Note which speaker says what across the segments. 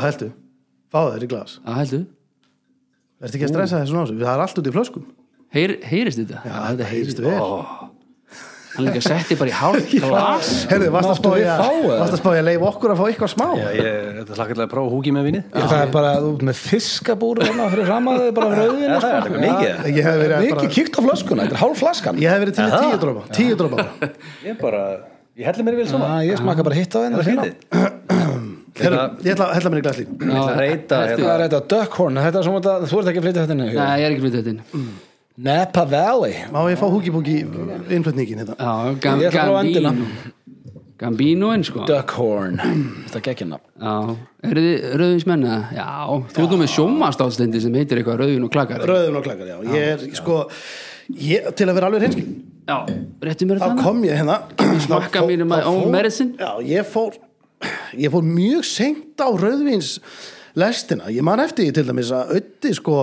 Speaker 1: heldur, fáðu þér í glas
Speaker 2: að heldur,
Speaker 1: Ertu ekki að stressa þessu násu, það er allt út í flöskum
Speaker 2: Heyr, heyrist þetta?
Speaker 1: Já, þetta heyrist vel.
Speaker 2: Ó. Hann líka setti bara í hálf glas
Speaker 1: Herðu, varst að
Speaker 3: Máttu við
Speaker 1: spája
Speaker 3: fá, eða?
Speaker 1: Varst að spája að leifa okkur að fá eitthvað smá
Speaker 4: Já, ég, þetta er slakkarlega að prófa húki með vinið
Speaker 3: það er bara út með fiskabúr hana, fyrir ramaðið bara rauðin
Speaker 4: Já, það er þetta eitthvað mikið eða?
Speaker 1: Ég hef verið að
Speaker 3: Mikið
Speaker 1: bara
Speaker 3: kíkt á flöskuna, þetta er hálf flaskan
Speaker 1: Ég hef verið til í tíu drópa Tíu drópa
Speaker 4: Ég bara, ég heldur mér í vel saman
Speaker 3: Ég smaka bara hitt á
Speaker 4: Það
Speaker 3: henni
Speaker 4: er
Speaker 3: hérna.
Speaker 4: skrítið
Speaker 1: Herru, ég ætla að hérna. hella mér í glas líka
Speaker 4: Ég ætla að reyta
Speaker 3: Það er þetta Duckhorn, þetta er svona þetta- þú ert ekki að flytja þetta inn í hug.
Speaker 2: Nei, ég er ekki flytið þetta inn
Speaker 3: Napa Valley
Speaker 1: Má ég fá húkibúki innflutningin hérna
Speaker 2: Já, gam,
Speaker 3: Ég ætla að prófa
Speaker 2: Gambino
Speaker 3: öndina.
Speaker 2: Gambinoinn sko Já,
Speaker 3: Duckhorn, þetta er geggjanna
Speaker 2: eru þið rauðinsmenn eða? Já, þú ert nú með sjómastáttstendi sem heitir eitthvað rauðin og klakar
Speaker 1: Rauðum og klakar, já Ég er sko ég, Til að vera alveg hreinskil
Speaker 2: Já, réttu mér
Speaker 1: Þá
Speaker 2: þetta
Speaker 1: kom ég hérna
Speaker 2: smakka
Speaker 1: þá fó-
Speaker 2: mínum my
Speaker 1: þá
Speaker 2: own
Speaker 1: fór-
Speaker 2: medicine?
Speaker 1: Já, ég fór Ég fór mjög seint á rauðvins lestina Ég man eftir því til dæmis að auði sko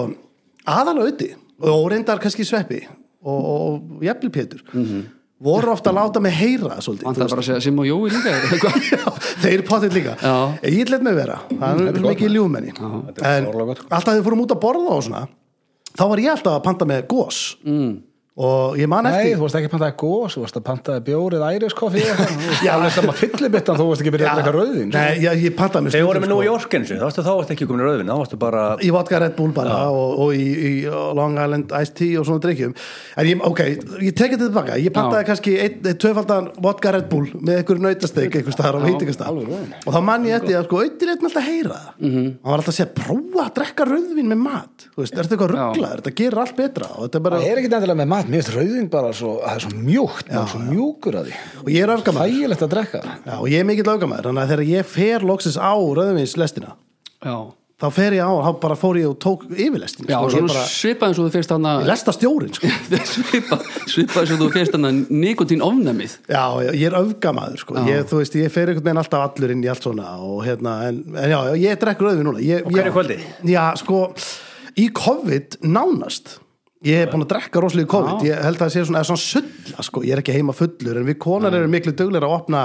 Speaker 1: aðal auði og reyndar kannski sveppi og, og jafnvel Pétur voru ofta að láta mig heyra það svolítið
Speaker 2: Mhm. Vantar
Speaker 1: þú
Speaker 2: bara að segja Sim og Jói líka eða eitthvað.
Speaker 1: Já, þeir potið líka
Speaker 2: Já.
Speaker 1: En ég let mig vera, það er svo mikið ljúmenni en
Speaker 2: sko.
Speaker 1: alltaf þegar við fórum út að borða og svona þá var ég alltaf að panta með gos mm. og ég man
Speaker 3: Nei,
Speaker 1: eftir
Speaker 3: þú varst ekki að pantaði gós, þú varst að pantaði bjórið æriskoffi Já, það er sama fyllibittan, þú varst ekki að byrja að
Speaker 1: Já.
Speaker 3: draka rauðin
Speaker 1: Nei, ég, ég pantaði með
Speaker 4: Þegar vorum við
Speaker 1: sko.
Speaker 4: nú í Jorkensu, þá varstu þá varstu ekki komin í rauðin Þá varstu bara,
Speaker 1: Í vodka Red Bull bara og, og í, í Long Island Iced Tea og svona drikkjum en ég, ok, ég tekið þetta tilbaka ég pantaði kannski ein, ein, tvöfaldan vodka Red Bull með einhverju nautasteik einhver staðar á veitingastað og þá man ég eftir að sko auðvitað er alltaf að heyra það hann var alltaf að segja prófa að drekka rauðvin með mat þú veist, er þetta eitthvað rugglaður, þetta gerir allt betra og, þetta er bara,
Speaker 3: Það er ekki endilega með mat, mér finnst rauðin bara svo, það er svo mjúkt, maður er svo mjúkur að því
Speaker 1: og ég er öfgamæður
Speaker 3: Þægilegt að drekka
Speaker 1: Já, og ég er mikill öfgamæður, þannig að þegar ég fer loksins á rauðvins lestina
Speaker 2: Já,
Speaker 1: þá fer ég á, þá bara fór ég og tók yfirlestin
Speaker 2: já
Speaker 1: sko, ég
Speaker 2: svona
Speaker 1: bara,
Speaker 2: svipað eins og þú fyrst hann að
Speaker 1: lesta stjórin sko.
Speaker 2: Svipað svipað eins og þú fyrst hann að nikotín ofnæmið
Speaker 1: Já, já, ég er öfgamaður sko. ég, þú veist, ég fer einhvern veginn alltaf allur inn í allt svona og hérna, en, en já, já, ég drekk rauðvin núna ég,
Speaker 4: Og hverju
Speaker 1: ég-
Speaker 4: kvöldi?
Speaker 1: Já, sko, í COVID nánast ég er búin að drekka rosalega í COVID ég held að það sé svona, eða svona sulla sko. ég er ekki heima fullur, en við konar erum miklu duglir að opna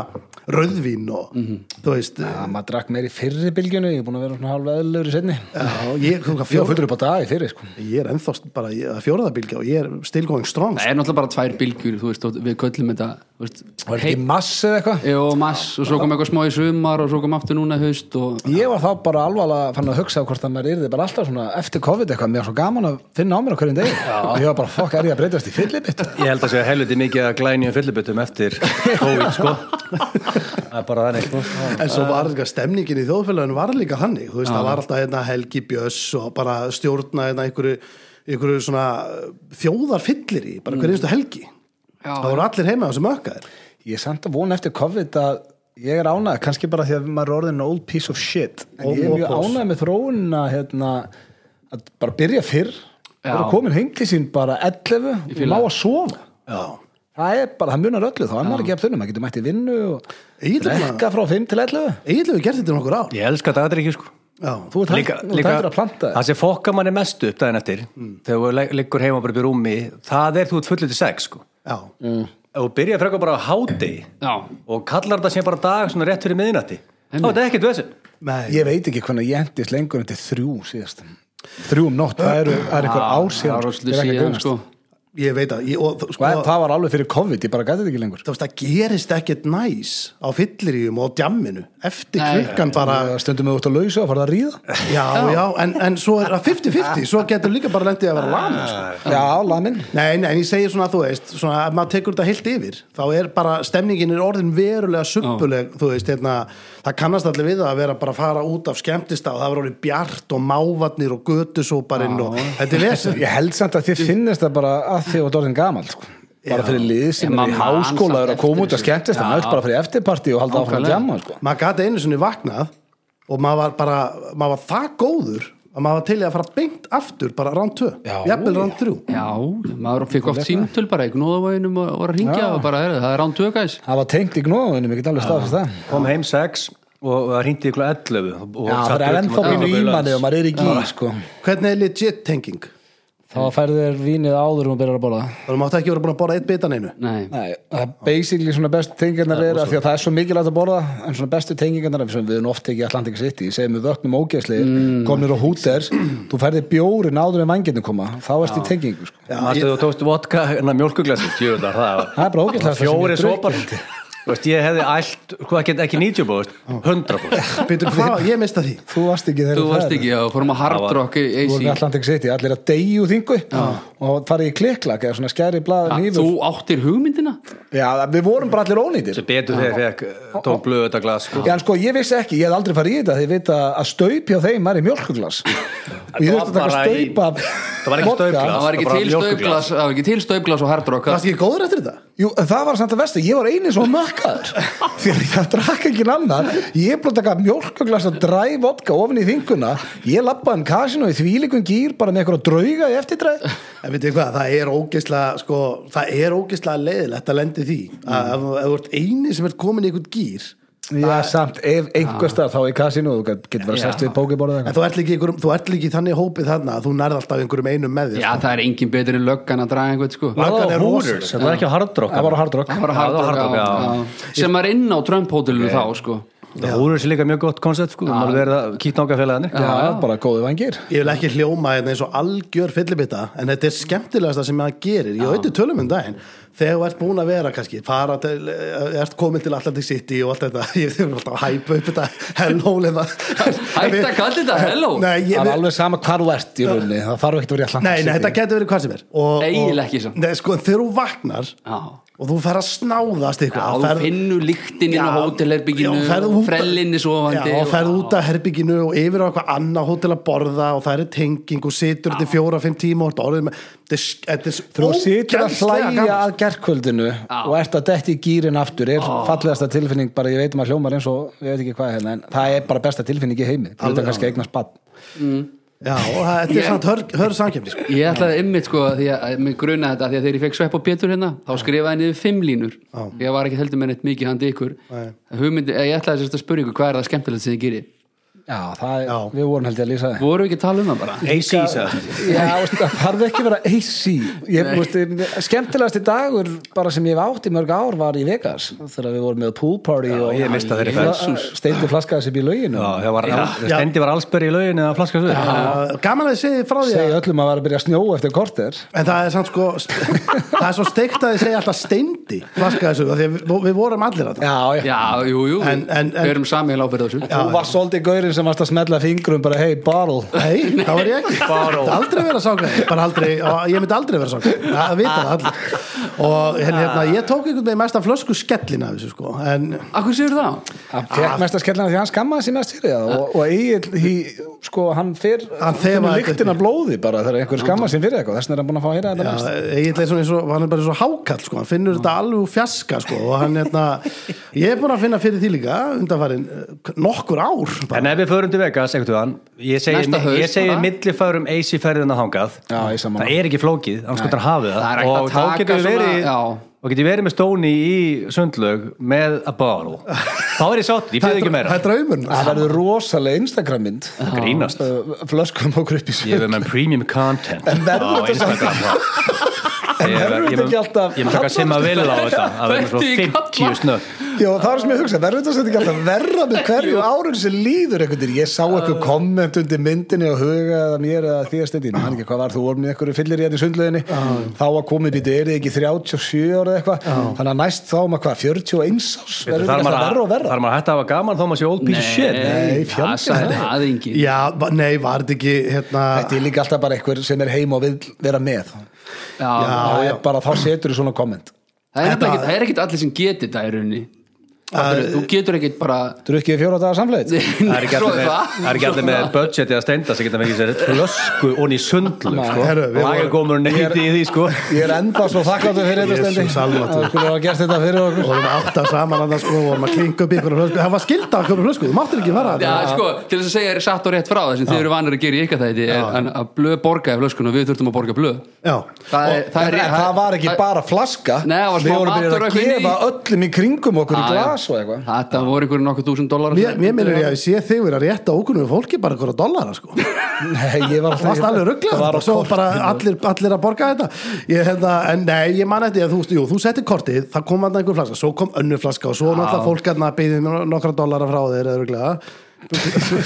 Speaker 1: rauðvin og, þú veist, já,
Speaker 3: Já, maður drakk meir í fyrri bylgjunu, ég er búin að vera svona hálf eðlugur í setni
Speaker 1: eh, ég, þú veist,
Speaker 3: Ég var fullur upp á dag í fyrri, sko
Speaker 1: ég er ennþá st- bara í- að fjóraðabilgja og ég er still going strong
Speaker 2: Það er náttúrulega bara tvær bylgjur, þú veist, og við köllum þetta þú veist,
Speaker 3: Var ekki mass eða eitthvað?
Speaker 2: Jó, mass og svo kom eitthvað smá í sumar og svo kom aftur núna í haust og
Speaker 3: Ég var þá bara alvarlega fann að hugsa á hvort að maður yrði bara alltaf svona eftir COVID eitthvað, mér var svo gaman að finna á mér á hverjum degi og ég var bara, fokk, er ég að breytast í fyllibitt?
Speaker 4: ég held að segja helviti mikið að glæni um fyllibuttum eftir COVID, sko Það er bara þannig, sko
Speaker 1: en svo var líka stemningin í þjóðfélaginu var líka þannig, þú veist, það var alltaf hérna, Helgi Björs og bara stjórna hérna, einhverju, einhverju svona þjóðarfyllir í, bara hver einstu helgi
Speaker 2: Já.
Speaker 1: það voru allir heima þessu mökkaðir
Speaker 3: Ég er samt að vona eftir COVID að ég er ánægð, kannski bara því að maður er orðin an old piece of shit, en ég er
Speaker 1: Old
Speaker 3: mjög
Speaker 1: boss.
Speaker 3: ánægð með þróunina hérna, að bara byrja fyrr,
Speaker 2: Já.
Speaker 3: bara komin heim til sín bara 11 og má að sofa.
Speaker 1: já,
Speaker 3: Það er bara, það munar öllu, þá er maður ekki af þunum, maður getur mætt í vinnu og
Speaker 1: Ég ætla bara-
Speaker 3: drekka frá 5 til 11.
Speaker 1: eiginlega við gert þetta í nokkur ár
Speaker 4: Ég elska dagatrykki, sko
Speaker 1: já,
Speaker 3: Þú ert hægt- þú ert hættur að planta þér.
Speaker 4: það sem fokka manni mest upp daginn eftir þegar þú le- liggur heima bara upp í rúmi það er þú ert fullið til sex sko.
Speaker 1: já,
Speaker 4: ef þú byrjar frekar bara á háti
Speaker 2: Já,
Speaker 4: og kallar þetta sem bara dag svona rétt fyrir miðinatti þá er þetta ekkert vesinn
Speaker 1: nei
Speaker 3: Ég veit ekki hvernig ég endist lengur en til þrjú síðast Þrjú um nótt, það eru, það eru einhver ár
Speaker 2: Ah, það
Speaker 3: síðan
Speaker 2: var
Speaker 3: Ég
Speaker 2: rosslu
Speaker 3: er ekki að
Speaker 2: síðan
Speaker 3: grínast.
Speaker 2: sko
Speaker 1: ég veit að, ég, og þú-
Speaker 3: Og
Speaker 1: sko
Speaker 3: það var alveg fyrir COVID, ég bara gæti þetta ekki lengur
Speaker 1: þú veist, það gerist ekkert næs á fylliríum og á djamminu eftir
Speaker 2: Nei.
Speaker 1: klukkan bara
Speaker 2: Ah.
Speaker 3: Það Stundum við út að lausa og farið að ríða
Speaker 1: Já, já, en, en svo er það 50-50 svo getur líka bara lendið að vera lamin sko.
Speaker 3: Já, lamin
Speaker 1: Nei, nei, en ég segi svona, þú veist svona, ef maður tekur þetta heilt yfir þá er bara, stemningin er orðin verulega suppuleg, þú veist, hérna það kannast allir við það að vera bara að fara út af skemmtista og það var orðin bjart og mávarnir og götusóparinn og þetta er vesir
Speaker 3: Ég held samt að þið finnist það bara að þið var dórðin gamal sko. Bara fyrir lið
Speaker 2: Ég
Speaker 3: sem er
Speaker 2: man
Speaker 3: í
Speaker 2: samt
Speaker 3: háskóla er að
Speaker 2: eftir
Speaker 3: koma út að
Speaker 2: þessu.
Speaker 3: skemmtist Það
Speaker 2: Já.
Speaker 3: er bara fyrir eftirparti og halda áfram að
Speaker 2: Nákvæmlega.
Speaker 3: djama sko.
Speaker 1: maður gæti einu sinni vaknað og maður var bara, maður var það góður að maður var til í að fara beint aftur bara rán 2,
Speaker 3: Já.
Speaker 1: jafnvel rán 3
Speaker 2: Já, maður fikk oft símtöl bara í gnóðavæginum og var að ringja og bara, heyrðu, það er án tökæs
Speaker 3: Það var tengt í gnóðunum, ég get alveg
Speaker 2: Ah.
Speaker 3: staðfist það
Speaker 4: kom heim sex og það hrýndi ykkur 11 og um
Speaker 3: Já, það er ennþá mínu ímanni og maður er í gí sko.
Speaker 1: Hvernig er legit tenging?
Speaker 3: þá færðu þér vínið áður um að byrja að borða það.
Speaker 1: Það mátti ekki vera búin að borða eitt bitan einu
Speaker 2: Nei,
Speaker 3: Nei, það er basically svona bestu tengingarnar er að því að það er svo mikilvægt að borða en svona bestu tengingarnar, sem við erum oft ekki Atlantic City, segjum við vöknum ógeðslegir komnir á húter, þú færði bjórin áður en vanginni koma, þá erst í tengingu sko.
Speaker 1: Já,
Speaker 4: Manstu
Speaker 1: ég,
Speaker 4: þú tókst vodka en að mjölkuglassi Tjöðar, það var
Speaker 3: Það er bara ógeðslega sem ég
Speaker 4: Fjóri
Speaker 3: drukk.
Speaker 4: sopar Þú veist, ég hefði allt, hvað ekki, ekki 90 búist 100 búist
Speaker 1: Býtu, hvað, ég mista því
Speaker 3: Þú varst ekki þegar
Speaker 2: þú varst ekki, já, fórum að
Speaker 4: Það
Speaker 2: hard
Speaker 4: var-
Speaker 2: rock í
Speaker 3: Þú voru með
Speaker 2: AC
Speaker 3: Atlantic City, allir að deyju þingu og farið í klikklak eða svona skæri blað
Speaker 2: Ha, Þú áttir hugmyndina?
Speaker 3: Já, við vorum bara allir ónýtir
Speaker 4: sem betur þegar fekk eh, tók blöðu þetta glas sko.
Speaker 3: Já, en sko, ég vissi ekki, ég hef aldrei farið í þetta því ég veit að að staup hjá þeim er í mjölkuglas og ég
Speaker 4: var
Speaker 3: þurfti að taka
Speaker 4: bara í-
Speaker 3: staup af
Speaker 4: Það var ekki
Speaker 2: Það var ekki
Speaker 3: vodka.
Speaker 4: staupglas. Það var
Speaker 2: til staupglas,
Speaker 4: mjólkurglas.
Speaker 2: það var ekki til staupglas og hard rock sko.
Speaker 1: Varst ekki góður eftir þetta?
Speaker 3: Jú, en það var samt að vesti, ég var eini svo makkaður því að ég drakk ekki annan ég blótt að gaf mjölkuglas að dræ vodka ofin í þinguna, ég lappaði en kasinu í þvílíkum gýr bara með eitthvað drauga í eftirdræð
Speaker 1: En veitir hvað, það er ógeðslega sko, það er ógeðslega leiðilegt að lendi því að
Speaker 2: Mm.
Speaker 1: ef ef þú ert eini sem ert komin í einhvern gýr
Speaker 3: Já, samt, ef einhver stað þá í kasinu þú getur verið að sest við pókiborð
Speaker 1: en þú ert líka í einhverjum- þú ert líka í þannig hópið þarna að þú nærð alltaf einhverjum einum með þér
Speaker 2: Já, það er engin betur en löggan að draga einhvern sko
Speaker 1: Löggan er
Speaker 4: Það var húnur,
Speaker 1: rosaleg.
Speaker 4: það var ekki á hardrock
Speaker 3: það var á hardrock
Speaker 2: Það var
Speaker 4: Já,
Speaker 2: hard
Speaker 4: það var
Speaker 2: rock,
Speaker 4: hard rock,
Speaker 2: já,
Speaker 4: já.
Speaker 2: já. Sem er inn á Trump hótelinu þá sko
Speaker 4: Húnur er líka mjög gott koncept sko, maður verið að kýta ánga félagarnir
Speaker 3: Já, bara góði vangir
Speaker 1: Ég vil ekki hljóma hérna eins og algjör fyllibita en þetta er skemmtilegasta sem það gerir ég auðvitað tölum um daginn þegar þú ert búin að vera kannski fara til, eh, ert komin til Atlantic City og allt þetta ég þurfum alltaf að hæpa upp þetta hello
Speaker 2: Hætt
Speaker 1: Hætta
Speaker 2: að kalla þetta hello
Speaker 1: Nei, ég,
Speaker 3: Það er alveg sama hvar þú ert í rauninni Það þarf ekki að vera í Atlantic
Speaker 1: nei, nei, þetta getur verið hvað sem er Og- og-
Speaker 2: Eiginlega ekki samt.
Speaker 1: Nei, sko, þegar þú vaknar
Speaker 2: Já,
Speaker 1: og þú fer að snáðast
Speaker 2: já
Speaker 1: eitthvað
Speaker 2: þú finnur líktin inn á hótelherbygginu Frellinni sofandi
Speaker 1: já, og ferð út af herbygginu og yfir á eitthvað annað hótel að borða og það er tenging og situr þetta í fjóra, fimm tíma og þetta orðið með þetta er- þetta er
Speaker 3: Þú situr að
Speaker 1: ógeðslega
Speaker 3: hlæja
Speaker 1: gaman.
Speaker 3: að gerkvöldinu og ert að detti í gýrin aftur er fallegasta tilfinning, bara ég veit um að hljómar eins og ég veit ekki hvað hérna, en það er bara besta tilfinning í heimi, þú veit að kannski eigna spatt
Speaker 1: já, og það- þetta er
Speaker 2: Ég-
Speaker 1: samt hörð hör samkjöfni sko.
Speaker 2: Ég ætlaði ymmit sko að því að að mig gruna þetta af því að þegar ég fekk svepp á Pétur hérna þá skrifaði ég niður fimm línur ég var ekki heldur með neitt mikið handi ykkur
Speaker 1: Nei.
Speaker 2: Hugmyndi, eh, ég ætlaði sérst að spurja ykkur hvað er það skemmtilegt sem þið gerir
Speaker 3: Já, það er,
Speaker 1: Já.
Speaker 3: við vorum held ég að lýsa það
Speaker 2: voru ekki að tala um það bara
Speaker 4: AC sagði
Speaker 3: Já, veist, það þarf ekki að vera AC ég, veist, Skemmtilegasti dagur bara sem ég hef átt í mörg ár var í Vegas þegar við vorum með pool party Já,
Speaker 4: ég mista þeirri
Speaker 3: ferð Steindi flaskaði sér í lauginu
Speaker 4: Já, það var, stendi var allsberg í laugin eða flaskasuð
Speaker 1: Já, gaman að þið segið frá því að
Speaker 3: Segja öllum að vera að byrja að snjóa eftir korter
Speaker 1: En það er samt sko, það er svo steikt að þið segja alltaf steindi flaska þessu, af því að við, við vorum allir að
Speaker 3: Já, já
Speaker 2: Já, jú, jú,
Speaker 1: En- en- en-
Speaker 2: við erum samið ábyrð á þessu
Speaker 3: Þú varst svolítið gaurinn sem varst að smella fingrum bara hey, bottle
Speaker 1: Nei, það var ég ekki
Speaker 4: Bara
Speaker 1: Myndi Aldrei vera sákaði Bara aldrei, og ég myndi aldrei vera sákaði Það vita það allir Og hérna, hérna, ég tók einhvern veginn mesta flösku skellin af þessu sko En
Speaker 2: Akkur séu það?
Speaker 3: Hann fekk mest að skella hann því hann skammaði sér mest fyrir það og, og Egil, hí, sko, hann fyrr
Speaker 1: Hann þefaði þetta
Speaker 3: lyktin af blóði bara þegar einhver skammaði sér fyrir eitthvað þess vegna er hann búin að fá að heyra þetta mest
Speaker 1: Egil er svona eins og, hann er bara svo hákall sko Hann finnur þetta alveg úr fjaska sko Og hann, hérna, ég er búin að finna fyrir því líka Undanfærin nokkur ár
Speaker 4: En
Speaker 1: bara.
Speaker 4: ef við förum til Vegas, ekkert við hann Ég segi,
Speaker 2: Næsta haust
Speaker 4: ég segi
Speaker 2: bara.
Speaker 4: millifærum AC ferðina þangað
Speaker 3: Já, ég sammála.
Speaker 4: Það er ekki flókið, anskotar hafið
Speaker 2: Það er
Speaker 4: það
Speaker 2: hægt að
Speaker 4: Og þá
Speaker 2: taka
Speaker 4: getur við
Speaker 2: svona-
Speaker 4: verið
Speaker 2: já.
Speaker 4: Og getur verið með stóni í sundlaug Með a bottle Þá er ég sátt, ég
Speaker 1: Það
Speaker 4: fyrir
Speaker 1: er
Speaker 4: ekki
Speaker 1: það
Speaker 4: meira
Speaker 1: er draumurinn
Speaker 3: Það verður rosalega Instagram mynd
Speaker 4: Grínast
Speaker 3: Ö, flöskum og um upp í
Speaker 4: Ég
Speaker 3: sér
Speaker 4: verður með premium content En
Speaker 3: verður þetta En verður þetta ekki alltaf-
Speaker 4: Ég mun taka sem að vilja á þetta Að verður með
Speaker 2: Þetta
Speaker 4: svona
Speaker 2: í kalla.
Speaker 4: 50 snögg
Speaker 3: Já, það er sem ég hugsa, verður þetta sem ekki alltaf verra með hverju árun sem líður einhvern veginn ég sá eitthvað komment undir myndinni og hugaði að mér eða því að stendin hann ekki hvað var, þú vorum í einhverju fyllir hérna í þetta í sundlöðinni þá að komið býtu, er þið ekki 37 ára eða eitthvað, þannig að næst þá um að hvað 41 árs, verður
Speaker 4: Þar
Speaker 3: þetta alltaf verra og
Speaker 4: maður
Speaker 3: verra
Speaker 4: þarf maður að hætta að hafa gaman Þá maður sé old piece of shit
Speaker 3: Nei,
Speaker 2: það
Speaker 3: fjandi
Speaker 2: sagði það engin
Speaker 1: Já, va- nei, var þetta ekki hérna
Speaker 3: Þetta er líka alltaf bara einhver sem er heim og vil vera með
Speaker 2: Já.
Speaker 3: það er bara, þá setur þú svona komment
Speaker 2: Það er nefnilega ekkit- það er ekkit allir sem getur þetta í rauninni Fattarðu, Þú getur ekkit bara
Speaker 3: Drukkið fjóra dagar samfleyt
Speaker 4: Það er ekki
Speaker 2: Svo
Speaker 4: allir með,
Speaker 2: það.
Speaker 4: það er ekki allir með budget eða stenda sem geta mikið sér flösku onni sundlu sko.
Speaker 1: Herru, við
Speaker 4: Lagakomur neyti í því sko.
Speaker 3: Ég er enda svo þakkláttur fyrir þetta
Speaker 1: Jesus
Speaker 3: stendi
Speaker 1: almáttugur.
Speaker 3: að skulum hafa gert þetta fyrir okkur
Speaker 1: og við átta saman að það sko og maður klinga upp ykkur flösku það var skilda ykkur flösku, þú máttir ekki vera
Speaker 2: Já, sko, til þess að segja er satt og rétt frá það sem þið eru vanir að gera í ykkar þætti er en að blöð borgaði flöskun og við þurftum að borga blöð
Speaker 1: já,
Speaker 2: Það er,
Speaker 3: það, það var ekki bara flaska
Speaker 2: Nei, það var smá
Speaker 3: við vorum
Speaker 2: matur
Speaker 3: byrjað
Speaker 2: og eitthvað inn
Speaker 3: að
Speaker 2: í.
Speaker 3: gefa öllum í kringum okkur í
Speaker 2: Já, já,
Speaker 3: glas glas og eitthvað
Speaker 2: Þetta voru einhverjum nokkuð þúsund dólar
Speaker 1: Mér, mér minnir ég að ég sé þig verið að rétta ókunnum fólki bara hverja dollara sko
Speaker 3: Nei, ég var
Speaker 1: Það varst alveg
Speaker 3: Það
Speaker 1: rugglað
Speaker 3: var á
Speaker 1: og svo bara allir, allir að borga þetta ég, hefna, En nei, ég man þetta, ég- þú, veist, jú, þú settir kortið það kom hann einhver flaska, svo kom önnur flaska og svo náttúrulega fólk hann að beðið mér nokkra dollara frá þér eða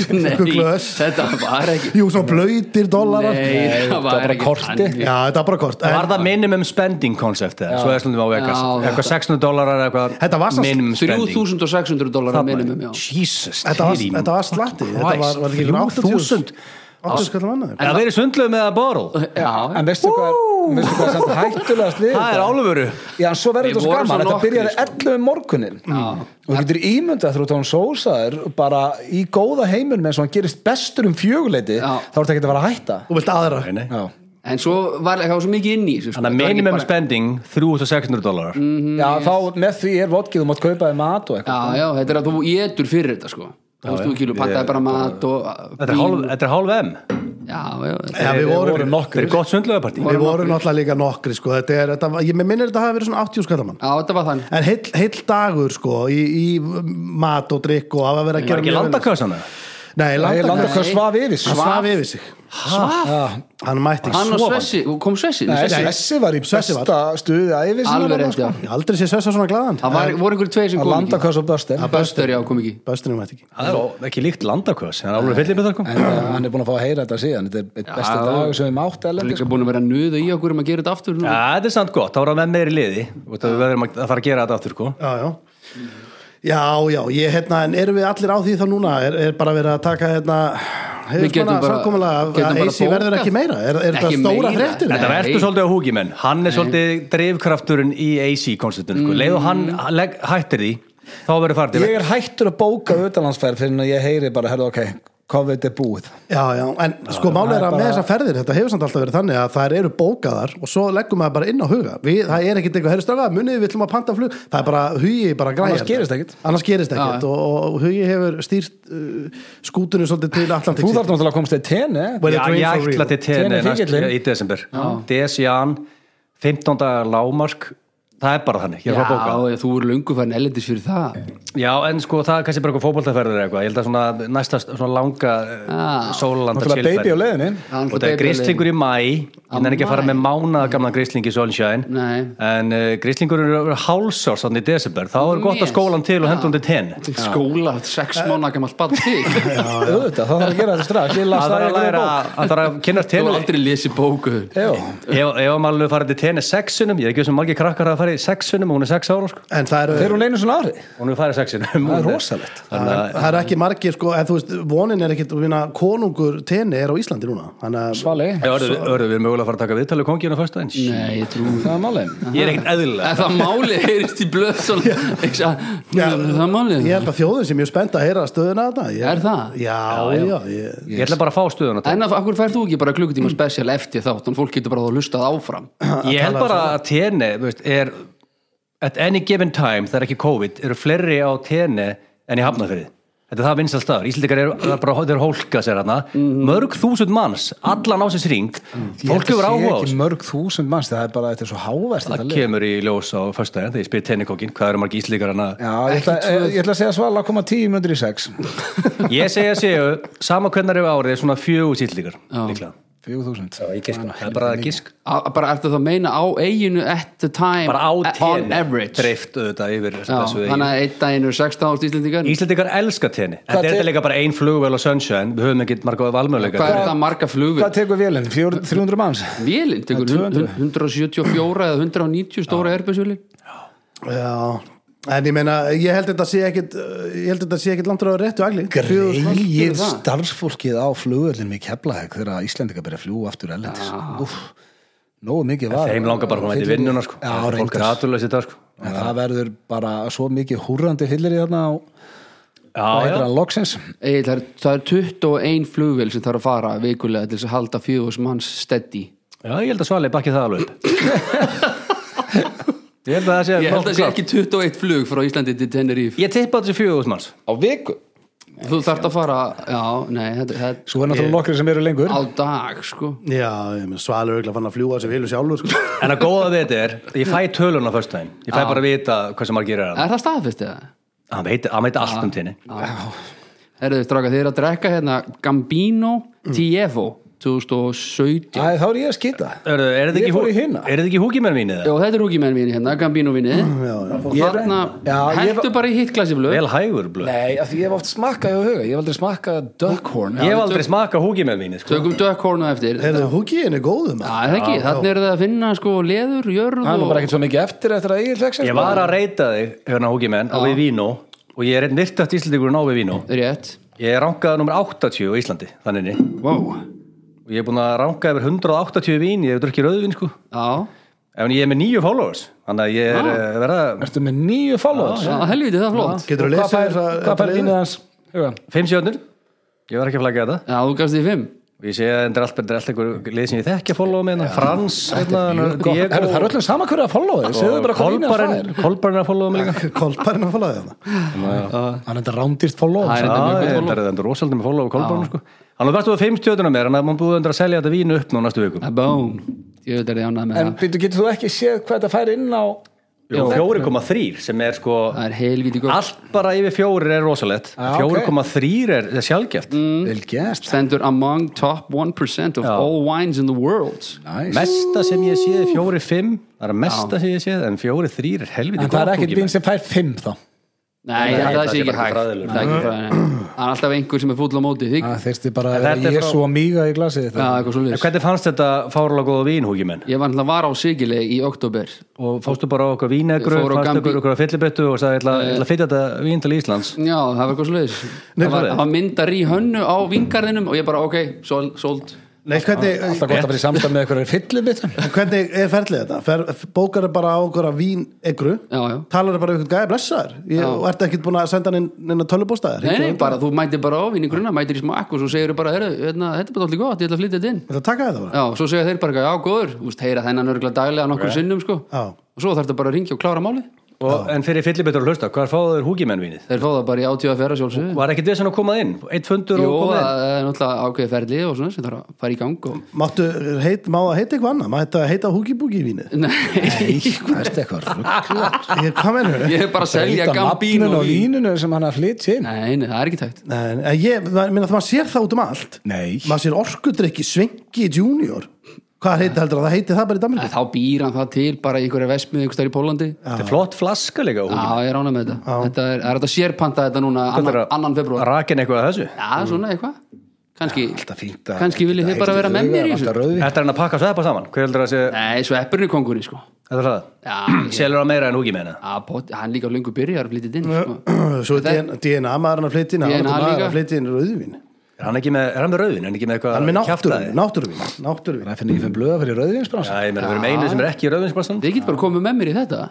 Speaker 2: Nei,
Speaker 1: rugglað
Speaker 2: þetta var ekki
Speaker 1: Jú, svo blöytir dollara
Speaker 2: Nei, það
Speaker 3: var
Speaker 2: var
Speaker 3: bara
Speaker 2: ekki
Speaker 3: korti.
Speaker 2: þannig.
Speaker 1: Já, þetta var bara kort
Speaker 4: Var
Speaker 1: en,
Speaker 4: það minimum spending concept eða? Svo er slundum á Vegas.
Speaker 2: Já,
Speaker 4: eitthvað 600 dólarar eða eitthvað.
Speaker 1: Þetta var samt-
Speaker 4: minimum spending.
Speaker 2: 3600 dólar að minnum já
Speaker 4: Jesus.
Speaker 1: Þetta var,
Speaker 4: Tyrím.
Speaker 1: þetta var slatti Þetta
Speaker 4: Christ,
Speaker 1: var, var ekki
Speaker 4: 3000.
Speaker 1: 80 skallar mannaður
Speaker 4: Það verið sundluð með að borl.
Speaker 2: Já,
Speaker 3: En veistu hvað er, veistu hvað er samt hættulegast við
Speaker 4: Það er
Speaker 3: þetta?
Speaker 4: álfuru.
Speaker 3: Já, en svo verður
Speaker 2: Við
Speaker 3: þetta svo
Speaker 2: vorum
Speaker 3: gaman,
Speaker 2: svo
Speaker 3: þetta
Speaker 2: nokkrir, sko.
Speaker 3: byrjaði 11 um morgunin og þú getur ímyndað þegar þú tóðum sósaður bara í góða heimunum eins og hann gerist bestur um fjöguleiti
Speaker 2: Já.
Speaker 3: þá ertu ekki að vera að hætta
Speaker 1: Þú vilt aðra
Speaker 4: Nei, nei.
Speaker 3: Já,
Speaker 2: en svo var það var svo mikið inn í þessu, sko.
Speaker 4: Þannig að
Speaker 2: Þetta var ekki
Speaker 4: minimum
Speaker 2: bara-
Speaker 4: spending 3600 dólarar.
Speaker 1: Mm.
Speaker 2: Mhm.
Speaker 3: já þá með því er vodkið, þú mátt kaupa þig mat og eitthvað
Speaker 2: Já, já, þetta er að þú getur fyrir þetta sko Þú veist, þú kýlur, pantaði bara mat og
Speaker 4: Þetta er hálf- þetta er hálf M.
Speaker 2: Já, já, þetta
Speaker 1: Já,
Speaker 2: er-
Speaker 1: við vorum
Speaker 4: Þetta er gott sundluðapartí.
Speaker 1: Við vorum náttúrulega líka nokkri sko. þetta er, þetta, var- Ég mig minnir þetta hafi verið svona 80 skallar mann
Speaker 2: já, þetta var þann
Speaker 1: En heill, heill dagur sko í, í mat og drikk og hafa verið að
Speaker 4: Var
Speaker 1: gera
Speaker 4: ekki
Speaker 1: mjög vel.
Speaker 4: landakössana?
Speaker 1: Nei,
Speaker 3: Ég
Speaker 1: landa
Speaker 3: landa
Speaker 1: Nei.
Speaker 3: hvað svaf yfir
Speaker 1: Hann
Speaker 3: sig
Speaker 1: svaf yfir sig
Speaker 2: Svaf,
Speaker 1: Hann mætti
Speaker 2: hann og
Speaker 1: svofa
Speaker 2: Svessi, kom Svessi
Speaker 3: Nei,
Speaker 2: Svessi-
Speaker 3: Svessi var í
Speaker 1: Svessi var.
Speaker 3: besta stuði æfið sinni
Speaker 2: Alveg
Speaker 3: þarna,
Speaker 2: rétt, já
Speaker 1: Ég aldrei sé Svessa svona glaðan
Speaker 2: Það var, voru einhverjir tveir sem
Speaker 3: að
Speaker 2: kom
Speaker 3: landa
Speaker 2: ekki
Speaker 3: hvað svo böstir en
Speaker 2: Böster, já, kom ekki
Speaker 1: Böstunum mætti ekki
Speaker 4: Það er ó- ekki líkt landaköss. Það er álfuru fyllir með það kom.
Speaker 3: eh, hann er búin að fá að heyra þetta síðan þetta er eitt besti
Speaker 2: Já.
Speaker 3: dag sem við mátt
Speaker 2: Það er
Speaker 3: erlendis,
Speaker 2: líka búin að vera að nuða í okkur um að gera þetta aftur
Speaker 4: Já,
Speaker 2: núna.
Speaker 4: þetta er samt gott, þá er það með meiri liði og það verður að fara að gera þetta aftur, sko.
Speaker 1: Já, já Já, já, ég hérna, en erum við allir á því þá núna? Er, er bara verið að taka hérna
Speaker 2: Við
Speaker 1: hefur
Speaker 2: getum
Speaker 1: svona
Speaker 2: bara-
Speaker 1: samkomulega
Speaker 2: getum
Speaker 1: að
Speaker 2: bara
Speaker 1: AC verður
Speaker 2: bókað.
Speaker 1: ekki meira? Er, er
Speaker 2: Ekki
Speaker 1: þetta stóra
Speaker 2: meira.
Speaker 1: fréttir?
Speaker 4: Þetta
Speaker 2: Nei.
Speaker 4: verður svolítið á húgi menn, hann er svolítið dreifkrafturinn í AC-konstitun, sko. Leið og hann
Speaker 2: Mm.
Speaker 4: legg, hættir því, þá verður farið til
Speaker 3: ég er hættur að bóka utanlandsferð fyrir en ég heyri bara, herðu ok, COVID er búið
Speaker 1: Já, já, en sko málið er að með þessar ferðir, þetta hefur samt alltaf verið þannig að þær eru bókaðar og svo leggum maður bara inn á huga. Við, það er ekkit eitthvað, herru strafa, munið við ætlum að panta flug, það er bara, hugi bara græjar.
Speaker 3: Annars gerist ekkit.
Speaker 1: Annars gerist ekkit og, og hugi hefur stýrt uh, skútunum svolítið til Atlantik.
Speaker 3: þú þarf náttúrulega að komast til tenni eh?
Speaker 1: Well,
Speaker 4: Já,
Speaker 1: dream
Speaker 4: ég
Speaker 1: for real.
Speaker 4: ætla til tenni
Speaker 3: Tenni þykillinn.
Speaker 4: í desember Desjan, 15 dagar lágmark það er bara þannig, ég er að bóka
Speaker 2: Já, þú voru löngu færin ellendis fyrir það
Speaker 4: Já, en sko það er kannski bara eitthvað fótboltaferður eitthvað, ég held að svona næsta svona langa
Speaker 2: Já.
Speaker 4: sólalanda
Speaker 3: náttúrulega baby á leiðinni
Speaker 4: og það er grislingur í mæ
Speaker 2: Á
Speaker 4: ég nefn ekki að fara
Speaker 2: maí.
Speaker 4: með mánaða gamla grisling í Solskjain
Speaker 2: Nei.
Speaker 4: en uh, grislingur eru hálsárs þannig í desember, þá er gott að
Speaker 2: Yes.
Speaker 4: skólan til og hendur hún til tenn
Speaker 2: Skóla, sex mánu gamalt barn til Þú
Speaker 3: auðvitað, það þarf að gera þetta strax ég las
Speaker 4: það
Speaker 3: það
Speaker 4: er
Speaker 3: í
Speaker 4: að
Speaker 3: einhverju
Speaker 4: læra
Speaker 3: bók
Speaker 4: að það er að kynna tenni
Speaker 2: hefur aldrei lesið bóku
Speaker 3: Jú.
Speaker 4: ef ef maður alveg farið til tenni sexunum ég er ekki sem margir krakkar að fara í sexunum og hún er sex ára sko
Speaker 1: En það eru...
Speaker 3: Fer hún einu svona ári?
Speaker 4: Hún hefur farið sexin
Speaker 3: Það er rosalegt.
Speaker 4: Þannig
Speaker 1: En það eru ekki margir sko, en þú veist, vonin er ekkit, minna, konungur tenni er á Íslandi núna þannig að
Speaker 3: Svali,
Speaker 4: að Örðu, örðu, við erum mögulega að fara að taka viðtalið konginu fyrst aðeins
Speaker 2: Nei, ég trú
Speaker 3: það er málið
Speaker 4: Ég er ekkert eðlilega
Speaker 2: En það máli heyrist í blöð svona, ekki sa- Það máli
Speaker 1: ég held að þjóðin sé mjög spennt að heyra stöðuna þetta ég,
Speaker 2: Er það?
Speaker 1: Já, já, ég,
Speaker 4: Ég ætla bara að fá stöðuna til
Speaker 2: En af hverju færð þú ekki bara klukkutíma spesial eftir þátt Þannig fólk getur bara þá hlustað áfram
Speaker 4: Ég held bara að tenni veist, er, At any given time, það er ekki COVID eru fleiri á tenni en í hafnafyrði Þetta er það vinsal staður, Íslendingar eru það er bara þeir hólka sér hana Mörg þúsund manns, allan á sér sring Fólk hefur áhuga á
Speaker 3: ekki
Speaker 4: þessu
Speaker 3: mörg þúsund manns það er bara, þetta er svo háverst
Speaker 4: Það
Speaker 3: þetta lið
Speaker 4: kemur í ljós á fyrsta þegar ég spyr tennikokkin hvað eru margir Íslendingar hana
Speaker 3: Já, ég ætla, ég ætla að segja Svala að koma tíu mjöndur í sex
Speaker 4: Ég segja séu, sama hvernar eru árið svona fjögur Íslendingar líklega
Speaker 3: Fjögur þúsund
Speaker 4: Ég giska, það er bara að giska
Speaker 2: Á- Bara ertu það að meina á eiginu at the time
Speaker 4: bara á
Speaker 2: Eh, On
Speaker 4: tenni
Speaker 2: average
Speaker 4: dreift auðvitað yfir
Speaker 2: Já,
Speaker 4: þessu
Speaker 2: Þannig að einn daginn eru 16.000 Íslendingar
Speaker 4: Íslendingar elska tenni þetta er
Speaker 3: te-
Speaker 4: þetta líka bara ein flugvel og sunshine við höfum ekki marga valmöðleika
Speaker 2: Hvað er það marga flugvél?
Speaker 3: Hvað tekur vélinn? Fjögur- 300 manns?
Speaker 2: Vélinn tekur
Speaker 3: Ja, 200.
Speaker 2: 174 eða 190 stóra erbjörnsvélinn
Speaker 1: já en ég meina, ég held þetta sé ekkit uh, ég held þetta sé ekkit landur á réttu agli
Speaker 3: Greið
Speaker 2: gerir það?
Speaker 3: starfsfólkið á flugöllin í Keflavík þegar Íslendinga byrja að fljúa aftur ellendis Úff, Nógu mikið var
Speaker 4: þeim langar bara að koma þetta í vinnuna sko.
Speaker 3: Já,
Speaker 4: Þetta er fólk er
Speaker 3: reyndar.
Speaker 4: aðurlega sér sko.
Speaker 3: En það verður bara svo mikið húrandi hillir í þarna á
Speaker 4: já, já.
Speaker 3: hættra loksins
Speaker 2: Egil, það, er, það er 21 flugvél sem þarf að fara vikulega til þess að halda fjögur manns steady
Speaker 4: já, ég held að Svali bakki það alveg upp ég held að það sé
Speaker 2: Ég held að það sé
Speaker 4: nokkuð klárt.
Speaker 2: ekki 21 flug frá Íslandi til Tenerife
Speaker 4: ég tippa þessi fjögur manns
Speaker 3: Á viku?
Speaker 2: Þú þarft að fara, já, nei, þetta, þetta
Speaker 3: Svo er náttúrulega nokkri sem eru lengur
Speaker 2: á dag, sko
Speaker 1: já, ég meina, svalur auðvitað fann að fljúa sem vilju sjálfur sko.
Speaker 4: en að góða við þetta er, ég fæ tölun á föstudaginn ég fæ bara að vita hversu margir er hann
Speaker 2: Er það staðfest eða?
Speaker 4: hann veit, hann veit allt um tenni
Speaker 2: Herðu, stráka, þið eru að drekka hérna Gambino
Speaker 3: Mm.
Speaker 2: Tievo 2017
Speaker 3: Æ, þá er ég að skita
Speaker 4: er, er þið
Speaker 3: Ég
Speaker 4: ekki,
Speaker 3: fór
Speaker 4: hú,
Speaker 3: í hina.
Speaker 4: er þið ekki húkimenn mínið
Speaker 2: Já, þetta er húkimenn vinni hérna, Gambino vinni og
Speaker 3: Ég-
Speaker 2: þarna
Speaker 3: Mm. Já, ég-
Speaker 2: hættu bara í hittglæsi blöð
Speaker 4: vel hægur blöð
Speaker 3: Nei, af því ég hef oft smakkað í huga Ég hef aldrei smakkað duckhorn
Speaker 4: ég hef aldrei smakað húkimenn mínið sko.
Speaker 2: tökum dökkornu eftir Já,
Speaker 1: Heyrðu, húkiðin er góðum
Speaker 3: Ah,
Speaker 2: það er ekki, þannig er það að finna sko leður, jörð
Speaker 3: Það er nú
Speaker 2: og
Speaker 3: bara ekkert svo mikið eftir eftir að ég fekk sér sko.
Speaker 4: ég var að reyta þig hérna húkimenn á við vínu og ég er einn virtast íslendingur á við vínu
Speaker 2: rétt
Speaker 4: ég er rankað nummer 80 á Íslandi þannig inni.
Speaker 2: wow.
Speaker 4: og ég er búin að ranka yfir 180 vín ég hef drukkið rauðvín sko
Speaker 2: Já,
Speaker 4: en ég er með nýju followers þannig að ég er ah. verða
Speaker 3: Ertu með nýju followers
Speaker 2: já, helviti, það er flott
Speaker 1: Getur þú
Speaker 3: Hvað
Speaker 1: lesið
Speaker 3: fær-
Speaker 1: þessa
Speaker 3: Hvað fær
Speaker 1: þetta
Speaker 3: línið
Speaker 1: liðið?
Speaker 3: hans? Huga.
Speaker 4: 5 sjónur ég var ekki að flagga þetta
Speaker 2: Já, þú gafst því fimm
Speaker 4: og ég sé að þetta er alltaf, þetta er alltaf einhver lið sem ég þekki að followa með Frans, hérna,
Speaker 3: Herru,
Speaker 4: Diego
Speaker 3: Það er öllum sama hverju að followa þig Segðu bara hvað línið hans fær
Speaker 4: Kolbarinn Kolbarinn að followa mig líka
Speaker 1: Kolparinn að fólaði þarna
Speaker 3: Hann er þetta rándýrt followa
Speaker 2: Það er
Speaker 4: Já,
Speaker 2: þetta mjög
Speaker 4: ég-
Speaker 2: gott
Speaker 4: þetta
Speaker 2: follow.
Speaker 4: er þetta rosaldi með followa Kolbarinn sko hann er verðt á 5 stjóðuna mér en það er maður búið undir að selja þetta vín upp nú næstu vikum
Speaker 2: Ah, Bón, ég veit að það er ánað með
Speaker 3: En
Speaker 2: það
Speaker 3: býtu, getur þú ekki séð hvað þetta fær inn á
Speaker 4: Jú, 4,3 sem er sko
Speaker 2: Það er helviti gott
Speaker 4: allt bara yfir 4 er rosalett
Speaker 3: Já, ok. Mm.
Speaker 4: 4,3 er, er sjálfgeft
Speaker 3: Vel gert
Speaker 2: Stendur among top 1% of all wines in the world
Speaker 3: Nice.
Speaker 4: mesta sem ég séð er 4-5 það er að mesta sem ég séð en 4-3 er helviti
Speaker 3: En það er ekkert vinn sem fær 5 þá
Speaker 2: Nei,
Speaker 4: Nei,
Speaker 2: það sé
Speaker 4: það sé
Speaker 2: ekki
Speaker 4: bara
Speaker 2: hægt
Speaker 4: fræðilegur.
Speaker 2: Það er ekki fræðilegur.
Speaker 4: Mm-hmm.
Speaker 2: Það er alltaf einhver sem er fúll á móti þig Já,
Speaker 3: Það þyrsti bara
Speaker 4: En
Speaker 3: að
Speaker 4: þetta
Speaker 3: vera
Speaker 4: er frá-
Speaker 3: Jésu og Míga í glasið þetta.
Speaker 2: eitthvað svo
Speaker 4: Ah, En hvernig fannst þetta fárlega góða vín, húkimenn?
Speaker 2: Ég var alltaf var á Sigile í oktober
Speaker 4: Og fórstu bara á okkur vínegru,
Speaker 2: Fór á
Speaker 4: fannst
Speaker 2: Gambí-
Speaker 4: okkur okkur að fyllibettu og sagði, ég ætla- ég ætla að flytja þetta vín til Íslands.
Speaker 2: Já, það var eitthvað svo Það var, það var myndar í hönnu á vingarðinum og ég bara, ok, sol, sold
Speaker 1: Nei, hvernig,
Speaker 3: Alltaf gott að vera í samstæð með eitthvað fyllibitum
Speaker 1: hvernig er ferlið þetta? Fer, bókar er bara á okkur að vín egru
Speaker 2: Já, já
Speaker 1: talar bara um eitthvað gæði blessaður Ég- og ert ekkert búin að senda hann inn inn á tölubóstaðar
Speaker 2: Nei, nei, bara þú mætir bara á vinni grunna, mætir í smakk og svo segir þau bara, heyrðu, hérna, þetta er bara allir gott, ég ætla að flytja þetta inn
Speaker 1: Þetta taka þetta bara
Speaker 2: Já, svo segja þeir bara, eitthvað, já, góður, þú veist, heyra þennan örgulega daglega nokkur sinnum, sko
Speaker 1: Já.
Speaker 2: og svo þarf þetta bara að ringja og klára máli
Speaker 4: Og, en fyrir fyllibettur að hlusta, hvar fáðu þér húkimenn vínið?
Speaker 2: þeir fá það bara í átíu að fjara sjálfsög
Speaker 4: Var ekki þessan að koma inn? Eitt fundur
Speaker 2: Jó,
Speaker 4: og koma inn?
Speaker 2: það er náttúrulega ákveðið ferli og svona sem þarf að fara í gang og...
Speaker 1: Máttu, heit, má það heita eitthvað annað? Má þetta heita húkibúki í víni?
Speaker 2: Nei,
Speaker 3: Í, hvað er þetta eitthvað rugglar
Speaker 1: Ég, hvað mennur
Speaker 2: ég er bara að selja gambín
Speaker 3: og
Speaker 2: og vín
Speaker 3: víninu sem hann er að flytja inn
Speaker 2: Nei, nei, það er ekki tækt
Speaker 1: En en ég, maður- meina, maður sér það út um allt
Speaker 3: Nei
Speaker 1: Maður sér orkudrykki, svengi junior Hvað heita heldur að það heiti það bara í Danmarku?
Speaker 2: En þá býr hann það til bara í einhverja vesmið einhvers þar í Pólandi Já,
Speaker 4: Þetta er flott flaska líka, húkimenn.
Speaker 2: ég er ánað með þetta Þetta er, er þetta sérpanta þetta núna annan, annan februar
Speaker 4: Rakin eitthvað að þessu.
Speaker 2: Já, svona eitthvað Kanski,
Speaker 3: Alltaf fínt að-
Speaker 2: kannski viljið þið bara vera með mér í
Speaker 3: Alltaf
Speaker 2: þessu
Speaker 3: rauðvín.
Speaker 4: Þetta er hann að pakka sveppa saman. Hver heldur að sé,
Speaker 2: Nei, sveppurinn er kongurinn, sko
Speaker 4: þetta er það?
Speaker 2: Já,
Speaker 3: Ah,
Speaker 2: ég-
Speaker 4: Selur hann meira en húkimenn? eða?
Speaker 2: Já, pot- hann líka löngu byrjar að flytja inn sko.
Speaker 1: Svo er DNA maðurinn að flytja inn
Speaker 2: DNA
Speaker 1: DNA maður
Speaker 2: líka.
Speaker 1: að flytja inn rauðvín
Speaker 4: Er hann ekki með, er hann með rauðin? Er hann ekki með eitthvað
Speaker 1: Hann er með náttúruvín,
Speaker 4: kjaftaði?
Speaker 1: náttúruvín, náttúruvín.
Speaker 3: Það er fyrir nýfum blöða fyrir
Speaker 4: Já,
Speaker 3: rauðvinsbransa
Speaker 4: ég meina, við erum einu sem er ekki í rauðvinsbransan.
Speaker 2: Þið getur bara komið með mér í þetta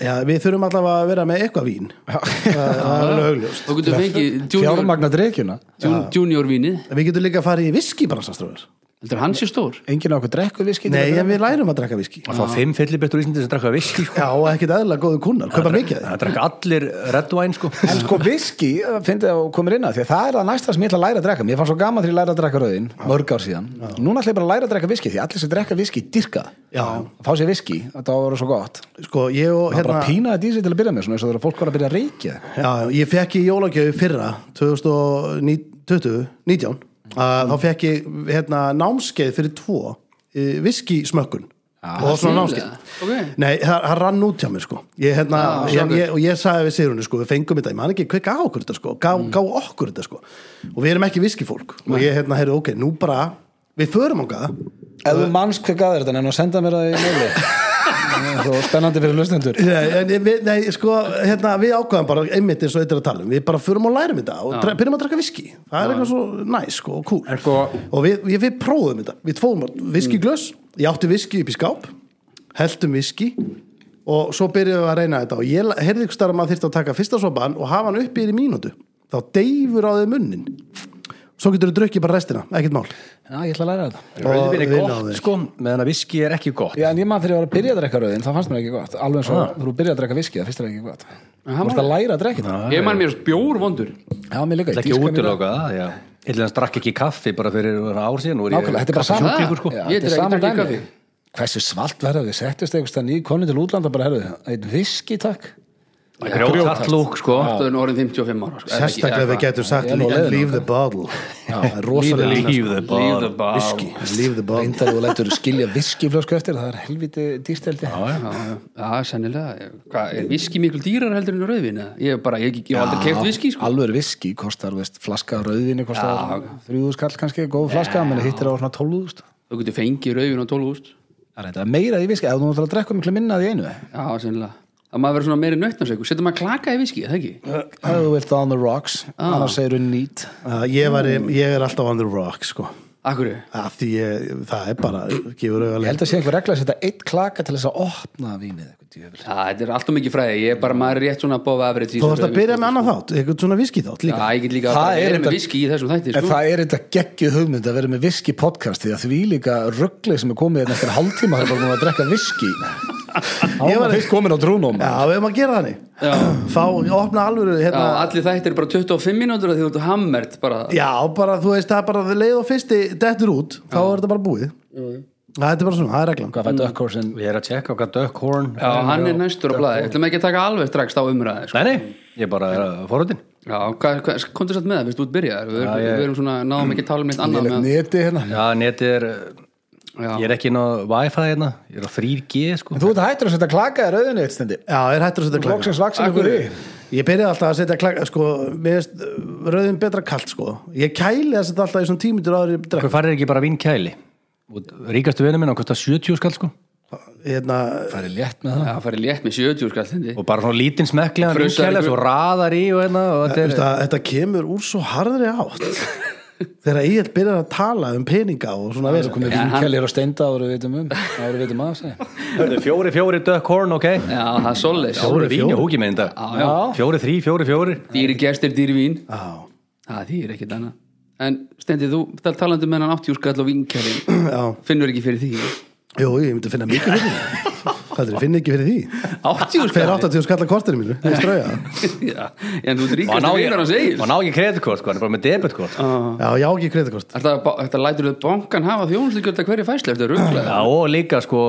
Speaker 1: Já, við þurfum allavega að vera með eitthvað vín Það það er alveg augljóst
Speaker 2: Þú getur fengið junior,
Speaker 3: Fjármagna drekjuna
Speaker 2: jun- junior vínið
Speaker 1: Við getum líka að fara í viskibransaströður
Speaker 2: Þetta er hans sér stór
Speaker 3: Engin okkur drekku viski
Speaker 1: Nei, en við lærum að drekka viski
Speaker 4: Það
Speaker 3: Ah.
Speaker 4: fá fimm fyllibettur í Íslandi sem drakka viski, sko.
Speaker 1: Já, og ekkert eðla góðu kunnar, kaupa mikið af því.
Speaker 4: Það drakka allir red wine, sko.
Speaker 3: En sko viski, finnst þið að komur inn að því að það er það næsta sem ég ætla að læra að drekka Mér fannst svo gaman þegar ég læra að drekka rauðin, mörg ár síðan Núna ætla ég bara að læra að drekka viski því allir sem drekka viski dyrka það.
Speaker 1: Já.
Speaker 3: Að Fá sér viski, þetta á að vera svo gott
Speaker 1: Sko, ég og
Speaker 3: Hérna,
Speaker 1: hérna
Speaker 3: bara pínaði dísi til að byrja með svona eins og þegar fólk var að byrja að reykja
Speaker 1: já, Ég fekk í jólagjöðu fyrra 2020, 19 að Þá fekk ég hérna námskeið fyrir tvo Viski smökkun Og svona námskeið
Speaker 2: Ok.
Speaker 1: Nei, það, það rann út hjá mér sko ég, hérna, ég, ég, Og ég sagði við Sigrunni sko Við fengum þetta, ég man ekki hvað gá okkur þetta sko Gá, gá okkur þetta sko Og við erum ekki viskifólk Og ég hérna, heyrðu, ok, nú bara Við förum á
Speaker 3: Ef þú manns hver gaður þetta, nefnum að senda mér það í meili Svo spennandi fyrir lustendur
Speaker 1: Nei, en við, nei, sko, hérna, við ákvæðum bara einmitt eins og eitthvað að tala um, við bara förum og lærum þetta og dre- byrjum að drakka viski, það er eitthvað svo næs sko, og cool,
Speaker 4: sko-
Speaker 1: og við, við, við prófum þetta, við tfóum viskiglös ég átti viski upp í skáp heldum viski og svo byrjuðum við að reyna þetta og ég la- heyrði ykkur starf að maður þyrfti að taka fyrsta sopan og hafa hann upp í mínútu, þá deyfur á þau munnin svo getur þú drukkið bara restina, ekkert mál
Speaker 3: Já, ég ætla að læra þetta
Speaker 1: Og
Speaker 4: Rauðvin er
Speaker 1: við
Speaker 4: gott,
Speaker 1: náðum.
Speaker 4: sko, meðan að viski er ekki gott.
Speaker 3: Já, en ég maður þegar ég var að byrja að drekka rauðin, þá fannst mér ekki gott Alveg eins og þegar þú byrja að drekka viski, það fyrst er ekki gott Þú vorst að læra að drekka þetta
Speaker 2: Ég man mér bjór vondur
Speaker 3: Já, mér líka,
Speaker 4: Það
Speaker 3: dýrka
Speaker 4: er ekki
Speaker 3: mér það.
Speaker 4: útiloka það, já. Yllir hans drakk ekki kaffi bara fyrir ár síðan. nú er ég
Speaker 3: Nákvæmlega, þetta er bara sama
Speaker 2: sjúklingur, sko.
Speaker 3: Já,
Speaker 2: Ég
Speaker 3: þetta er
Speaker 2: drekk-
Speaker 3: sama
Speaker 2: drekk ekki
Speaker 3: dæmi.
Speaker 2: kaffi.
Speaker 3: Hversu svalt verða við settist einhvers það nýjum konni til útlanda bara herðu, einn viski takk
Speaker 4: grjótart lúk sko
Speaker 2: Það er nú orðin 55 ára sko. Eða ekki,
Speaker 1: sérstaklega
Speaker 2: eða
Speaker 1: við
Speaker 2: hvað?
Speaker 1: getum sagt
Speaker 3: Ég er nú
Speaker 1: leave,
Speaker 3: leiðin
Speaker 1: the bottle Það er rosalega
Speaker 4: Leave
Speaker 1: lína
Speaker 4: the
Speaker 2: Leave the
Speaker 4: bar
Speaker 2: bar.
Speaker 1: leave the bottle
Speaker 3: Reyndar þú lætur skilja viskiflösku eftir það er helviti dýrsteldi
Speaker 2: Já, já, já, sennilega Hva, er viski miklu dýrar heldur en rauðvin eða? ég hef bara, ég, ég hef aldrei keft viski sko.
Speaker 3: Alveg viski kostar, veist, flaska af rauðinu kostar þrjúðus kall kannski, góð flaska menn hittir á svona tólúðust
Speaker 2: þú getur fengið rauðvin á 12 úst
Speaker 3: Það er reyndar meira í viski, ef þú náttúrulega drekkur miklu minna af því einu
Speaker 2: já, sennilega, það maður verður svona meiri nautnarsöku sko. setur maður klaka í viski, eða ekki?
Speaker 3: Ef þú vilt on the rocks, annars segir þú nýtt
Speaker 1: Uh, ég, var, ég er alltaf on the rock sko.
Speaker 2: Akkurri
Speaker 1: að því ég, það er bara gefur
Speaker 3: Ég
Speaker 1: auðvitað
Speaker 3: held að sé einhver regla að setja eitt klaka til þess að opna vínið eitthvað djöfull.
Speaker 2: Já, þetta er alltaf mikið fræði, ég er bara maður er rétt svona above average
Speaker 1: þú
Speaker 2: í þessu
Speaker 1: varst að
Speaker 2: rauðvín,
Speaker 1: byrja
Speaker 2: sko.
Speaker 1: með annan þátt, eitthvað svona viski þátt
Speaker 2: Já,
Speaker 1: líka
Speaker 2: ég get líka
Speaker 3: Það
Speaker 2: að
Speaker 3: er
Speaker 2: vera með
Speaker 3: þetta-
Speaker 2: viski í þessum þætti
Speaker 3: En
Speaker 2: sko.
Speaker 3: það er þetta geggjuð hugmynd að vera með viski podcast því að því líka ruggli sem er komið hérna eftir hálftíma það er bara búin að drekka viski Ég var fyrst komin á trúnum
Speaker 1: já, við erum að gera þannig fá, opna alvöru
Speaker 2: Já,
Speaker 1: hérna,
Speaker 2: allir þættir eru bara 25 mínútur af því þú ert hammert bara
Speaker 1: já, bara þú veist það er bara leið og fyrsti dettur út þá er þetta bara búið það er bara svona, það er reglan
Speaker 3: Hvað fættu ökkur sem
Speaker 4: Ég er að tjekka okkar Duckhorn
Speaker 2: Já, hann er næstur á blaði, ætlum ekki að taka alveg strax þá umræði sko.
Speaker 4: Nei, nei, ég bara er að forhundin
Speaker 2: Já, hvað, hvað, komdu satt með það, veist þú út byrjaðar við,
Speaker 4: Já, ég-
Speaker 2: við erum svona, náðum ekki að tala um neitt annað
Speaker 3: Lélegt
Speaker 2: með,
Speaker 3: neti hérna
Speaker 4: Já, netið er,
Speaker 2: já,
Speaker 4: ég er ekki inn á Wi-Fi hérna Ég er á 3G sko
Speaker 3: En Þú ert hættur að setja klaka í rauðinu eitt stendi
Speaker 1: já, er hættur að setja klaka
Speaker 3: Loksins vaksin ykkur í
Speaker 1: ég byrjaði alltaf að setja klaka sko, mér veist, rauðin betra kalt sko ég kæli að setja alltaf í svona tímitur áður ég drekk
Speaker 4: Hvað farir ekki bara vinkæli? Og Ríkastu vinur minn á kostar 70 skall sko
Speaker 1: hérna,
Speaker 3: Það er létt með það
Speaker 2: já, farið létt með 70 skall þindi
Speaker 4: Og bara svona lítinn smekklegan
Speaker 2: Frussar
Speaker 4: vinkæli
Speaker 2: ykkur.
Speaker 4: Svo raðar í og hérna og þetta er
Speaker 1: Þetta, þetta kemur úr svo harðri átt þegar Egil byrjar að tala um peninga og svona verið
Speaker 3: Komið vinkelir og steinda ára við vitum um ára við vitum að segja
Speaker 4: Hörðu, Fjóri, fjóri, Duckhorn, ok
Speaker 2: Já, það er svolítið
Speaker 4: Fjóri, fjóri, húki minn í dag
Speaker 2: já.
Speaker 4: Fjóri, þrý, fjóri, fjóri
Speaker 2: Dýri gestir, dýri vín
Speaker 1: Já,
Speaker 2: Það þýr ekkit annað En Stendi, þú tal- talandi um með hann 80 skall og vinkjærin
Speaker 1: já,
Speaker 2: Finnur ekki fyrir því
Speaker 1: jú, ég myndi að finna mikið fyrir því Hvað er það, ég finn ekki fyrir því
Speaker 2: 80
Speaker 1: Fyrir
Speaker 2: skall
Speaker 1: 80 skalla kortinu mínu, ég strauja það.
Speaker 2: Já, en þú
Speaker 4: Og hann
Speaker 2: dríkast vinnur
Speaker 4: á
Speaker 2: hann
Speaker 4: ekki-
Speaker 2: segir
Speaker 4: og hann á ekki kreditkort sko, hann er bara með debitkort
Speaker 1: Já, ég á ekki kreditkort
Speaker 2: Þetta, þetta lætur þau bankan hafa þjónustugjöld að hverju fæslu eftir
Speaker 4: Já,
Speaker 2: ruggla
Speaker 4: og líka sko,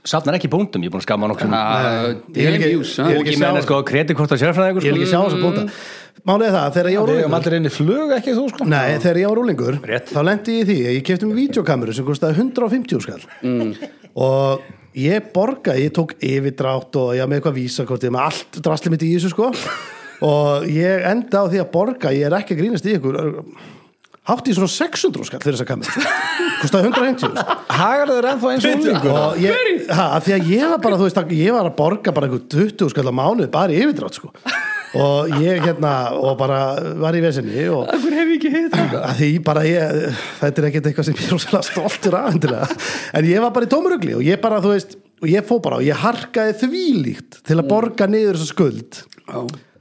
Speaker 4: safnar ekki búndum, ég er búin að skamma hann okkur
Speaker 2: Ah, uh,
Speaker 1: Ég vil ekki-
Speaker 2: Demjús
Speaker 1: ég vil
Speaker 4: Húki minn er sko kreditkort á sérfræðingur
Speaker 1: Ég vil
Speaker 4: sko.
Speaker 1: ekki sjá þess að bóta Málega það, þegar ég á
Speaker 3: Við erum
Speaker 1: rúlingur
Speaker 3: allir inn í flug ekki þú sko
Speaker 1: Nei, þegar ég á rúlingur,
Speaker 4: Rétt.
Speaker 1: þá lendi ég í því að Ég kefti mig videokameru sem kostaði 150 skall Og ég borga Ég tók yfirdrátt og ég var með eitthvað vísakort Ég var með allt drasli mitt í þessu sko Og ég enda á því að borga Ég er ekki að grínast í ykkur Hátt í svona 600 skall fyrir þessa kameru sko. Kostaði 150 skall
Speaker 3: Hagar þeir ennþá eins og úlingur
Speaker 1: og ég, ha, af því að ég var bara, þú veist, ég var að borga bara einhver 20 skall á mánuð, bara í yfirdrátt sko. og ég hérna og bara var í vesinni og
Speaker 2: Akkur hef ég ekki hitt
Speaker 1: að því bara ég, þetta er ekkert eitthvað sem ég er rosalega stoltur af endilega. en ég var bara í tómurugli og ég bara, þú veist og ég fó bara og ég harkaði þvílíkt til að borga niður þessa skuld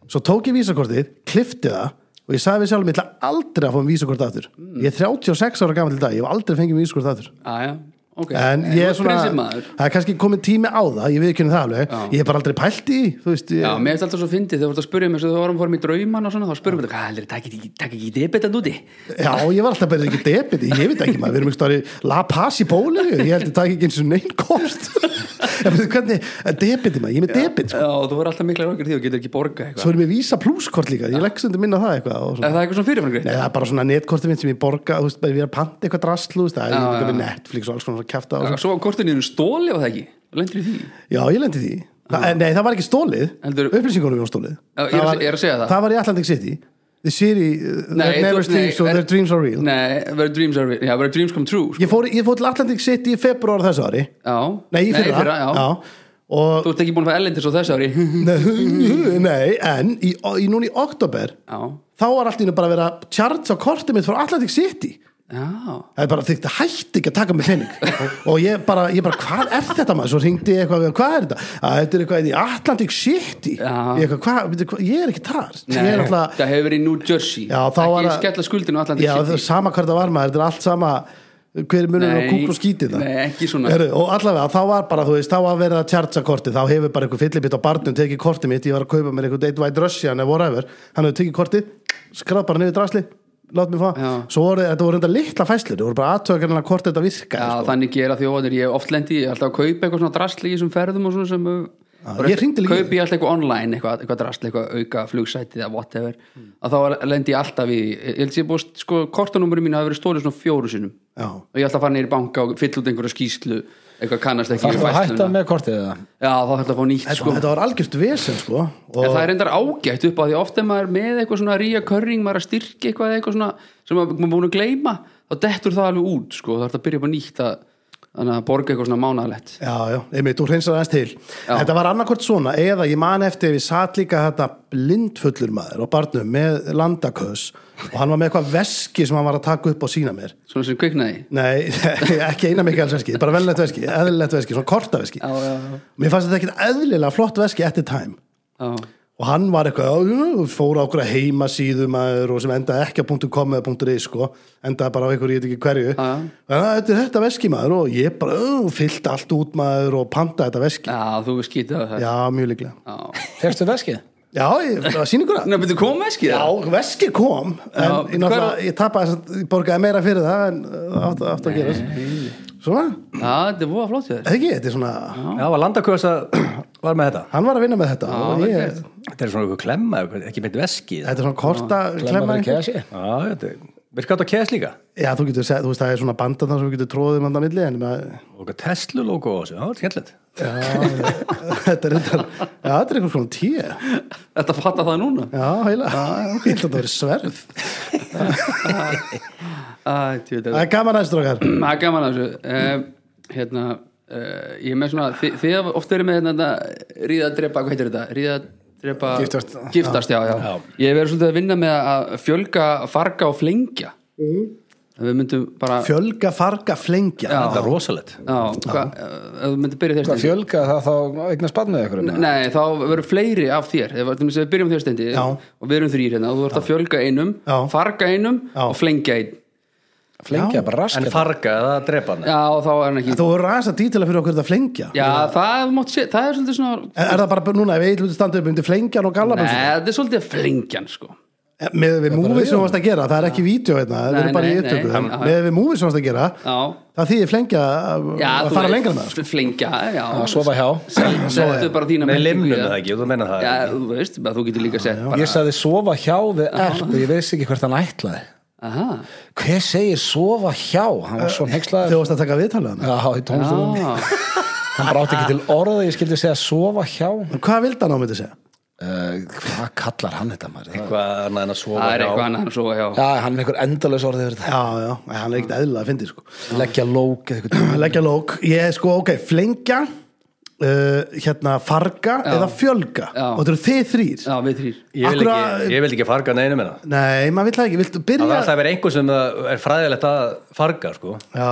Speaker 1: svo tók ég vísakortið, klifti það og ég sagði við sjálfum, ég ætla aldrei að fá um vísakort aftur ég er 36 ára gammal til dag, ég hef aldrei fengið um vísakort aftur
Speaker 2: Aja, Ah, ok
Speaker 1: en ég er svona,
Speaker 2: Prinsimaður
Speaker 1: það er kannski komið tími á það ég við ekki henni það alveg, ég hef bara aldrei pælt í því, þú veist,
Speaker 2: Já,
Speaker 1: ég,
Speaker 2: mér finnst alltaf svo fyndið þegar þú ert að spyrja mér svo þú varum fórum í drauman og svona, þá spurðum við hvað heldur, takk ekki, takk ekki debetan úti
Speaker 1: já. ég var alltaf bara ekki debit, ég veit ekki maður, við erum ekki stóri la pass í bólu, ég held að það ekki eins og neinn kost en veitu hvernig, debiti maður, ég er með debit sko.
Speaker 2: Já, þú voru alltaf mikla rákir því og getur ekki borga eitthvað
Speaker 1: svo erum við vísa pluskort líka, ég legg stundir minna á það eitthvað og
Speaker 2: Er
Speaker 1: svona.
Speaker 2: það eitthvað
Speaker 1: Nei,
Speaker 2: svona fyrirframgreitt?
Speaker 1: það er bara svona netkortið mitt sem ég borga, þú veist, bara við erum að panta eitthvað drastlu, þú veist, það er
Speaker 2: Já,
Speaker 1: líka
Speaker 2: já.
Speaker 1: með Netflix og alls konar kæfta og
Speaker 2: Já,
Speaker 1: svona.
Speaker 2: Svo var kortinu þínu stóli var það ekki? Lendur í því?
Speaker 1: Já, ég lendi í því. Þa, nei, það var ekki stólið,
Speaker 2: Heldur-
Speaker 1: upplýsingunum var stólið.
Speaker 2: Já, ég er að- ég er að segja það.
Speaker 1: Það var í Atlantic City. The city uh, that never
Speaker 2: þú- nei,
Speaker 1: sleeps or
Speaker 2: er-
Speaker 1: their dreams are real.
Speaker 2: Nei, where dreams are real Já, where dreams come true sko.
Speaker 1: Ég fór, ég fór til Atlantic City í februar þessu ári
Speaker 2: Já
Speaker 1: Nei, í fyrra,
Speaker 2: fyrra, já.
Speaker 1: Og,
Speaker 2: Þú ert ekki búin að fá ellendis á þessu ári
Speaker 1: nei, nei, en í, í, núna í oktober
Speaker 2: Já,
Speaker 1: þá var allt í nú bara að vera tjarts á kortið mitt frá Atlantic City
Speaker 2: já
Speaker 1: Það er bara þykkt að hætti ekki að taka mig pening og ég bara, ég bara, hvað er þetta maður? Svo hringdi ég eitthvað, hvað er þetta? Að þetta er eitthvað í Atlantic City
Speaker 2: Já.
Speaker 1: Ég, eitthvað, hvað, veitir hvað, ég er ekki þar Ég er alltaf,
Speaker 2: það hefur verið í New Jersey
Speaker 1: Já, þá
Speaker 2: Ekki
Speaker 1: var það-
Speaker 2: skella skuldinu allan
Speaker 1: Já, það er sama hvað það var maður, þetta er allt sama hver er munur á
Speaker 2: Nei,
Speaker 1: kúk og skítið það
Speaker 2: nei, ekki svona.
Speaker 1: Heru, og allavega, þá var bara, þú veist, þá var verið að tjartsa kortið, þá hefur bara einhver fyllibitt á barnum tekið kortið mitt, ég var að kaupa mér einhvern eitt væt rössjan eða voru efur, hann hefur tekið kortið skráð bara niður drasli, lát mér fá
Speaker 2: Já.
Speaker 1: svo voru, þetta voru enda litla fæslur, þetta voru bara aðtökarinn að hvort þetta virkaði
Speaker 2: Já,
Speaker 1: sko.
Speaker 2: þannig gera þjóðanir, ég hef oft lendi ég er alltaf að kaupa eitthvað svona drasli í þessum ferðum og svona sem uh,
Speaker 1: ég hringdi líka
Speaker 2: kaupi ég alltaf eitthvað online, eitthvað, eitthvað drast eitthvað auka flugsæti eða whatever að þá lendi ég alltaf í, ég held sér búið sko, kortanúmurinn mín hafi verið stólið svona fjóru sinum
Speaker 1: Já.
Speaker 2: og ég alltaf fann neyri banka og fyll út einhverja skýslu eitthvað kannast ekki
Speaker 3: Þarf
Speaker 2: við
Speaker 3: að hætta
Speaker 2: færsluna.
Speaker 3: með kortið eða?
Speaker 2: Já, þá þarf þetta að fá nýtt
Speaker 1: þetta,
Speaker 2: sko.
Speaker 1: þetta var algjört vesen sko og
Speaker 2: En það er endar ágætt upp á því ofta er maður með eitthvað svona ríja körring, maður er að styrki eitthvað, eitthvað svona sem maður maður er búin að gleyma, þá dettur það alveg út sko, það er þetta að byrja upp á nýtt að, þannig að borga eitthvað svona mánaðalett.
Speaker 1: Já, já, einmitt, þú hreinsar aðeins til Þetta var annarkvort svona, eða ég man eftir ef ég satt líka þetta blindfullur maður og barnum með landaköðs og hann var með eitthvað veski sem hann var að taka upp og sína mér
Speaker 2: Svona sem kviknaði.
Speaker 1: Nei, ekki eina mikið veski, bara velnett veski, eðlilegt veski, svona korta veski
Speaker 2: Já, já, já.
Speaker 1: Mér fannst þetta ekkert eðlilega flott veski at the time
Speaker 2: Já,
Speaker 1: og hann var eitthvað, já, já, fór á okkur heimasíðu maður og sem endaði ekki að .com eða .is sko, endaði bara á einhverju, ég veit ekki hverju
Speaker 2: Já, já.
Speaker 1: Þannig að þetta er þetta veski maður og ég bara "Ú, fyllt allt út maður og pantaði þetta veski
Speaker 2: já þú veist skýtið af það.
Speaker 1: Já, mjög líklega.
Speaker 2: Já.
Speaker 3: Fyrstu veskið?
Speaker 1: Já, ég, það var sýningur að.
Speaker 2: Nei, betur komið skýtið?
Speaker 1: Já, veski kom, en
Speaker 2: Já,
Speaker 1: ég, náttúrulega,
Speaker 2: hver-
Speaker 1: ég tapaði þess að ég borgaði meira fyrir það en uh, átt, átt að gera Svona,
Speaker 2: Já, þetta er voða flott hjá þér.
Speaker 1: eða ekki, þetta er svona,
Speaker 4: Já, var landakösa var með þetta
Speaker 1: hann var að vinna með þetta og
Speaker 2: vel
Speaker 1: ég,
Speaker 2: gert.
Speaker 4: Þetta er svona eitthvað klemma, eitthvað- ekki mynd veski Já,
Speaker 1: þetta er svona korta
Speaker 3: Glemma
Speaker 1: klemma.
Speaker 3: að
Speaker 1: einhver.
Speaker 3: kegja sér?
Speaker 4: þetta er- virkar þetta að kæðast líka
Speaker 1: Já, þú getur sett, þú veist, það er svona bandar þar sem þú getur tróðið mann að um milli, en maður,
Speaker 4: og eitthvað Tesla logo á þessu, já, þetta er skemmtilegt
Speaker 1: þetta er þetta, já, þetta er eitthvað svona tíu.
Speaker 2: Þetta fatta það núna.
Speaker 1: Já, heila, ég held að þetta verið sverð.
Speaker 2: Æ, tjóðið.
Speaker 1: Það er gaman aðeins, drókar.
Speaker 2: Það er gaman að þessu uh, hérna, uh, Ég er með svona þið, þið hafa oft verið með hérna, ríða að drepa, hvað heitir þetta? Ríða að drepa
Speaker 1: Giftast.
Speaker 2: Giftast, já, já. Ég hef verið svolítið að vinna með að fjölga, farga og flengja
Speaker 1: Mhm.
Speaker 2: Við myndum bara
Speaker 1: Fjölga, farga, flengja.
Speaker 2: Já.
Speaker 4: Þetta er rosalegt
Speaker 2: Já, hvað, eh, ef þú myndir byrja þér
Speaker 3: Hvað
Speaker 2: stendi
Speaker 3: fjölga það þá eignast barn með ykkur? um eða?
Speaker 2: Nei, þá verður fleiri af þér Ef ef við byrjum á þér stendi
Speaker 1: Já.
Speaker 2: og við erum þrýr hérna og þú ert að fjölga einum,
Speaker 1: Já.
Speaker 2: farga einum
Speaker 1: Já.
Speaker 2: og flengja einn
Speaker 3: Flengja bara raskat.
Speaker 4: En farga, það er drepan
Speaker 2: Já, og þá er hann ekki
Speaker 1: Þú voru aðeins að dítila fyrir okkur þetta flengja.
Speaker 2: Já, það, mátt sé, það er svolítið svona
Speaker 1: Er, er það bara núna, ef ég hluti standa upp undir flengjan og
Speaker 2: Nei,
Speaker 1: gallabössu?
Speaker 2: þetta er svolítið flengjan sko
Speaker 1: með við múfið sem þú varst að gera, það er ekki vídeo hérna, það
Speaker 2: Nei,
Speaker 1: eru bara í
Speaker 2: nei, nei,
Speaker 1: yttöku
Speaker 2: já, já.
Speaker 1: með við múfið sem þú varst að gera
Speaker 2: Já,
Speaker 1: það þýðir flengja að
Speaker 2: já
Speaker 1: að
Speaker 2: þú
Speaker 1: fara
Speaker 2: veist,
Speaker 1: lengra með það, sko.
Speaker 2: fl- Flengja, já
Speaker 3: Sofa hjá.
Speaker 2: Settu bara þína
Speaker 4: Með
Speaker 2: merkingu í
Speaker 4: limnum
Speaker 2: það.
Speaker 4: eða ekki, þú menna það
Speaker 2: Já, þú veist, bara þú getur líka sett bara-
Speaker 3: Ég sagði sofa hjá við erp og ég veist ekki hvert hann ætlaði.
Speaker 2: Aha,
Speaker 3: Hver segir sofa hjá? Hann var svo
Speaker 1: þegar þú
Speaker 3: hengslaður.
Speaker 1: varst að taka viðtalið hana
Speaker 3: Já, í tónlistunum.
Speaker 2: já
Speaker 3: Hann bara átti ekki til orða, ég skildi segja sofa hjá.
Speaker 1: En hvað vildi hann á myndi segja?
Speaker 3: Uh, hvað kallar hann þetta maður? Það-
Speaker 4: Hvað annað en að sofa
Speaker 2: Það er
Speaker 4: hjá?
Speaker 2: eitthvað annað en svo hjá
Speaker 3: Já, hann er einhver endalaus orðið yfir þetta.
Speaker 1: Já, já, nei, hann er ekkert eðlilega að fyndi sko.
Speaker 3: Leggja lók eða eitthvað.
Speaker 1: leggja lók, ég sko, ok, flengja uh, hérna farga eða fjölga
Speaker 2: Já.
Speaker 1: og þetta eru þið þrýr
Speaker 2: Já, við þrýr
Speaker 4: Ég vil
Speaker 1: Akkur að-
Speaker 4: ekki- ég vil ekki farga neinu með það
Speaker 1: nei, maður vill það ekki, viltu
Speaker 4: Það er
Speaker 1: byrja
Speaker 4: alltaf að vera einhver sem það er fræðilegt að farga sko.
Speaker 1: já,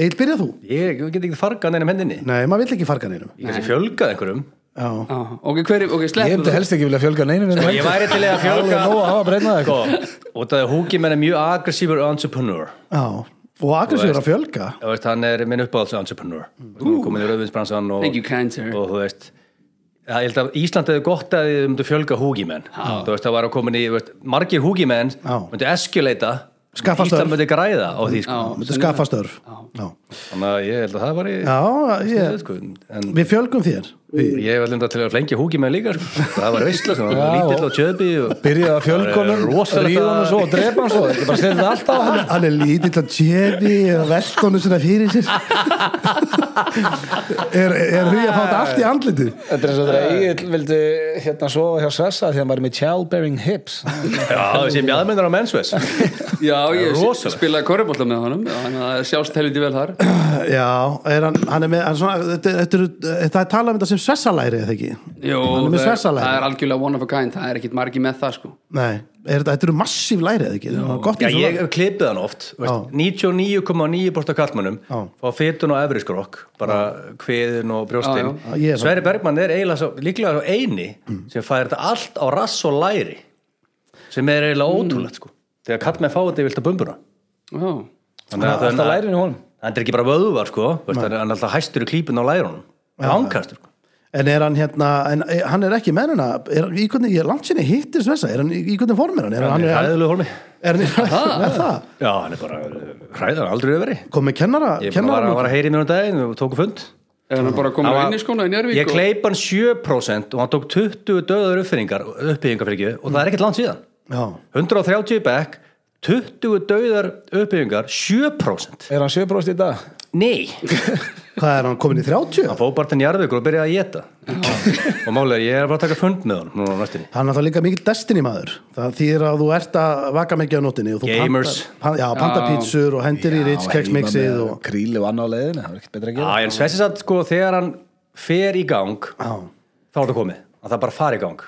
Speaker 1: eitt byrja þú
Speaker 4: Ég ég get ekki fargað neinum hendinni
Speaker 1: nei, maður vill ekki farga neinum
Speaker 4: Ég kannski fjölgað einhverjum
Speaker 1: já,
Speaker 2: Já, Ok, hver, ok,
Speaker 3: Ég
Speaker 2: sleppum
Speaker 3: hefndi helst ekki vilja fjölga neinu við
Speaker 4: Ég væri til í að
Speaker 3: Alveg
Speaker 4: fjölga
Speaker 3: nóg að hafa breynað
Speaker 4: Sko,
Speaker 3: eitthvað.
Speaker 4: og það er húki menn er mjög aggressífur entrepreneur
Speaker 1: já og aggressíður að fjölga
Speaker 4: Þú veist, hann er minn uppáhalds entrepreneur Hún er komin í rauðvinsbransan og,
Speaker 2: Thank you, kind sir
Speaker 4: og þú veist Já, ég held að Ísland hefði gott að þið myndu fjölga húgimenn þú veist það var að komin í þú veist, margir húgimenn
Speaker 1: Já.
Speaker 4: myndu eskuleita
Speaker 1: Skaffa
Speaker 4: Ísland
Speaker 1: störf.
Speaker 4: myndi græða á því sko.
Speaker 2: Já,
Speaker 1: myndi skaffa störf já,
Speaker 4: þannig að ég held að það var í
Speaker 1: já ég,
Speaker 4: sko. en
Speaker 1: Við fjölgum þér
Speaker 4: ég var linda til að flengja húgimenn líka sko. það var veistla, sko. það var
Speaker 3: Já,
Speaker 4: lítill og tjöðbi og...
Speaker 3: Byrjaði að fjölga honum,
Speaker 4: Það er rosalegt
Speaker 3: ríða honum
Speaker 4: að-
Speaker 3: svo og drepa hann svo. Ég bara setið alltaf á hann.
Speaker 1: Hann er lítill að tjefi og veltónu svona fyrir sér Er, er hugið að fá þetta allt í andliti
Speaker 3: Þetta er eins og þetta að Egil vildi hérna sofa hjá Svessa því að hann var með childbearing hips
Speaker 4: já, þessi mjadmyndar á mensves
Speaker 2: Já, ég
Speaker 4: Rosalegt.
Speaker 2: spilaði korfbólla með honum Þannig að það sjást helviti vel þar
Speaker 1: Já, er hann, hann er með hann er svona, þetta, þetta, þetta, þetta er talað um þetta sem svessalæri eða ekki
Speaker 2: Jó,
Speaker 1: Hann er með
Speaker 2: það er- það er
Speaker 1: svessalæri
Speaker 2: algjörlega one of a kind Það er ekkit margi með það sko
Speaker 1: Nei, er, þetta, þetta eru massíf læri eða ekki Ná, Gott
Speaker 4: Já,
Speaker 1: eins og
Speaker 4: ég
Speaker 1: það.
Speaker 4: hef klipið hann oft þú veist, 99,9% af kallmönnum
Speaker 1: Já.
Speaker 4: fá fytun og efriskrokk bara kviðin og
Speaker 1: Já,
Speaker 4: brjóstin
Speaker 1: já. Ég er það. Mm.
Speaker 4: Sverri Bergmann er eiginlega svo, líklega svo eini sem fær þetta allt á rass og læri sem er eiginlega
Speaker 1: Mm.
Speaker 4: ótrúlegt sko. þegar kallmenn fá þetta vilt að bumbuna
Speaker 2: Já,
Speaker 4: þannig að
Speaker 3: Alltaf
Speaker 4: þannig að-
Speaker 3: lærin í honum
Speaker 4: hann er ekki bara vöðvar sko, þú veist, hann er hann er alltaf hæstur í klípun á lærunum ánkastur sko.
Speaker 1: En er hann hérna, en er- hann er ekki með hana er, í hvernig, ég er langt sinni hittir svessa er hann í í hvernig form er hann? Er hann,
Speaker 4: hann er
Speaker 1: er,
Speaker 4: hæðilegu formi
Speaker 1: er hann, er hann með það?
Speaker 4: já, hann er bara hræðan aldrei yfir
Speaker 1: Kom með kennara,
Speaker 4: ég bara var
Speaker 1: kennara
Speaker 4: að, var að heyri mér um daginn og tóku fund
Speaker 2: er hann bara að koma sko, inn í skóna í Njárvík
Speaker 4: ég kleip hann 7% og hann tók 20 döðar uppfyrringar uppbyggingar fyrir ekki og það er ekkert langt síðan
Speaker 1: já,
Speaker 4: 130 back 20 döðar uppbyggingar 7%
Speaker 3: Er hann 7% í dag?
Speaker 4: nei,
Speaker 1: hvað er hann komin í 30?
Speaker 4: hann fóð bara til Njarðvíkur og byrjaði að geta og málega ég er bara að taka fund með hann núna á næstinni
Speaker 1: Hann er það líka mikill destiny maður Það þýðir að þú ert að vaka mikið á nótinni og þú
Speaker 4: Gamers.
Speaker 1: pantar- pan, Já, panta pítsur og hendir í Ritz keksmixið og
Speaker 3: Kríli og annað á leiðinu, það er ekkert betra að
Speaker 4: já,
Speaker 3: gera
Speaker 4: en Svessi satt sko þegar hann fer í gang
Speaker 1: Já,
Speaker 4: þá er það komið, að það bara fari í gang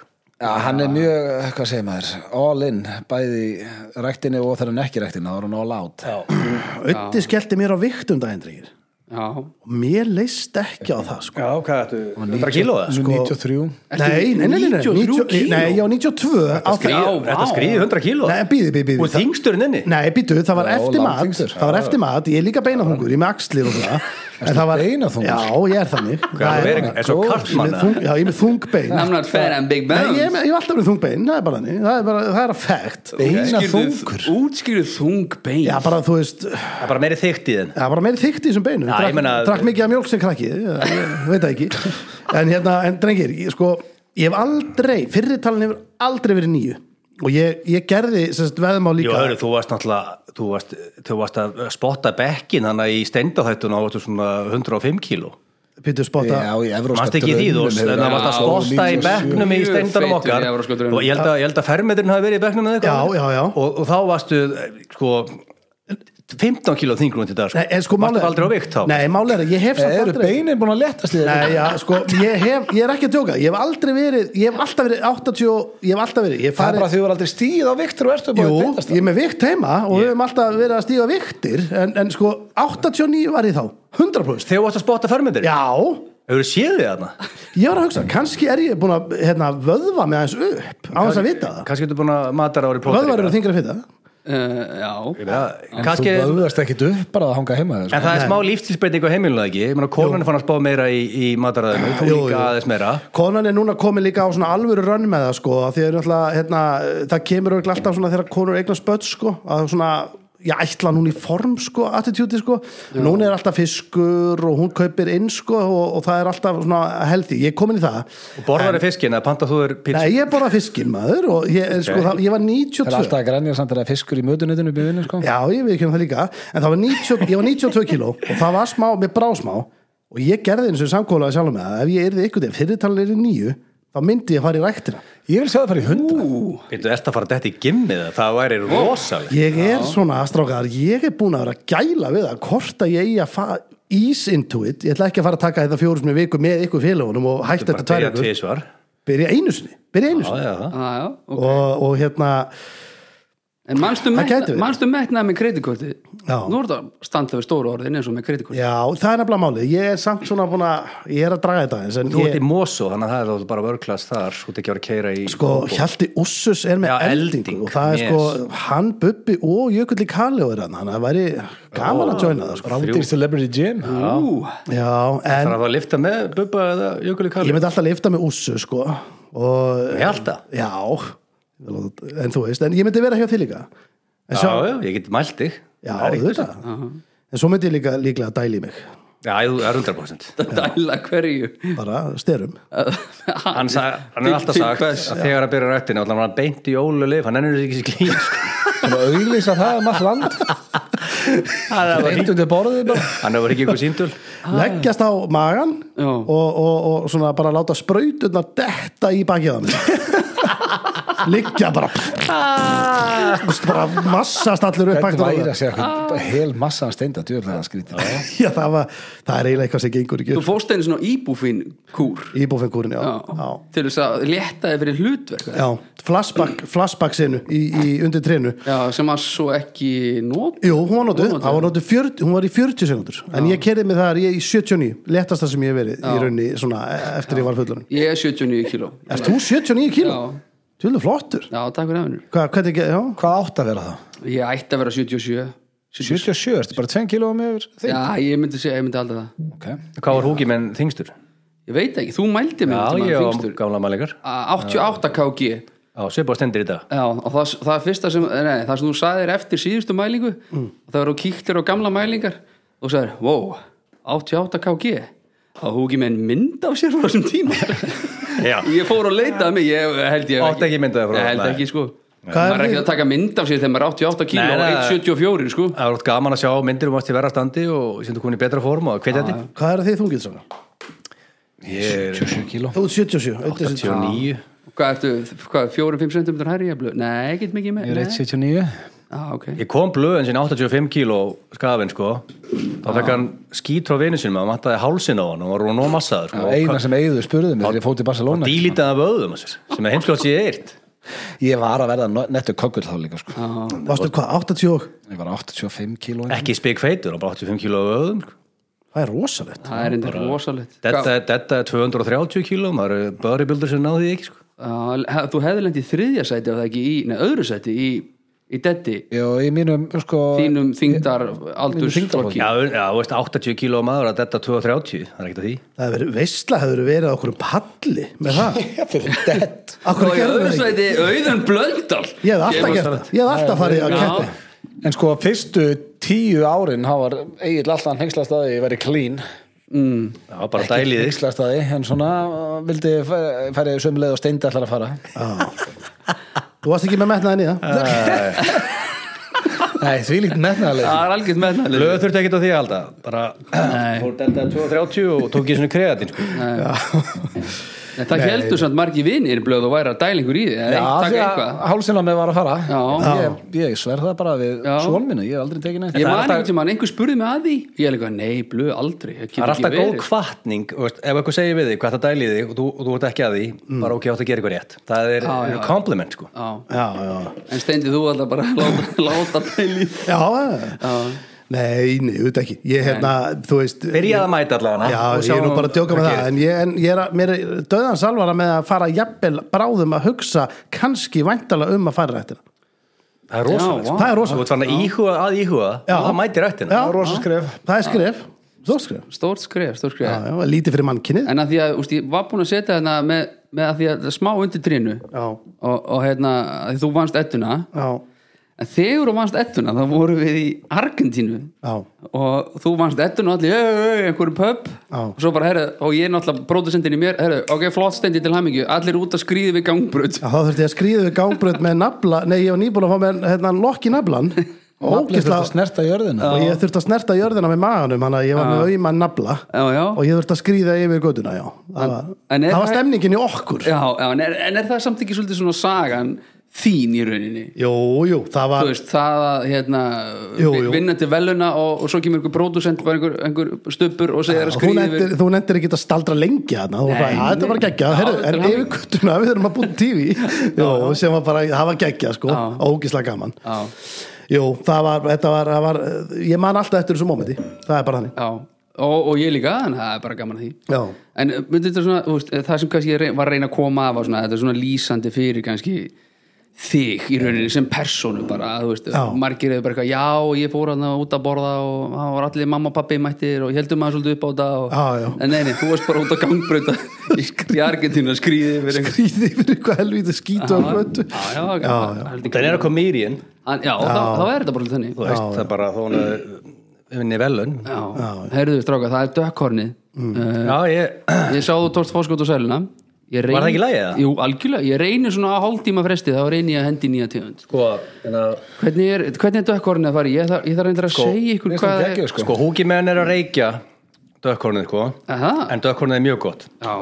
Speaker 3: Já, hann er mjög, hvað segir maður, all in bæði í ræktinni og þegar hann ekki í ræktinni, þá er hann all out
Speaker 1: Ötti skellti mér á viktum dagindrýr
Speaker 2: já,
Speaker 1: og mér leist ekki á það sko.
Speaker 4: já, hvað ættu, 100 kíló það?
Speaker 3: Sko, 93
Speaker 1: Nei, nei, nei, nei, nei,
Speaker 2: 93
Speaker 1: 90 nei, já, 92 á því
Speaker 2: Já,
Speaker 4: þetta
Speaker 2: vá.
Speaker 4: skrýði 100 kíló
Speaker 1: Nei, býði, býði, býði
Speaker 4: og þingsturinn inni
Speaker 1: Nei, býtu, það var
Speaker 3: Já,
Speaker 1: eftir mat
Speaker 3: langþyngstur.
Speaker 1: Það var eftir mat, ég er líka beinaþungur, ég er með axlir og svona En það var
Speaker 3: beinaþungur?
Speaker 1: Já, ég er þannig
Speaker 4: Hvað
Speaker 1: Það
Speaker 4: er það? Er svo
Speaker 1: Ég er
Speaker 4: kartmann,
Speaker 1: með
Speaker 4: eða?
Speaker 1: þung- Já, ég er með þungbein
Speaker 2: I'm not fat, I'm big
Speaker 1: Nei, ég er
Speaker 2: bones
Speaker 1: með- ég er alltaf með þungbein, það er bara þannig Það er bara, það er að fact
Speaker 3: Beina
Speaker 2: Útskýrðu-
Speaker 3: þungur
Speaker 2: útskýrðu þung bein
Speaker 1: Já, bara, þú veist,
Speaker 4: það er bara meiri þygt í þinn
Speaker 1: það var meiri þykkt í þessum beinum
Speaker 4: Já, ég
Speaker 1: drakk,
Speaker 4: meina-
Speaker 1: drakk mikið af mjólk sem krakki ég- ég veit það ekki en hérna, en drengir, ég, sko ég hef aldrei, fyrirtalin hefur aldrei verið nýju og ég, ég gerði sérst veðum á
Speaker 4: Jú,
Speaker 1: líka
Speaker 4: hörru, þú varst náttúrulega þú varst, þú varst að spotta bekkin hana í steindaþættun og varstu svona 105 kíló
Speaker 1: Pítur spotta
Speaker 3: Já, í evrópska
Speaker 4: Mast ekki í því þú,
Speaker 3: draumnum
Speaker 4: en
Speaker 3: hefur-
Speaker 4: það varst að
Speaker 2: Já,
Speaker 4: spotta í
Speaker 3: 97.
Speaker 4: bekknum í
Speaker 2: Mjög
Speaker 4: steindanum
Speaker 2: feitur
Speaker 4: okkar
Speaker 2: í evrópska draumnum.
Speaker 4: og ég held að, ég held að fermeturinn hafi verið í bekknum eða
Speaker 1: Já, já, já.
Speaker 4: Og, og þá varstu, eh, sko 15 kíló þingrúin til dag
Speaker 1: Nei, en sko málið
Speaker 4: Varstu aldrei á vikt þá
Speaker 1: Nei, málið er, að ég hef samt
Speaker 3: Eru
Speaker 1: aldrei
Speaker 3: beinin búin að letast í
Speaker 1: Nei,
Speaker 3: þetta?
Speaker 1: já, sko, ég hef, ég er ekki að djóka Ég hef aldrei verið, ég hef alltaf verið 80, og- ég hef alltaf verið, ég hef
Speaker 3: Það er bara
Speaker 1: farið
Speaker 3: því þú er aldrei stíð á viktur og ertu búin
Speaker 1: Jú,
Speaker 3: að letast
Speaker 1: ég er með vikt heima og við höfum alltaf verið að stíga viktir en, en sko, 89 var ég þá 100%
Speaker 4: Þegar þú varst að spotta fermeturinn
Speaker 1: Já,
Speaker 4: Hefur þú séð þig þarna?
Speaker 1: Ég var að hugsa, kannski er ég búin að hérna, vöðva mig aðeins upp á þess að vita það.
Speaker 4: Kannski getur búin að matara ári
Speaker 1: Vöðvar eru þingra fyrir það.
Speaker 2: Eh, já.
Speaker 3: Þú
Speaker 4: Kannski
Speaker 3: vöðast ekkit upp bara að hanga heima þér, sko.
Speaker 4: En það er smá lífstilsbreyting á heimilinu eða ekki, ég meina konan er fann að spá meira í, í mataræðinu, þú
Speaker 1: Jú,
Speaker 4: líka
Speaker 1: jú.
Speaker 4: aðeins meira.
Speaker 1: Konan er núna komið líka á svona alvöru rönn með það sko, af því að náttúrulega, hérna, það kemur örugglega alltaf svona þegar konur eignar spött sko, að svona, já, ætla hún í form sko, attitúti sko, núna er alltaf fiskur og hún kaupir inn sko og, og það er alltaf svona healthy, ég er komin í það.
Speaker 4: Og borðar er fiskin, eða panta þú er pizza.
Speaker 1: Nei, ég er bara fiskin maður og ég, okay. sko, það, ég var
Speaker 3: Það er
Speaker 1: 92.
Speaker 3: alltaf að grænja samt að það er fiskur í mötunutinu byrðinu sko.
Speaker 1: Já, ég við það líka En það var 90, ég var 92 kíló og það var smá, mér brá smá og ég gerði eins og samkólaði sjálf með að ef ég yrði ykkur til fyrirtalin er í nýju þá myndi ég fara í ræktina
Speaker 3: Ég vil sjá það fara í hund
Speaker 2: Ú,
Speaker 4: Þú ert að fara þetta í gimmið, það væri rosalega.
Speaker 1: Ég er svona strákaðar, ég er búin að vera að gæla við það hvort að ég eigi að fara ease into it, ég ætla ekki að fara að taka þetta fjórum sem viku með ykkur félagunum og hægt
Speaker 4: Bara
Speaker 1: þetta tvær
Speaker 4: byrja
Speaker 1: ykkur,
Speaker 4: tvísvar.
Speaker 1: byrja einu sinni byrja einu
Speaker 4: Já,
Speaker 1: sinni
Speaker 4: já, það.
Speaker 2: Ah, já, já. ok.
Speaker 1: og, og hérna,
Speaker 2: En manstu
Speaker 1: gæti
Speaker 2: metna-
Speaker 1: verið.
Speaker 2: manstu metnað með kreditkorti?
Speaker 1: Já.
Speaker 2: Nú er það standað við stóru orðin eins og með kreditkorti.
Speaker 1: já, það er nefnilega málið ég er samt svona búin að, ég er að draga þetta eins, en
Speaker 4: Þú ert
Speaker 1: ég,
Speaker 4: í Mosó, þannig að það er þá bara vörklass þar, þú ert ekki að vera að keira í...
Speaker 1: sko, Hjalti Ússus er með
Speaker 4: Já,
Speaker 1: eldingu,
Speaker 4: elding,
Speaker 1: og það er
Speaker 4: yes.
Speaker 1: sko hann, Bubbi og Jökulli Kalli er hann, þannig að það væri gaman að joina það sko.
Speaker 3: Rándýr Celebrity Gym
Speaker 2: Ú,
Speaker 1: já, en
Speaker 4: Það er að fara að lifta með Bubba eða Jökuli
Speaker 1: ég
Speaker 4: Kalli.
Speaker 1: myndi alltaf lifta með Ússus sko og,
Speaker 4: Ég held það.
Speaker 1: já en þú veist, en ég myndi vera hjá þig líka en
Speaker 4: Já,
Speaker 1: svo,
Speaker 4: já, ég get mælt þig.
Speaker 1: já,
Speaker 4: Það er ekkert-
Speaker 1: auðvitað en svo myndi ég líka líklega að dæla í mig
Speaker 4: Já, þú er 100%.
Speaker 2: dæla hverju.
Speaker 1: bara sterum
Speaker 4: hann, sag, hann er
Speaker 2: Til-
Speaker 4: alltaf
Speaker 2: til
Speaker 4: sagt
Speaker 2: hvers?
Speaker 4: að þegar hann byrjar rættin allan var hann beint í ólulif, hann ennur ekki sér klín sko.
Speaker 3: Þannig að auglýsa það um all land
Speaker 4: hann hefur
Speaker 3: Reyndum til borðið bara
Speaker 4: hann hefur ekki ykkur síndul
Speaker 1: leggjast á magan
Speaker 2: Já.
Speaker 1: og, og, og svona bara láta sprauturnar detta í bakið á mér liggja bara Þú veist, bara massast allur upp
Speaker 3: Þetta
Speaker 1: bakið á
Speaker 3: væri
Speaker 1: mér.
Speaker 3: að
Speaker 2: Ah.
Speaker 3: segja eitthvað hel massa af steinda djúðlega skrítið
Speaker 1: Já, það, var, það er eiginlega eitthvað sem gengur ekki
Speaker 2: Þú fórst einu svona íbúfín kúr
Speaker 1: íbúfengurinn, já, já.
Speaker 2: til þess að létta þið fyrir hlutverk
Speaker 1: já. flashback, flashback sinu í, í undir trinu
Speaker 2: Já, sem að svo ekki nót
Speaker 1: Jú, hún var notuð,
Speaker 2: Hún var notuð.
Speaker 1: hún var, notuð 40, hún var í 40 sekundur en ég kerði mig þar, ég í 79 letasta sem ég hef verið í raunni svona e- eftir ég var fullunum
Speaker 2: Ég er 79 kíló
Speaker 1: Erst þú 79 kíló? Tjóðlega flottur
Speaker 2: Já, takk fyrir aðvinur
Speaker 1: Hvað, hvernig, já,
Speaker 3: Hvað átt að vera það?
Speaker 2: Ég ætti að vera 77 77.
Speaker 3: 77, ertu bara 2 kílóum yfir þig?
Speaker 2: Já, ég myndi segja, ég myndi aldrei það
Speaker 3: Okay.
Speaker 4: hvað var húki menn þingstur?
Speaker 2: Ég veit ekki, þú mældi mig
Speaker 4: já,
Speaker 2: einhvern tímann
Speaker 4: ég var
Speaker 2: þyngstur.
Speaker 4: gamla mælingar
Speaker 2: Að 88 kg
Speaker 4: á svipa stendir í dag
Speaker 2: Já, og það, það er fyrsta sem nei, það sem þú sagðir eftir síðustu mælingu mm. það verður þú kíktir á gamla mælingar og sagðir, wow, 88 kg á húki með en mynd af sér frá þessum tíma
Speaker 4: Já.
Speaker 2: ég fór og leitaði mig ég held ég
Speaker 4: Átti ekki mynd af þér frá-
Speaker 2: Ég held
Speaker 4: nei.
Speaker 2: ekki sko
Speaker 1: Hvað er
Speaker 2: maður er ekki
Speaker 1: þið-
Speaker 2: að taka mynd af sér þegar maður er 88 kíl
Speaker 4: Nei,
Speaker 2: og
Speaker 4: nei, nei.
Speaker 2: 174 sko
Speaker 4: Það er oft gaman að sjá myndir um að til verra standi og sem þú komin í betra form og hvetja þetta
Speaker 1: Hvað er þið þungið svona?
Speaker 4: Ég er
Speaker 3: 7 kíló
Speaker 1: Þú ert 77 87.
Speaker 4: 29
Speaker 2: hvað ertu, hvað, 4-5 cm hærri jafnvel? nei, ekkert mikið
Speaker 3: Ég
Speaker 2: með
Speaker 3: er
Speaker 2: nei.
Speaker 3: 1,79
Speaker 2: ah, okay.
Speaker 4: Ég kom blöðin sinni 85 kíló skafin sko þá fekk hann skít frá vinu sinum að hann mattaði hálsin á hann og var hún nóg massaður sko.
Speaker 3: Eina sem eigðu spurðum þegar ég fótt í Barcelona
Speaker 4: Dílitaði vöðum að sér, sem er heimsklátt sér eitt
Speaker 3: Ég var að verða no- nettur kokkur þá líka
Speaker 2: Ah.
Speaker 3: sko.
Speaker 1: Varstu hvað, 80 og?
Speaker 3: Ég var 85 kíló
Speaker 4: Ekki spik feitur og bara 85 kíló af vöðum sko.
Speaker 1: Það er rosalegt
Speaker 2: það er enda rosalegt
Speaker 4: Þetta þetta er 230 kíló maður er bodybuilder sem náði því ekki sko.
Speaker 2: Hvað- á, þú hefði lendið þriðja sæti ef það ekki í, nei, öðru sæti í, í detti
Speaker 3: Já, í mínum sko,
Speaker 2: þínum þyngdar aldurs
Speaker 3: þyngdarflokki.
Speaker 4: Já, já, þú veist 80 kíló maður að þetta 230 það er ekkert að því
Speaker 1: Það hefur verið, veistla hefur verið á okkur palli með það
Speaker 3: Dett
Speaker 1: Akkur
Speaker 2: og í
Speaker 1: gerðu
Speaker 2: öðru
Speaker 1: það ekki?
Speaker 2: sæti auðun blöndal
Speaker 1: Ég hefði alltaf gert það Ég hefði alltaf farið að keppi
Speaker 3: En sko, fyrstu tíu árin þá var Egil alltaf hengslast að því ég væri clean
Speaker 4: Já, bara dælið sko. þig
Speaker 3: hengslast að því, en svona uh, vildi færi sömu leið og steindi allar að fara
Speaker 1: Þú varst ekki með metnaðin í það
Speaker 3: Nei, því líkt metnaðarleik
Speaker 2: það er algjört með það
Speaker 4: Löð þurfti ekkert á því að halda bara fór þetta 230 og tók ég svona kreatin sko.
Speaker 2: það heldur samt margi vinir blöð og væri að dæla einhver í því eða
Speaker 3: Já,
Speaker 2: ein-
Speaker 3: því
Speaker 2: taka
Speaker 3: að
Speaker 2: eitthvað
Speaker 3: hálsinn á mig var að fara
Speaker 2: Já.
Speaker 3: Ég, ég sverð það bara við
Speaker 2: Já.
Speaker 3: svonminu, ég hef aldrei tekið neitt
Speaker 2: ég man
Speaker 4: alltaf-
Speaker 2: einhvern tímann, einhver spurði mig að því ég er líka, nei, blöð aldrei það
Speaker 4: það er
Speaker 2: getur
Speaker 4: alltaf
Speaker 2: ekki
Speaker 4: góð
Speaker 2: verið
Speaker 4: kvartning veist, ef eitthvað segir við þig hvað það dælið þig og þú, og þú ert ekki að því
Speaker 1: Mm.
Speaker 4: bara ok, ég átt að gera eitthvað rétt það er,
Speaker 2: Já,
Speaker 4: er
Speaker 2: já.
Speaker 4: compliment sko.
Speaker 2: Já.
Speaker 1: Já, já
Speaker 2: en steindi þú alltaf bara að láta- láta dæli
Speaker 1: Já, já. Nei, nei, auðvitað ekki Ég hérna, þú veist
Speaker 4: byrjaði að mæta allavega
Speaker 1: Já, ég
Speaker 4: og
Speaker 1: er nú
Speaker 4: sjáum
Speaker 1: bara að djóka með
Speaker 4: hvað
Speaker 1: það
Speaker 4: gerist.
Speaker 1: En ég, en ég er að, mér er döðan salvara með að fara jafnvel bráðum að hugsa kannski væntalega um að fara eftir
Speaker 4: það er
Speaker 2: Já,
Speaker 4: rosalegt sko.
Speaker 2: vá.
Speaker 1: Það er
Speaker 4: þú
Speaker 1: rosalegt
Speaker 4: ert farin að íhuga að íhuga
Speaker 1: Já.
Speaker 4: og það mætir rættina
Speaker 1: Já.
Speaker 3: Rósaskref
Speaker 1: Það er skref, stórt skref
Speaker 2: stórt skref, stórt skref
Speaker 1: Já, já, lítið fyrir mannkinnið
Speaker 2: en að því að, úst, ég var búin að setja þarna með, með að því að smá undir trínu
Speaker 1: Já,
Speaker 2: og, og hérna, að því þú vannst ettuna
Speaker 1: já,
Speaker 2: en þegar þú vannst ettuna, þá vorum við í Argentínu
Speaker 1: já
Speaker 2: og þú vannst ettun og allir "Ey, ey, ey", einhverjum pub
Speaker 1: Já.
Speaker 2: og svo bara, herru, og ég náttúrulega pródusendin í mér, herru, ok, flott stendi til hamingju allir út að skrýði við gangbröð
Speaker 1: Já, þá þurfti ég að skrýða við gangbröð með nafla Nei, ég var nýbúin að fá með hérna lokk í naflan
Speaker 3: Naflið þurft að
Speaker 1: Ógislega
Speaker 3: snerta jörðina
Speaker 1: Og ég þurfti að snerta jörðina með maganum Þannig að ég var með auðmann nafla
Speaker 2: já, já,
Speaker 1: Og ég þurfti að skrýða yfir göduna, já Það var,
Speaker 2: en er-
Speaker 1: það var stemningin í okkur
Speaker 2: já, já en, er, en er það samt ekki svolítið svona sagan þín í rauninni
Speaker 1: Jú, jú, það
Speaker 2: þú
Speaker 1: var
Speaker 2: veist, það að hérna,
Speaker 1: Jú, jú.
Speaker 2: vinna til veluna og, og svo kemur einhver pródusend, bara einhver, einhver stuppur og segir að
Speaker 1: Þú
Speaker 2: skrýði við
Speaker 1: nendir, þú nendir ekki að staldra lengi hana, þú var bara,
Speaker 2: Nei,
Speaker 1: "Ja, þetta var
Speaker 2: nei.
Speaker 1: geggja
Speaker 2: Já,
Speaker 1: herru,
Speaker 2: þetta
Speaker 1: en
Speaker 2: er
Speaker 1: yfir
Speaker 2: hann.
Speaker 1: kuttuna, við erum að búin tífi Jó, sem var bara, það var geggja sko,
Speaker 2: Já.
Speaker 1: ógislega gaman
Speaker 2: Já.
Speaker 1: Jú, það var, þetta var, það var ég man alltaf eftir þessu mómenti, það er bara þannig
Speaker 2: Já, og, og ég líka, en það er bara gaman að því
Speaker 1: Já,
Speaker 2: En uh, myndi þetta svona, þú veist, það sem kannski ég rey- var að reyna að koma af var svona, þetta er svona lýsandi fyrir kannski þig í rauninni sem persónu bara, þú veist,
Speaker 1: Já.
Speaker 2: margir eða bara eitthvað, já, ég fór hann út að borða og það var allir mamma og pappi mættir og ég heldum maður svolítið upp á þetta og...
Speaker 1: Já, já.
Speaker 2: en nei, nei, þú varst bara út að gangbrauta í í Argentínu að skrýði yfir einhver
Speaker 1: skrýði yfir eitthvað helvítið skýtu á götu
Speaker 2: Já, já, já, já. heldur
Speaker 4: það er að comedian
Speaker 2: gaman. En- já, já. Þá, þá er þetta bara svolítið þannig
Speaker 4: þú veist, það er bara þá hún er vinni velun
Speaker 2: Já, heyrðu, stráka, það er dökkornið mm.
Speaker 4: já, ég
Speaker 2: ég sá þú tókst fórskot og sæluna Ég reyni,
Speaker 4: Var það ekki í lagi, eða?
Speaker 2: Jú, algjörlega, ég reyni svona á hálftíma fresti þá reyni ég að hendi í nýja tegund
Speaker 4: sko, hérna,
Speaker 2: Hvernig er, hvernig er dökkornið að fara? í? Ég þarf, ég þarf reyndir að segja ykkur
Speaker 3: Mér
Speaker 2: hvað
Speaker 3: finnst það
Speaker 2: er
Speaker 3: geggjað,
Speaker 4: sko húkimenn er að reykja dökkornið sko
Speaker 2: Aha,
Speaker 4: en dökkornið er mjög gott
Speaker 2: Já,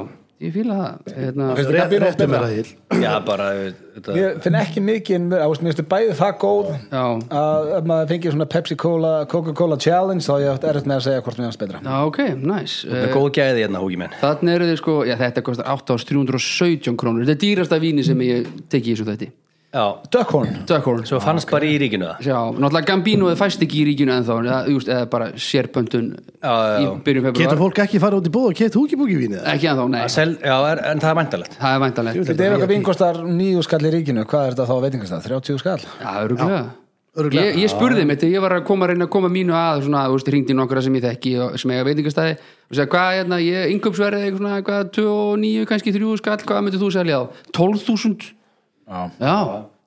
Speaker 2: ég fíla það hérna,
Speaker 3: Finnst þér það býr oft
Speaker 1: Réttu mér
Speaker 3: betra?
Speaker 1: að hill
Speaker 4: já, bara, ég veit, þetta
Speaker 3: Ég finn ekki mikið, en mér- á, veist, mér finnst bæði það góð
Speaker 2: Já,
Speaker 3: að ef maður fengið svona Pepsi Cola Coca-Cola Challenge þá ég átt erfitt með að segja hvort mér hans betra
Speaker 2: já ok, næs
Speaker 4: það er góð gæði hérna húkimenn
Speaker 2: Þannig eru þið sko, já þetta kostar 8.317 krónur Þetta er dýrasta víni sem ég teki í þessu þætti
Speaker 4: já,
Speaker 3: Duckhorn
Speaker 2: Dökkorn
Speaker 4: svo fannst bara í ríkinu það
Speaker 2: Já, náttúrulega Gambinoði fæst ekki í ríkinu ennþá eða, just, eða bara sérpöntun
Speaker 4: Já, já,
Speaker 2: í
Speaker 4: já.
Speaker 2: byrjun
Speaker 1: Getur
Speaker 2: februar
Speaker 1: fólk ekki fara út í búð og keitt húkibúkivínið?
Speaker 2: Ekki ennþá, nei,
Speaker 4: Að sel, já, er, en það er mæntalegt
Speaker 2: það er væntalegt
Speaker 3: Þetta er eitthvað vingostar nýju skall í ríkinu, hvað er þetta þá að veitingastað? 30 skall?
Speaker 2: Já, öruglega
Speaker 1: örugglega.
Speaker 2: Ég, ég spurði mitt, ég var að koma að reyna að koma mínu að svona, þú veist, hringdi í nokkra sem ég þekki og sem eiga veitingastæði og segja, hvað, hérna, ég yngöpsverði eitthvað svona, hvað, 29, kannski 3 skall, hvað myndir þú selja á? 12.000?
Speaker 3: Já.
Speaker 2: Já,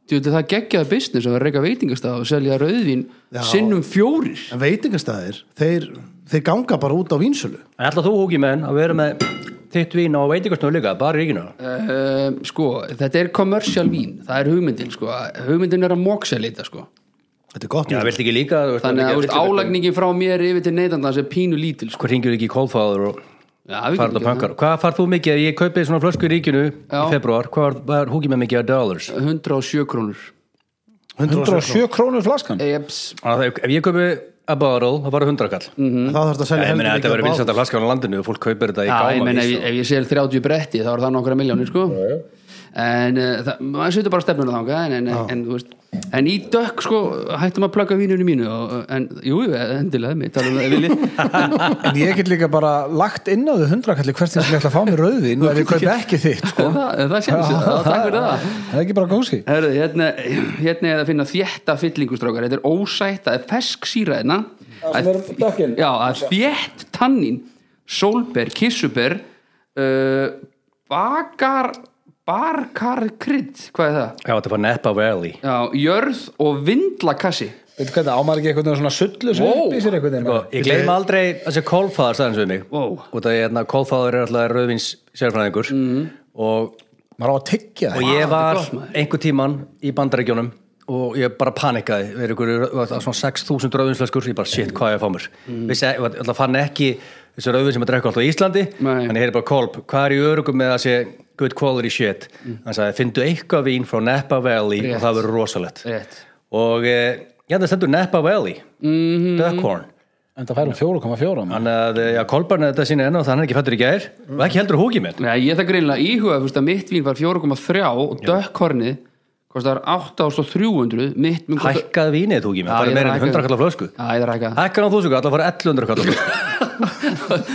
Speaker 2: Þú veit, það geggjaði business að vera að reyka veitingastað og selja rauðvín sinnum fjórir
Speaker 1: En veitingastæðir, þeir, þeir ganga bara út á vínsölu
Speaker 4: En alltaf þú húki menn að vera með þitt vín á veitingastöðu líka, bara í ríkinu
Speaker 2: uh, Sko, þetta er commercial vín það er hugmyndin, sko hugmyndin er að mókselita, sko
Speaker 1: Þetta er gott
Speaker 4: Já,
Speaker 1: jú.
Speaker 4: vilt ekki líka þú veist,
Speaker 2: Þannig að þú veist,
Speaker 4: vill ekki-
Speaker 2: álagningin frá mér yfir til neytandans er pínu lítil, sko
Speaker 4: Hvað ringir ekki í kólfáður og
Speaker 2: Já, við
Speaker 4: farð
Speaker 2: getum
Speaker 4: og
Speaker 2: gert
Speaker 4: pankar Hvað farð þú mikið? Ég kaupið svona flösku í ríkinu
Speaker 2: Já.
Speaker 4: í februar, hvað var, var húki með mikið að dollars?
Speaker 2: það. 107 krónur
Speaker 3: 107 krónur flaskan
Speaker 2: Eps,
Speaker 4: Að það- Ef ég kaupi að bottle, það var 100 kall mm.
Speaker 1: Þá þarf þetta að
Speaker 4: Ég
Speaker 1: selja
Speaker 4: meina, þetta
Speaker 1: mikið
Speaker 4: verður
Speaker 1: af
Speaker 4: vinsætt að flaska á landinu og fólk kaupir þetta í
Speaker 2: Já, ég meina, ef, ég-
Speaker 4: gáma
Speaker 2: ef ég sér 30 bretti þá er það nokkra miljónir, sko En uh, það, maður setur bara stefnuna þangað en, en, en, þú veist, en í dökk, sko, hættum að plugga vínunni mínu og, En, jú, jú, endilega, mér talum við vilji
Speaker 3: En ég get líka bara lagt inn á þau hundrakalli hvert sem ég ætla að fá mér rauðin og ef ég kaupi ekki þitt sko.
Speaker 2: það, það sé þessi, það takk fyrir það
Speaker 3: Það er ekki bara gósi
Speaker 2: Herðu, hérna, hérna er að finna þétta fyllingustrákar, þetta er ósætt það er fesk síra hérna það er, já, það er þétt tannin sólber, kissuber uh, bakar barkarkrydd hvað er það?
Speaker 4: Já, þetta var Napa Valley
Speaker 2: Já, jörð og vindlakassi
Speaker 3: Veitu hvað það ámar ekki eitthvað svona sullu sem
Speaker 2: Wow.
Speaker 3: upp í sér eitthvað
Speaker 2: Hérna,
Speaker 4: Sko, ég gleym aldrei þessi kólfáður sagðins við mig
Speaker 2: Ó.
Speaker 4: út af ég, hérna, kólfáður er alltaf rauðvins sérfræðingur
Speaker 2: Mhm.
Speaker 4: og,
Speaker 3: Maður á að tyggja
Speaker 4: og
Speaker 3: það
Speaker 4: ég var
Speaker 2: gott, maður.
Speaker 4: einhver tíman í bandaríkjónum og ég bara panikaði við erum ykkur, var það svona 6.000 rauðvinslöskur ég bara shit hvað ég fá mér
Speaker 2: Mhm.
Speaker 4: mm. Vissi, ég var- alltaf fann ekki þessi rauðvin sem að drekka alltaf á Íslandi
Speaker 2: Nei.
Speaker 4: en ég hefði bara kólp, hvað er í örugum með að sé good quality shit hann sagði, fyndu eitthvað vín frá Napa Valley
Speaker 2: Mhm. Rétt.
Speaker 4: og það verður rosalegt
Speaker 2: Rétt.
Speaker 4: og eh, já það stendur Napa Valley
Speaker 2: Mhm.
Speaker 4: Duckhorn
Speaker 3: En það fær um 4,4 mann.
Speaker 4: Þannig að, eh, já, Kolbarn er þetta sína enn og þannig er ekki fættur í gær og ekki heldur húkið minn.
Speaker 2: Nei, ég það greinlega íhuga, þú veist að mitt vín var 4,3 og dökkornið kostar 8.300 mitt mun kosta-
Speaker 4: Hækkað vínið húkið minn,
Speaker 2: Já,
Speaker 4: það
Speaker 2: ég
Speaker 4: er meira en
Speaker 2: hækkaði.
Speaker 4: 100 kallar flösku.
Speaker 2: Já, ég þarf ekki að
Speaker 4: Hækkað á þúsugu, allar fara 1100 kallar flösku.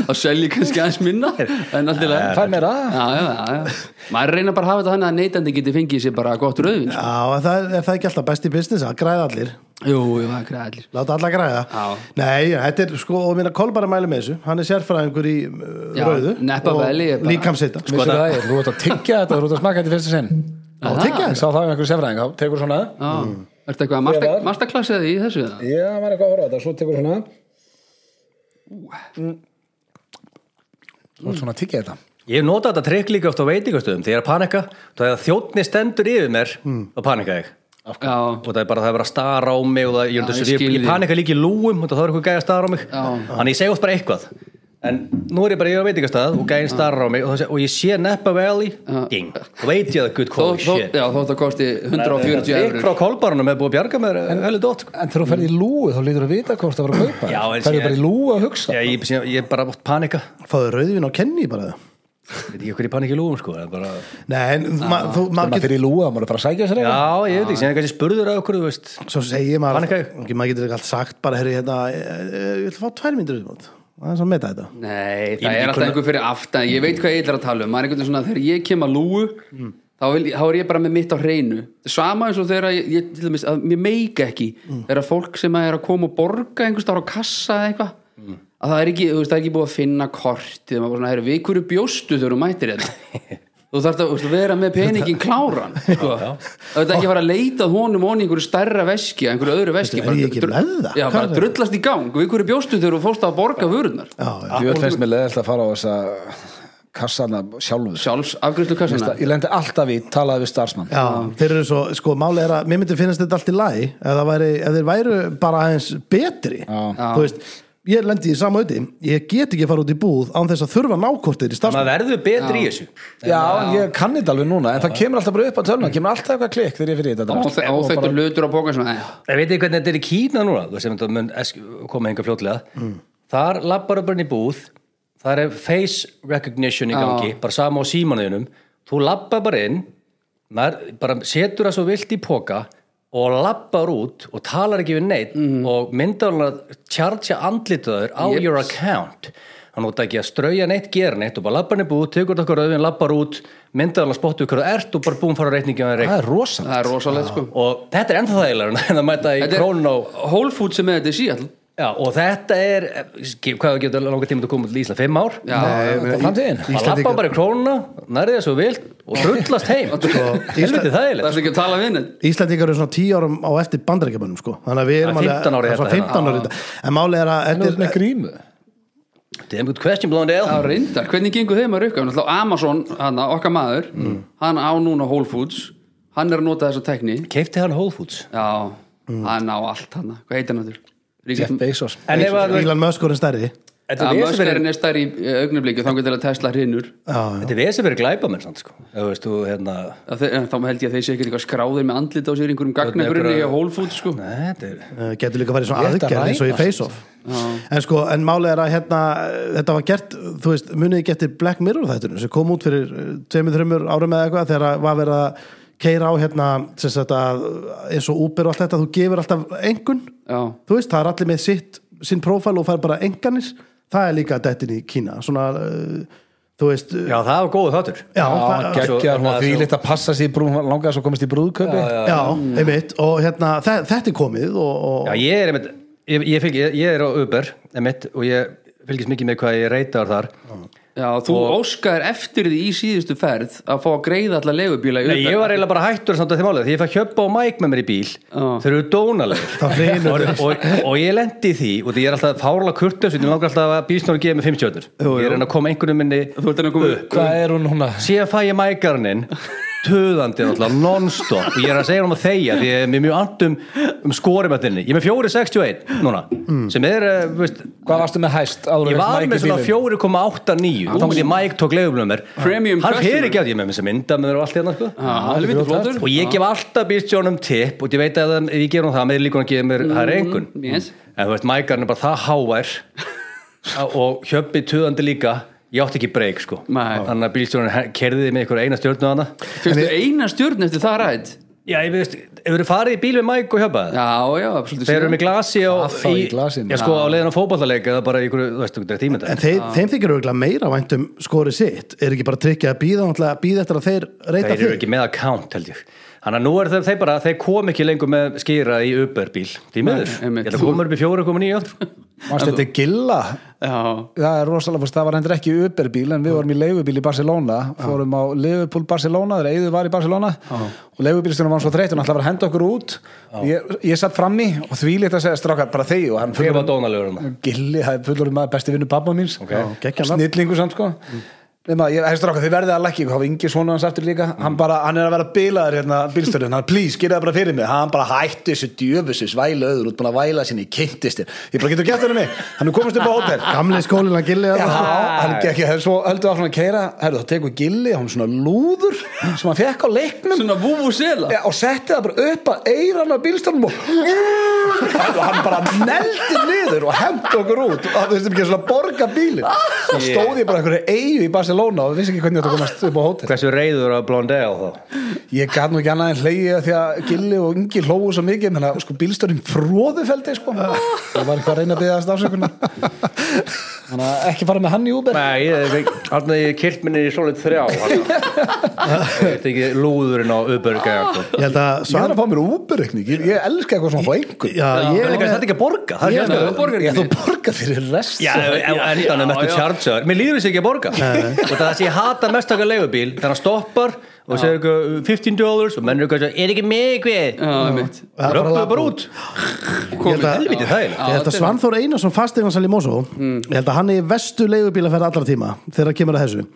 Speaker 2: þá selji ég kannski aðeins minna en alltaf leið
Speaker 3: Fær mér að
Speaker 2: já, já, já, já. maður reyna bara að hafa þetta þannig að neytandi geti fengið sér bara gott rauðvin sko.
Speaker 1: Já, en það er, er það ekki alltaf besti business að græða allir
Speaker 2: jú, jú, það er græðallir
Speaker 1: Láta alla græða
Speaker 2: Já.
Speaker 1: Nei, þetta er sko, og minna Kolbara mæli með þessu Hann er sérfræðingur í uh,
Speaker 2: Já,
Speaker 1: rauðu
Speaker 2: Napa Valley er
Speaker 1: og
Speaker 2: bara-
Speaker 1: líkamsita
Speaker 3: Vissu það er, þú ert að tyggja þetta, þú ert að smaka þetta í fyrsta sinn
Speaker 1: Og tekja
Speaker 3: Ég
Speaker 1: þetta
Speaker 3: sá það um einhverju sefræðing, þá tekur svona
Speaker 2: mm. ertu eitthvað að master,
Speaker 3: Þegar-
Speaker 2: masterclassið í þessu eða?
Speaker 3: Já, maður er eitthvað að horfa á þetta, svo tekur svona Þú ert svona að tyggja þetta
Speaker 4: Ég nota þetta trikk líka oft á veitingastöðum þegar ég er að panika, þá er það þjóttni stendur yfir mér
Speaker 2: Hmm.
Speaker 4: og panika ég.
Speaker 2: já,
Speaker 4: Og það er bara það er bara að stara á mig og það,
Speaker 2: Já,
Speaker 4: ég, já,
Speaker 2: ég
Speaker 4: ég,
Speaker 2: skil
Speaker 4: ég,
Speaker 2: þig.
Speaker 4: ég panika líka í lúum og það er eitthvað gæja að stara á mig.
Speaker 2: Já.
Speaker 4: Þannig ég segi oft bara eitthvað. En nú er ég bara í veitingastað og gæja starar á mig og, það, og ég sé Napa Valley, ding, þá veit ég að good
Speaker 2: þó,
Speaker 4: quality
Speaker 2: þó,
Speaker 4: shit.
Speaker 2: já, þó þetta kosti 140
Speaker 4: Ég
Speaker 2: eurur
Speaker 4: frá kolbarnum er búið að bjarga mér heldur dótt sko.
Speaker 3: En þegar þú ferði í lúu, þá lítur að vita hvort það var að kaupa
Speaker 4: Já,
Speaker 3: Ferði
Speaker 4: en síðan-
Speaker 3: bara í lúu að hugsa
Speaker 4: Já, ég, ég, ég bara bótt panika
Speaker 1: Fáðu rauðvin á kenni bara það
Speaker 4: Ég veit ekki hverju panika í lúum sko það er bara...
Speaker 1: Nei, en
Speaker 4: Ah,
Speaker 1: ma, þú, maður
Speaker 3: Þegar maður
Speaker 1: getur
Speaker 3: fyrir í lúa, maður er bara að sækja sér eitthvað
Speaker 4: Já, ég veit ekki, sem ég kannski spurður að okkur þú veist
Speaker 1: Svo segir maður
Speaker 4: Panika.
Speaker 1: Ok, Maður getur ekki allt sagt bara, herri, hérna eh, eh, Ég vil fá tvær myndir viðbót. Það er svo að meta þetta
Speaker 2: nei,
Speaker 4: Ég-
Speaker 2: það
Speaker 4: ég
Speaker 2: er alltaf
Speaker 4: kunna-
Speaker 2: einhver fyrir aftan ég veit hvað ég ætlar að tala um, maður er einhvern veginn svona þegar ég kem að lúu
Speaker 1: Mm.
Speaker 2: Þá, vil, þá er ég bara með mitt á hreinu sama eins og þegar ég, ég til dæmis að mér meika ekki
Speaker 1: Mm.
Speaker 2: þegar fólk sem er að koma og borga einhvers þar á kassa eða eitthvað
Speaker 1: Mm.
Speaker 2: að það er ekki, þú veist, það er ekki búið að finna kortið maður bara svona, herru, við hverju bjóstu þegar þú mætir þetta þú þarft að þú veist, vera með peningin kláran sko. það er ekki að fara að leita að honum og einhverju stærra veski, að einhverju öðru veski
Speaker 1: Er ég ekki
Speaker 2: dru-
Speaker 1: með það?
Speaker 2: já,
Speaker 1: Hvað
Speaker 2: bara
Speaker 1: er-
Speaker 2: drullast í gang, við hverju bjóstu þegar þú fórst að borga vörunar
Speaker 4: Ah.
Speaker 1: Já, já
Speaker 3: Ég öll finnst mér leðilt að fara á þessa kassana sjálfur
Speaker 2: sjálfs afgriðslu kassana
Speaker 3: Ég lendi alltaf í, talaði við starfsmann
Speaker 1: Já, þeir eru svo, sko, máli er að mér myndi finnast þetta allt í lagi ef, það væri, ef þeir væru bara aðeins betri
Speaker 3: Já.
Speaker 1: þú veist, ég lendi í sama auði ég get ekki að fara út í búð án þess að þurfa nákortir í starfsmann
Speaker 4: Maður verður betri í þessu
Speaker 3: Já, en ég kanni þetta alveg núna, en það kemur alltaf bara upp á töluna, kemur alltaf eitthvað klikk þegar ég fyrir í þetta
Speaker 2: og
Speaker 3: drasl. Og bara-
Speaker 2: þetta hlutur á bóka svona, "Æ,
Speaker 4: Ég veit ekki hvernig þetta er í Kína núna þú veist, sem þetta mun esk- koma hengar fljótlega
Speaker 3: Mm.
Speaker 4: Þar lappar upp hann í búð þar er face recognition í gangi bara sama á símanuðinum Þú lappar bara inn maður, bara setur það svo vilt í poka og lappar út og talar ekki við neitt
Speaker 3: Mm.
Speaker 4: og myndar hann að tjartja andlitaður á
Speaker 2: Jeps.
Speaker 4: your account hann út ekki að strauja neitt, gera neitt og bara lappar hann í búð, tegur þetta okkur auðvinn, lappar út myndar hann að spottu ykkur það ert og bara búin fara reikningi á hann reikning
Speaker 3: Það er rosalega.
Speaker 2: það er rosalegt sko
Speaker 4: og þetta er ennþá þægilega en það mæta í
Speaker 2: Þetta er
Speaker 4: krónu á
Speaker 2: Whole Foods sem er þetta í Seattle
Speaker 4: Já, og þetta er, eh, hvað getur langa tíma að koma til Ísland, fimm ár?
Speaker 2: Já. Nei,
Speaker 1: ég meina, í-
Speaker 4: framtíðin. Það lappa
Speaker 1: Íslendingar-
Speaker 4: bara í krónuna, nærði þessu vil og drullast heim. Helviti
Speaker 2: Sko, Það
Speaker 4: þægilegt.
Speaker 2: er ekki að tala við henni
Speaker 1: Íslandingar eru svona 10 árum á eftir bandarækjabönnum sko. þannig að við erum
Speaker 4: Það er 15 ár í
Speaker 1: alveg-
Speaker 4: þetta,
Speaker 1: svona 15 árið þetta en málið er að
Speaker 3: En þú ert
Speaker 1: þetta
Speaker 3: með
Speaker 1: er-
Speaker 3: grímu
Speaker 4: Damn good question, Blondale.
Speaker 2: Það reyndar, hvernig gengur þeim að rukka? Náttúrulega Amazon, hana, okkar maður hann á núna Whole Foods hann er að nota þessa tekni
Speaker 4: Keifti hann Whole Foods?
Speaker 2: Já, hann á allt hann Hvað heitir hann þurr?
Speaker 3: Jeff Bezos
Speaker 4: En ef að,
Speaker 1: Elon Musk orðinn stærri
Speaker 4: þetta
Speaker 2: Ja,
Speaker 4: er vesen fyrir-
Speaker 2: Möskarinn er stær í augnablíku þá getur það Tesla hrinur
Speaker 1: Já, já.
Speaker 4: þetta er vesið verið glæpamenn, sant, sko. Þú veist, þú, hérna,
Speaker 2: Að þe- en þá held ég að þeir sé ekkert eitthvað skráðir með andlit á sér í einhverjum gagnagrunni í Whole Foods sko.
Speaker 4: Nei, þetta er,
Speaker 1: Eh, getur líka að fara í svona
Speaker 3: Rétt að
Speaker 1: aðgerð eins og í
Speaker 3: ræna,
Speaker 1: face-off en sko, en málið er að hérna þetta var gert, þú veist, munið ekki eftir Black Mirror þættunum sem kom út fyrir uh, tveimur, þreimur árum eða eitthvað þegar að var verið að keira á hérna sem sagt að eins og Uber og allt þetta, þú gefur alltaf engun,
Speaker 2: Já,
Speaker 1: þú veist, það er allir með sitt sinn prófæl og fær bara enganir það er líka dættin í Kína svona, uh, þú veist uh,
Speaker 4: já, það var góðu þáttur.
Speaker 1: já, það-
Speaker 3: Já, geggjar, hún var
Speaker 4: svo-
Speaker 3: því lit að passa sér í brún hún langaði svo að komast í brúðköpi
Speaker 1: já, einmitt og hérna, þe- þetta er komið og, og
Speaker 4: Já, ég er einmitt, ég, ég, fylg, ég, ég er á Uber, einmitt, og ég fylgist mikið með hvað ég reytar þar.
Speaker 2: já þú óskaðir eftir því í síðustu ferð að fá að greiða alla legubíla í
Speaker 4: Nei,
Speaker 2: Uber.
Speaker 4: ég var eiginlega bara hættur samt að þeim álega því ég fæ hjöpa og mæk með mér í bíl
Speaker 2: Já.
Speaker 4: þeir eru dónalegir
Speaker 1: Það hrynur.
Speaker 4: og, og, og ég lendi í því og því ég er alltaf fárlega kurteis og ég langar alltaf að bílsnóri gefa mig 5 stjörnur ég er enn að koma einhvernum minni
Speaker 2: Þú ert henni að koma upp
Speaker 3: Hvað er hún hún að
Speaker 4: síðan fæ ég mækarnin töðandi náttúrulega non-stop og ég er að segja hann að þegja því ég er mér mjög andum um skorum að þinni ég er með 4.61 núna sem er, eh, veist
Speaker 3: Hvað varstu með hæst? áður en
Speaker 4: Ég var
Speaker 3: Hmm. Mike í
Speaker 4: með svona
Speaker 3: bílinn?
Speaker 4: 4,89 og þá myndi Mike tók leiðumlum mér
Speaker 2: Premium
Speaker 4: Hann
Speaker 2: customer. Ah.
Speaker 4: fyrir ekki að ég er með þess að mynda með mér og allt hérna sko.
Speaker 2: Já, helviti flottur
Speaker 4: og ég gef alltaf bílstjónum tipp og ég veit að ef ég gef hann það með líka hann að gefa mér það er einhvern
Speaker 2: Mm, yes.
Speaker 4: en þú veist, mækarn er bara það háær og hjöppi töðandi líka ég átti ekki breyk sko
Speaker 2: Nei.
Speaker 4: þannig að bílstjónum kerðiði með einhverja eina stjórnu hana
Speaker 2: Fyrstu eina stjórn eftir það rætt
Speaker 4: já, ég veist, hefur þið farið í bíl við Mike og hjöppaði
Speaker 2: Já, já, absolutt
Speaker 4: þeir eru með glasi á,
Speaker 3: Það þá í glasinu.
Speaker 4: já, sko, á leiðin á fótballaleik eða bara í einhverju, þú veist, þú getur tímynda
Speaker 1: En þeir, þeim þykir auðvitað meira væntum skorið sitt, er ekki bara tryggja að býða náttúrulega að býða eftir að þeir reyta
Speaker 4: þeir eru ekki með account held ég þannig að nú er þeir, þeir bara, þeir kom ekki lengur með skýra í Uberbíl, því miður
Speaker 2: Nei,
Speaker 4: ég
Speaker 2: einmitt.
Speaker 4: held að koma upp í 4,9 aftur
Speaker 3: Manstu þetta er gilla
Speaker 2: Já,
Speaker 3: Það er rosalega fyrst, það var hendur ekki Uberbíl en við vorum í leigubíl í Barcelona fórum á Liverpool Barcelona, þegar Eyður var í Barcelona og leigubílstunum var svo þreytt hún ætlaði að vera að henda okkur út ég, ég satt frammi og því lít að segja strákar bara þegi og hann
Speaker 4: þeir
Speaker 3: fullur
Speaker 4: var dónalegur um það
Speaker 3: gilli, það er fullur maður besti vinnu pappa míns
Speaker 1: geggjað nafn. Mm.
Speaker 3: snillingu samt sko nema, ég, hey, strákar, þið verðið að lækki ykkur, hafa yngi svona hans eftir líka hann bara, hann er að vera bilaður hérna bílstörðin, hann please, gera það bara fyrir mig hann bara hætti þessu djöfusu svæla öður út búin að væla sinni, kynntistir ég bara getur gett henni mig, hann er komist upp á hótel
Speaker 1: Gamli skólinn að gilli
Speaker 3: Já,
Speaker 1: að
Speaker 3: hann gekk, ég, svo heldur áfram að keira herru, þá tekur Gilli, hann svona lúður sem hann fekk á leiknum
Speaker 2: svona vúvúsela
Speaker 3: ja, og setti það bara upp að eiran á bílstofnum og, og hann bara neldi niður og hendi okkur út og það veistum ekki svona borga bílin þá stóð ég bara einhverju eigu í Barcelona og vissi ekki hvernig þetta komast upp á hótel
Speaker 4: hversu reyður að Blondale þá
Speaker 3: ég gaf nú ekki annað en hleyja því að Gilli og Ingi hlóðu svo mikið menna, sko, bílstofnum fróðufeldi sko. það var eitthvað að reyna að byggja afsökunar þannig að ekki fara með hann í Uber
Speaker 4: nei, ég- hann er kilt minni í solid 3 þetta er ekki lúðurinn á Uberg eða eitthvað.
Speaker 1: Ég held að
Speaker 3: Ég er
Speaker 1: Svan
Speaker 3: að fá mér úberreikning, ég, ég elska eitthvað svona að fá einhver
Speaker 1: Já,
Speaker 4: ég er
Speaker 1: ég,
Speaker 4: líka þetta er ekki að borga það
Speaker 2: Já,
Speaker 4: er ekki
Speaker 2: það
Speaker 4: að
Speaker 2: borgar
Speaker 3: Ég þú
Speaker 2: ekki
Speaker 3: borga fyrir rest
Speaker 4: Já, en endanum eftir charger Mér líður þessi ekki að borga Og það sem ég hata mest taka leigubíl Þannig að stoppar og segir eitthvað 15 dollars Og mennur eitthvað, er ekki mikið
Speaker 2: Já, mitt
Speaker 1: Það er bara
Speaker 4: Röfluðu bara
Speaker 1: labba
Speaker 4: út
Speaker 1: Ég held að-
Speaker 4: Helviti þægilegt.
Speaker 1: ég held að Svanþór Einarsson fastegnansal í Mosó
Speaker 4: Mm.
Speaker 1: ég held að hann er í vestu leigubíl að ferða allra tíma þegar kemur að þessu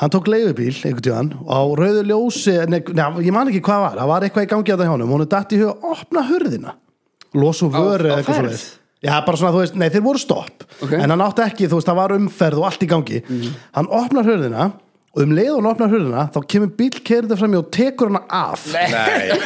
Speaker 1: hann tók leigubíl einhvern tíðan á rauðu ljósi nei, nei, ég man ekki hvað var, það var eitthvað í gangi að það hjá honum hún er datt í hug að opna hurðina los og vöru
Speaker 2: á
Speaker 1: eða eitthvað
Speaker 2: ferð?
Speaker 1: svoleiðis. Já, bara svona, þú veist, nei, þeir voru stopp
Speaker 2: Ok.
Speaker 1: en hann átti ekki, þú veist, það var umferð og allt í gangi
Speaker 4: Mhm.
Speaker 1: hann opnar hurðina og um leið og hann opnar hurðina þá kemur bíl kerðið fram í og tekur hana af
Speaker 4: Nei,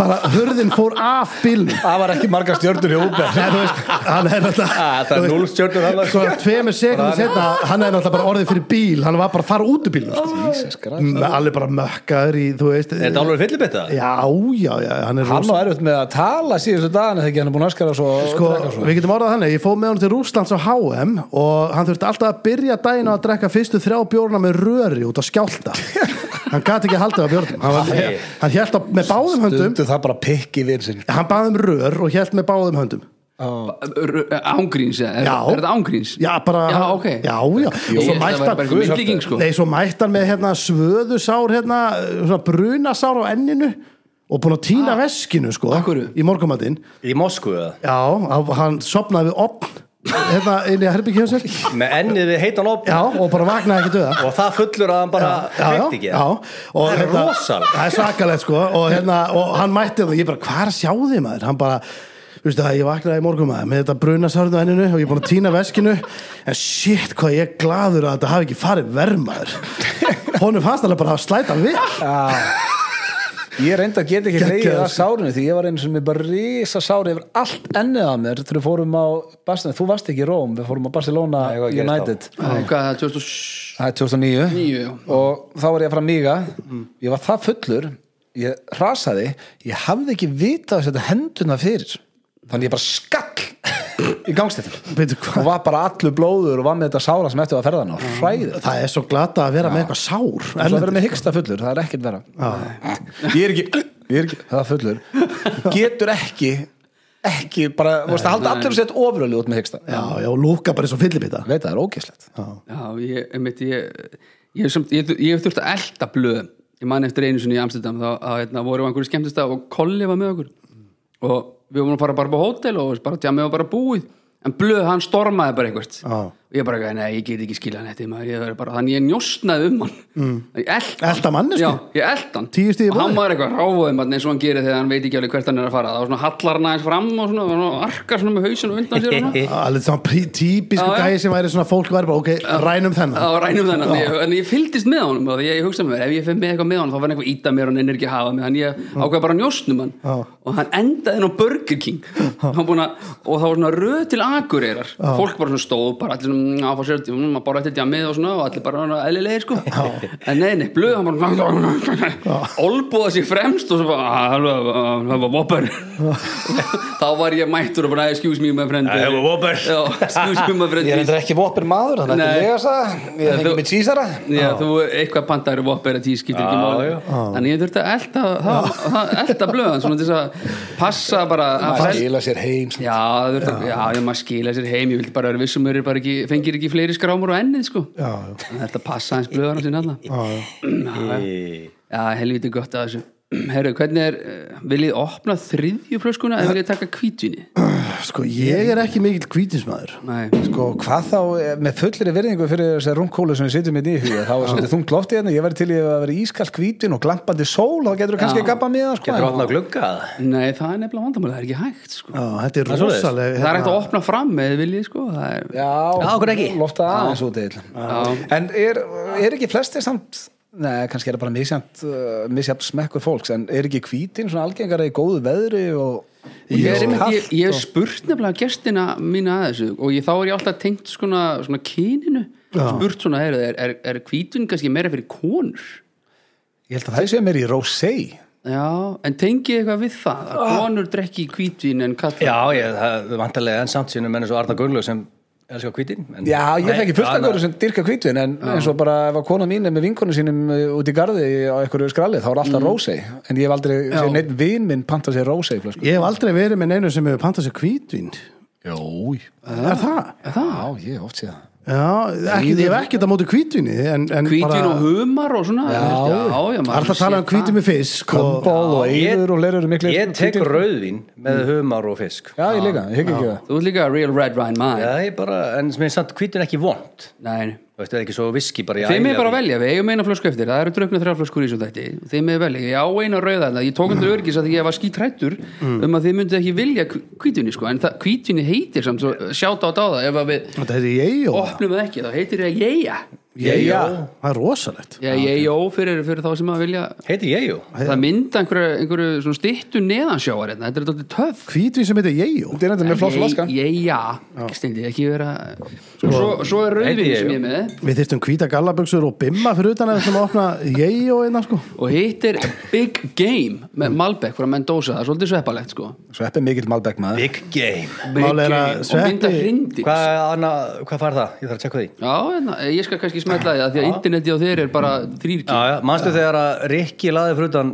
Speaker 1: bara hurðin fór af bílnum
Speaker 3: Það var ekki margar stjörnur í Uber
Speaker 1: Nei, þú veist, hann er náttúrulega
Speaker 4: Ah, það
Speaker 1: þú
Speaker 4: er
Speaker 1: veist,
Speaker 4: núll stjörnur hann
Speaker 1: Svo tveimur sekundum setna, hann er náttúrulega bara orðið fyrir bíl Hann var bara að fara út úr bíl Allir bara mökkaður í, þú veist
Speaker 4: Er þetta
Speaker 1: Já,
Speaker 4: alveg fyllibetta?
Speaker 1: já, já, hann er
Speaker 3: Mm, Hann
Speaker 1: rosa
Speaker 3: var erfitt með að tala síðustu dagana þegar hann er búin að skara svo
Speaker 1: Sko,
Speaker 3: drekka svo.
Speaker 1: við getum orðað þannig, ég fóð með hann til Rúslands á HM og hann þurfti alltaf að byrja daginn á að drekka fyrstu þrjá bjórna með röri út að skjálta hann gati ekki að halda á bjórnum hann, var- hann hélt á, með báðum höndum
Speaker 3: Stundu það bara pikk í vinsinn
Speaker 1: hann baði um rör og hélt með báðum höndum
Speaker 2: eh, ángríns er,
Speaker 1: Já.
Speaker 2: er þetta ángríns?
Speaker 1: Já, bara
Speaker 2: Já, ok.
Speaker 1: Já, já
Speaker 2: Ég-
Speaker 1: Svo
Speaker 2: það
Speaker 1: mælt
Speaker 2: væri bara einhver
Speaker 1: hann
Speaker 2: myndlíking, sko.
Speaker 1: Nei, svo mælt hann með hérna svöðusár hérna, svona brunasár á enninu og búin að týna veskinu, sko
Speaker 2: Ah. hverju?
Speaker 1: í morgumatinn
Speaker 4: Í Moskvu eða?
Speaker 1: Já, hann- hann sopnaði við opn hérna inn í herbyggja sér
Speaker 4: Með ennið við heitan opn
Speaker 1: Já, og bara vaknaði ekki döða
Speaker 4: og það fullur að hann bara hreitt ekki.
Speaker 1: já, og
Speaker 4: Það er
Speaker 1: hérna-
Speaker 4: rosalegt.
Speaker 1: það er svakalegt sko og, hérna, og hann mætti það, ég bara, hvað er að sjá þig maður hann bara, þú veist það, ég vaknaði í morgun maður með þetta brunasárðu á enninu og ég er búin að týna veskinu en shit, hvað ég er gladur að þetta hafi ekki farið verð maður honum fannst alveg bara að slæta við
Speaker 3: Ég reynda að geta ekki
Speaker 1: Geggjaður,
Speaker 3: leiðið að
Speaker 1: sko.
Speaker 3: sárinu því ég var einu sem er bara risa sári yfir allt ennið að mér þegar við fórum á Barcelona, þú varst ekki í Róm við fórum á Barcelona
Speaker 4: Nei, hvað gerist
Speaker 3: United
Speaker 2: Æ, Hvað er það, 2007?
Speaker 3: það er 2009
Speaker 2: Níu, já.
Speaker 3: og þá var ég að fara að míga ég var það fullur ég rasaði, ég hafði ekki vitað að setja henduna fyrir þannig ég bara skall í gangstéttin
Speaker 1: Beidu,
Speaker 3: og var bara allur blóður og var með þetta sára sem eftir var ferðan og hræðið
Speaker 1: það er svo glata að vera með eitthvað sár
Speaker 3: Það er að
Speaker 1: erlendis.
Speaker 3: vera með hyggsta fullur, það er ekkert vera Ég er ekki, ég er ekki Það er fullur Getur ekki, ekki bara, vorst að halda
Speaker 2: nei.
Speaker 3: allir sett ofrölu út með hyggsta
Speaker 1: já, já, og lúka bara eins og fyllibita
Speaker 3: Veit að það er ógæslegt
Speaker 2: Já, ég, einmitt, ég, ég, hef samt, ég, ég hef þurft að elda blöð ég man eftir einu sinni í Amsterdam þá að, hérna, voru einhverju skemmtist og Kolli var með okkur og við vorum að fara bara á hótel og bara tjámið og bara búið en blöð hann stormaði bara eitthvað
Speaker 1: Já.
Speaker 2: og ég bara, eitthvað, nei, ég get ekki skilja hann þetta maður, ég er bara, þannig ég njóstnaði um hann mm. ég elta hann.
Speaker 1: Elta manneskju?
Speaker 2: Já, ég elta hann
Speaker 1: Tíu stig í
Speaker 2: og hann
Speaker 1: boði?
Speaker 2: var eitthvað ráfaði mann eins og hann gerir þegar hann veit ekki alveg hvert hann er að fara það var svona hallar hann aðeins fram og svona, og arkar svona með hausin og undan sér og svona.
Speaker 1: alveg svona típisku
Speaker 2: Já, já.
Speaker 1: gæði sem væri svona fólk væri bara, ok, rænum
Speaker 2: Já,
Speaker 1: þennan
Speaker 2: rænum þennan, ég, en ég fylgdist með honum og því ég, ég hugsa með mér, ef ég fyrir með eitthvað með honum þá verður eitthvað íta mér og hann er ekki að hafa mig þannig ég ákveða bara að njóstnum hann
Speaker 1: Já.
Speaker 2: og hann endaði hann á Burger King Hann búinn að, og það var svona röð til akureyrar fólk bara svona stóð, bara allir svona áfá sér, mm, að bara eftir djamið og svona og allir bara svona eðlilegir sko en nei, nei, blöð, hann bara olbúða sér fremst og svo bara, "Ah, hello, uh, have a whopper þá var ég mættur og bara, excuse me my friend
Speaker 4: I have a Whopper.
Speaker 2: Já, excuse me my friend
Speaker 3: Ég er endur ekki vopin maður, þannig
Speaker 2: Nei.
Speaker 3: að lega það Ég er
Speaker 2: Þú-
Speaker 3: ekki með tísara
Speaker 2: Já, þú eitthvað pantaður og opera tí skiptir ekki
Speaker 4: Já,
Speaker 2: máli
Speaker 4: já.
Speaker 2: Þannig ég þurfti að elta, það, það, elta blöðan svona til þess að passa bara að
Speaker 3: Það
Speaker 2: fel-
Speaker 3: skila sér heim
Speaker 2: Já, það þurfti, já, já, maður skila sér heim Ég vildi bara vera vissum mér bara ekki, fengir ekki fleiri skrámur á ennið sko
Speaker 1: Já, já.
Speaker 2: Það þurfti að passa hans blöðan á sinna alla Já, já. já, helviti gott að þessu Herru, hvernig er, eh, viljið opna þriðju flöskuna eða viljið taka kvítvinni?
Speaker 1: sko, ég er ekki mikill kvítinsmaður
Speaker 2: Nei,
Speaker 3: Sko, hvað þá, eh, með fullri virðingu fyrir þessar rungkólu sem við sitjum með nýhuga þá er svolítið þungt loftið hérna, ég verði til í að vera ískalt hvítin og glampandi sól, þá getur þú kannski
Speaker 2: Já.
Speaker 3: gabbað með það, sko
Speaker 4: Getur opnað glugga
Speaker 2: nei, það er nefnilega vandamál, það er ekki hægt sko
Speaker 1: já, þetta er
Speaker 4: er svoleiðis.
Speaker 1: rosaleg hérna.
Speaker 2: Það er hægt að opna fram eða viljið sko það er,
Speaker 3: Já,
Speaker 4: Já, okkur ekki.
Speaker 3: Lofta aðeins út eða
Speaker 2: Já.
Speaker 3: En er, er ekki flestir samt Nei, kannski er það bara misjant, uh, misjant smekkur fólks En er ekki hvítin svona algengara í góðu veðri og, og
Speaker 2: ég, er einmitt, ég,
Speaker 3: kalt sko.
Speaker 2: ég hef spurt nefnilega gestina mína að þessu og ég, þá er ég alltaf tengt svona, svona kyninu spurt svona, er, er, er, er hvítun kannski meira fyrir konur
Speaker 3: Ég held að það sé mér í rosé
Speaker 2: já, en tengi ég eitthvað við það að konur drekki hvítvin en kalla
Speaker 4: Já, ég, það er vantarlega enn samt sínum en eins og Arna Gunnlaug sem elskar kvítin en-
Speaker 3: Já, ég
Speaker 4: Nei,
Speaker 3: þekki fullt af
Speaker 4: Arna-
Speaker 3: hverju sem dyrka hvítin En eins og bara ef að kona mín er með vinkonu sínum uh, út í garði á einhverju skralli þá er alltaf mm. En ég hef aldrei,
Speaker 2: Já.
Speaker 3: séð neitt vin minn panta sér rosé flösku.
Speaker 1: Ég hef aldrei verið með neinu sem hefur pantað sér kvítvín
Speaker 3: Jó,
Speaker 1: Er það?
Speaker 3: já, ég hef oft séð það
Speaker 1: Já, ekki, ég hef ekkert að móti kvítvinni en, en
Speaker 2: hvítvin
Speaker 1: bara,
Speaker 2: og humar og svona já, já, já
Speaker 1: Það er það að tala um kvítvín með fisk og,
Speaker 3: Ból og
Speaker 4: ég-
Speaker 3: eyður og leirur miklu
Speaker 4: Ég tek rauðvín með humar og fisk
Speaker 3: Já, ég líka, ég hef ekki það
Speaker 2: þú ert líka real red wine man
Speaker 4: Já, ég bara, en sem er samt kvítin ekki vond
Speaker 2: nei, nei.
Speaker 4: Þú veist, það er ekki svo viski bara í
Speaker 2: Þeim er
Speaker 4: ægilega-
Speaker 2: bara að velja, við eigum eina flösku eftir það eru draukna þrjá flöskur í svo þætti Þeim er velja, ég á eina rauða þarna Ég tók
Speaker 3: Mm.
Speaker 2: undir örgis að ég var skítrættur um að þið myndu ekki vilja kvítunni sko. en það, kvítunni heitir samt svo sjáta á dáða ef að við
Speaker 1: Þetta heitir ég og
Speaker 2: opnum það ekki, þá heitir það jeja
Speaker 4: Ég, já
Speaker 1: Það er rosalegt
Speaker 2: Já, jejó fyrir, fyrir þá sem að vilja
Speaker 4: Heitir ég, jú
Speaker 2: það mynda einhverju, einhverju svona styttu neðansjáar hérna, þetta er dálítið töff
Speaker 1: Kvítvín sem heitir ég og
Speaker 3: Þetta er nefnilega með flott flaska
Speaker 2: Jeja, ekki stendi, ekki vera Sko, svo, svo er rauðvinni
Speaker 4: Heitir
Speaker 2: sem
Speaker 4: Jeyo.
Speaker 2: ég er með
Speaker 1: Við þyrstum hvíta gallaböksur og bimma fyrir utan að þessum að opna ég og einna sko
Speaker 2: og hittir Big Game með Malbec frá Mendoza, það er svolítið sveppalegt sko
Speaker 3: Sveppi mikill Malbec maður
Speaker 4: Big game
Speaker 1: Mál er að
Speaker 2: og mynda
Speaker 1: sveppi-
Speaker 2: hrindi
Speaker 4: Hvað, Anna, hvað fær það? Ég þarf að tjekka á því
Speaker 2: Já, hérna, ég skal kannski smetla því að því að interneti á þeir er bara þrýrki
Speaker 4: Já, já, manstu þegar að Rikki laði fyrir utan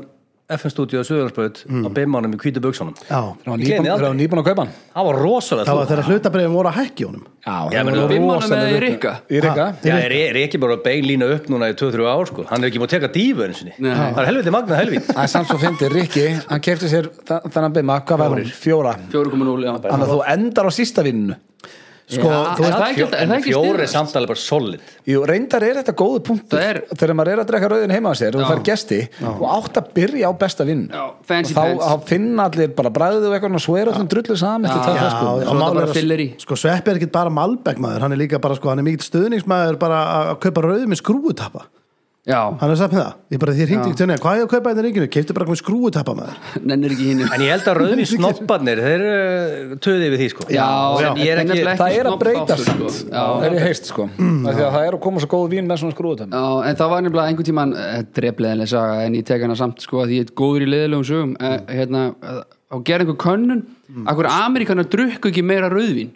Speaker 4: FM stúdíu á Suðurlandsbröð á beimánum í hvítu buksunum
Speaker 1: Já.
Speaker 4: Ég gleymi
Speaker 3: Það var
Speaker 4: aldrei.
Speaker 3: nýbúin að kaupa hann
Speaker 4: það var rosalega
Speaker 1: Það var þegar hlutabriðum voru að hækki honum
Speaker 3: Já,
Speaker 4: Já,
Speaker 3: það
Speaker 4: menn,
Speaker 3: var
Speaker 2: Bimmanum
Speaker 3: rosalega
Speaker 2: eða í
Speaker 3: hluti.
Speaker 2: Rikka?
Speaker 3: Í Rikka
Speaker 1: Ha.
Speaker 4: Já, er, er ekki bara beinlína upp núna í 2-3 ár sko. hann er ekki múið að teka dífu einu sinni
Speaker 2: Nei.
Speaker 4: það er helviti magna helvít
Speaker 3: Það er samt svo fyndið, Rikki, hann kefti sér þa- þennan bimma, hvað var hún? Fjóra
Speaker 2: 4.0 já.
Speaker 3: Þannig að þú endar á sísta vinnu
Speaker 1: Sko,
Speaker 2: Já,
Speaker 1: þú
Speaker 2: er
Speaker 1: veist
Speaker 2: það ekki alltaf- er það ekki
Speaker 4: fjóri
Speaker 2: styrra?
Speaker 4: samtali bara solid
Speaker 3: Jú, reyndar er þetta góðu punktur
Speaker 2: Það er-
Speaker 3: Þegar maður er að drekka rauðin heima á sér og þú fær gesti og átt að byrja á besta vinn
Speaker 2: Já, fancy
Speaker 3: þá,
Speaker 2: pants.
Speaker 3: þá finna allir bara bræðið og eitthvað og svo er allir drullu saman til
Speaker 1: Já,
Speaker 3: það sko
Speaker 2: Svo
Speaker 1: og
Speaker 2: er það
Speaker 1: málið
Speaker 2: bara
Speaker 1: er að-
Speaker 2: fyllerí.
Speaker 1: Sko, Sveppi er ekki bara Malbek maður Hann er líka bara, sko, hann er mikill stuðningsmaður bara að að kaupa rauðum með skrúutappa
Speaker 2: já,
Speaker 1: Hann er sagt með það, ég bara þér hringdi ekki til henni Hvað er að kaupa hérna þetta ríkinu? Keipti bara eitthvað skrúutappa maður
Speaker 2: nennir ekki hinn
Speaker 4: en ég held að rauðin snopparnir þeir eru töðið við því sko.
Speaker 2: Já,
Speaker 4: En ég er ekki,
Speaker 2: nefnilega
Speaker 3: Það er að
Speaker 2: snobb
Speaker 3: breyta
Speaker 2: þáttur,
Speaker 3: samt,
Speaker 2: sko. Já.
Speaker 3: það er ég heist sko Af því að það er að koma svo góð vín með svona skrúðutömm
Speaker 2: Já, en það var nefnilega einhvern tíman drefleðilega saga en ég tek hana samt sko að því ég er góður í leðilegum sögum eh, hérna, eh, á gera einhver könnun
Speaker 1: Mm.
Speaker 2: akkur Amerikanar drukku ekki meira rauðvín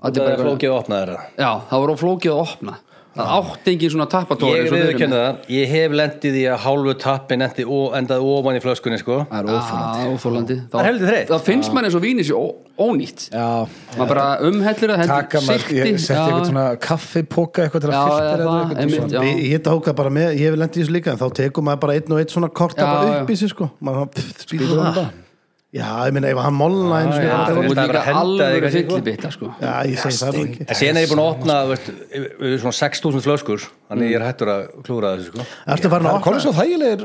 Speaker 4: það er flókið að opna þeirra
Speaker 2: Já, það voru flókið að opna það átti engin svona tappatóri
Speaker 4: ég
Speaker 2: eins og við erum
Speaker 4: viðurkenna
Speaker 2: með.
Speaker 4: það, ég hef lendið í að hálfu tappin endi ó, endaði ofan í flöskunni sko.
Speaker 3: Það er ófært
Speaker 2: Ah, óþolandi.
Speaker 4: Það er heldur þreytt.
Speaker 2: Það finnst mann eins og vínið sé ó- ónýtt
Speaker 3: Já,
Speaker 2: maður bara umhellir það
Speaker 3: taka
Speaker 2: heldur
Speaker 3: maður, ég setti eitthvað svona kaffipoka eitthvað til
Speaker 2: Já,
Speaker 3: að
Speaker 2: eða
Speaker 3: filtra
Speaker 2: það,
Speaker 3: þetta
Speaker 2: einmitt,
Speaker 3: eitthvað
Speaker 2: já.
Speaker 1: Ég, ég tók það bara með, ég hef lendið í þessu líka en þá tekur maður bara einn og einn svona kort
Speaker 2: Já,
Speaker 1: bara
Speaker 2: já.
Speaker 1: upp í sig sko maður, pff, spýtur það Já, ég minna, ef hann molna einu sinni
Speaker 4: já,
Speaker 1: bara
Speaker 4: þú
Speaker 1: tekur-
Speaker 2: og
Speaker 4: veist. Það er bara
Speaker 2: líka
Speaker 4: að henda þig
Speaker 2: alveg
Speaker 4: kannski, sko.
Speaker 2: fyllibita sko
Speaker 1: Já, ég segi það bara ekki
Speaker 4: en síðan er ég búin að opna veist, yfir- yfir svona 6000 flöskur þannig
Speaker 2: Mm.
Speaker 4: ég er hættur að klúra þessu sko.
Speaker 1: Ertu farin að
Speaker 3: Það
Speaker 1: opna
Speaker 3: komið svo þægilegir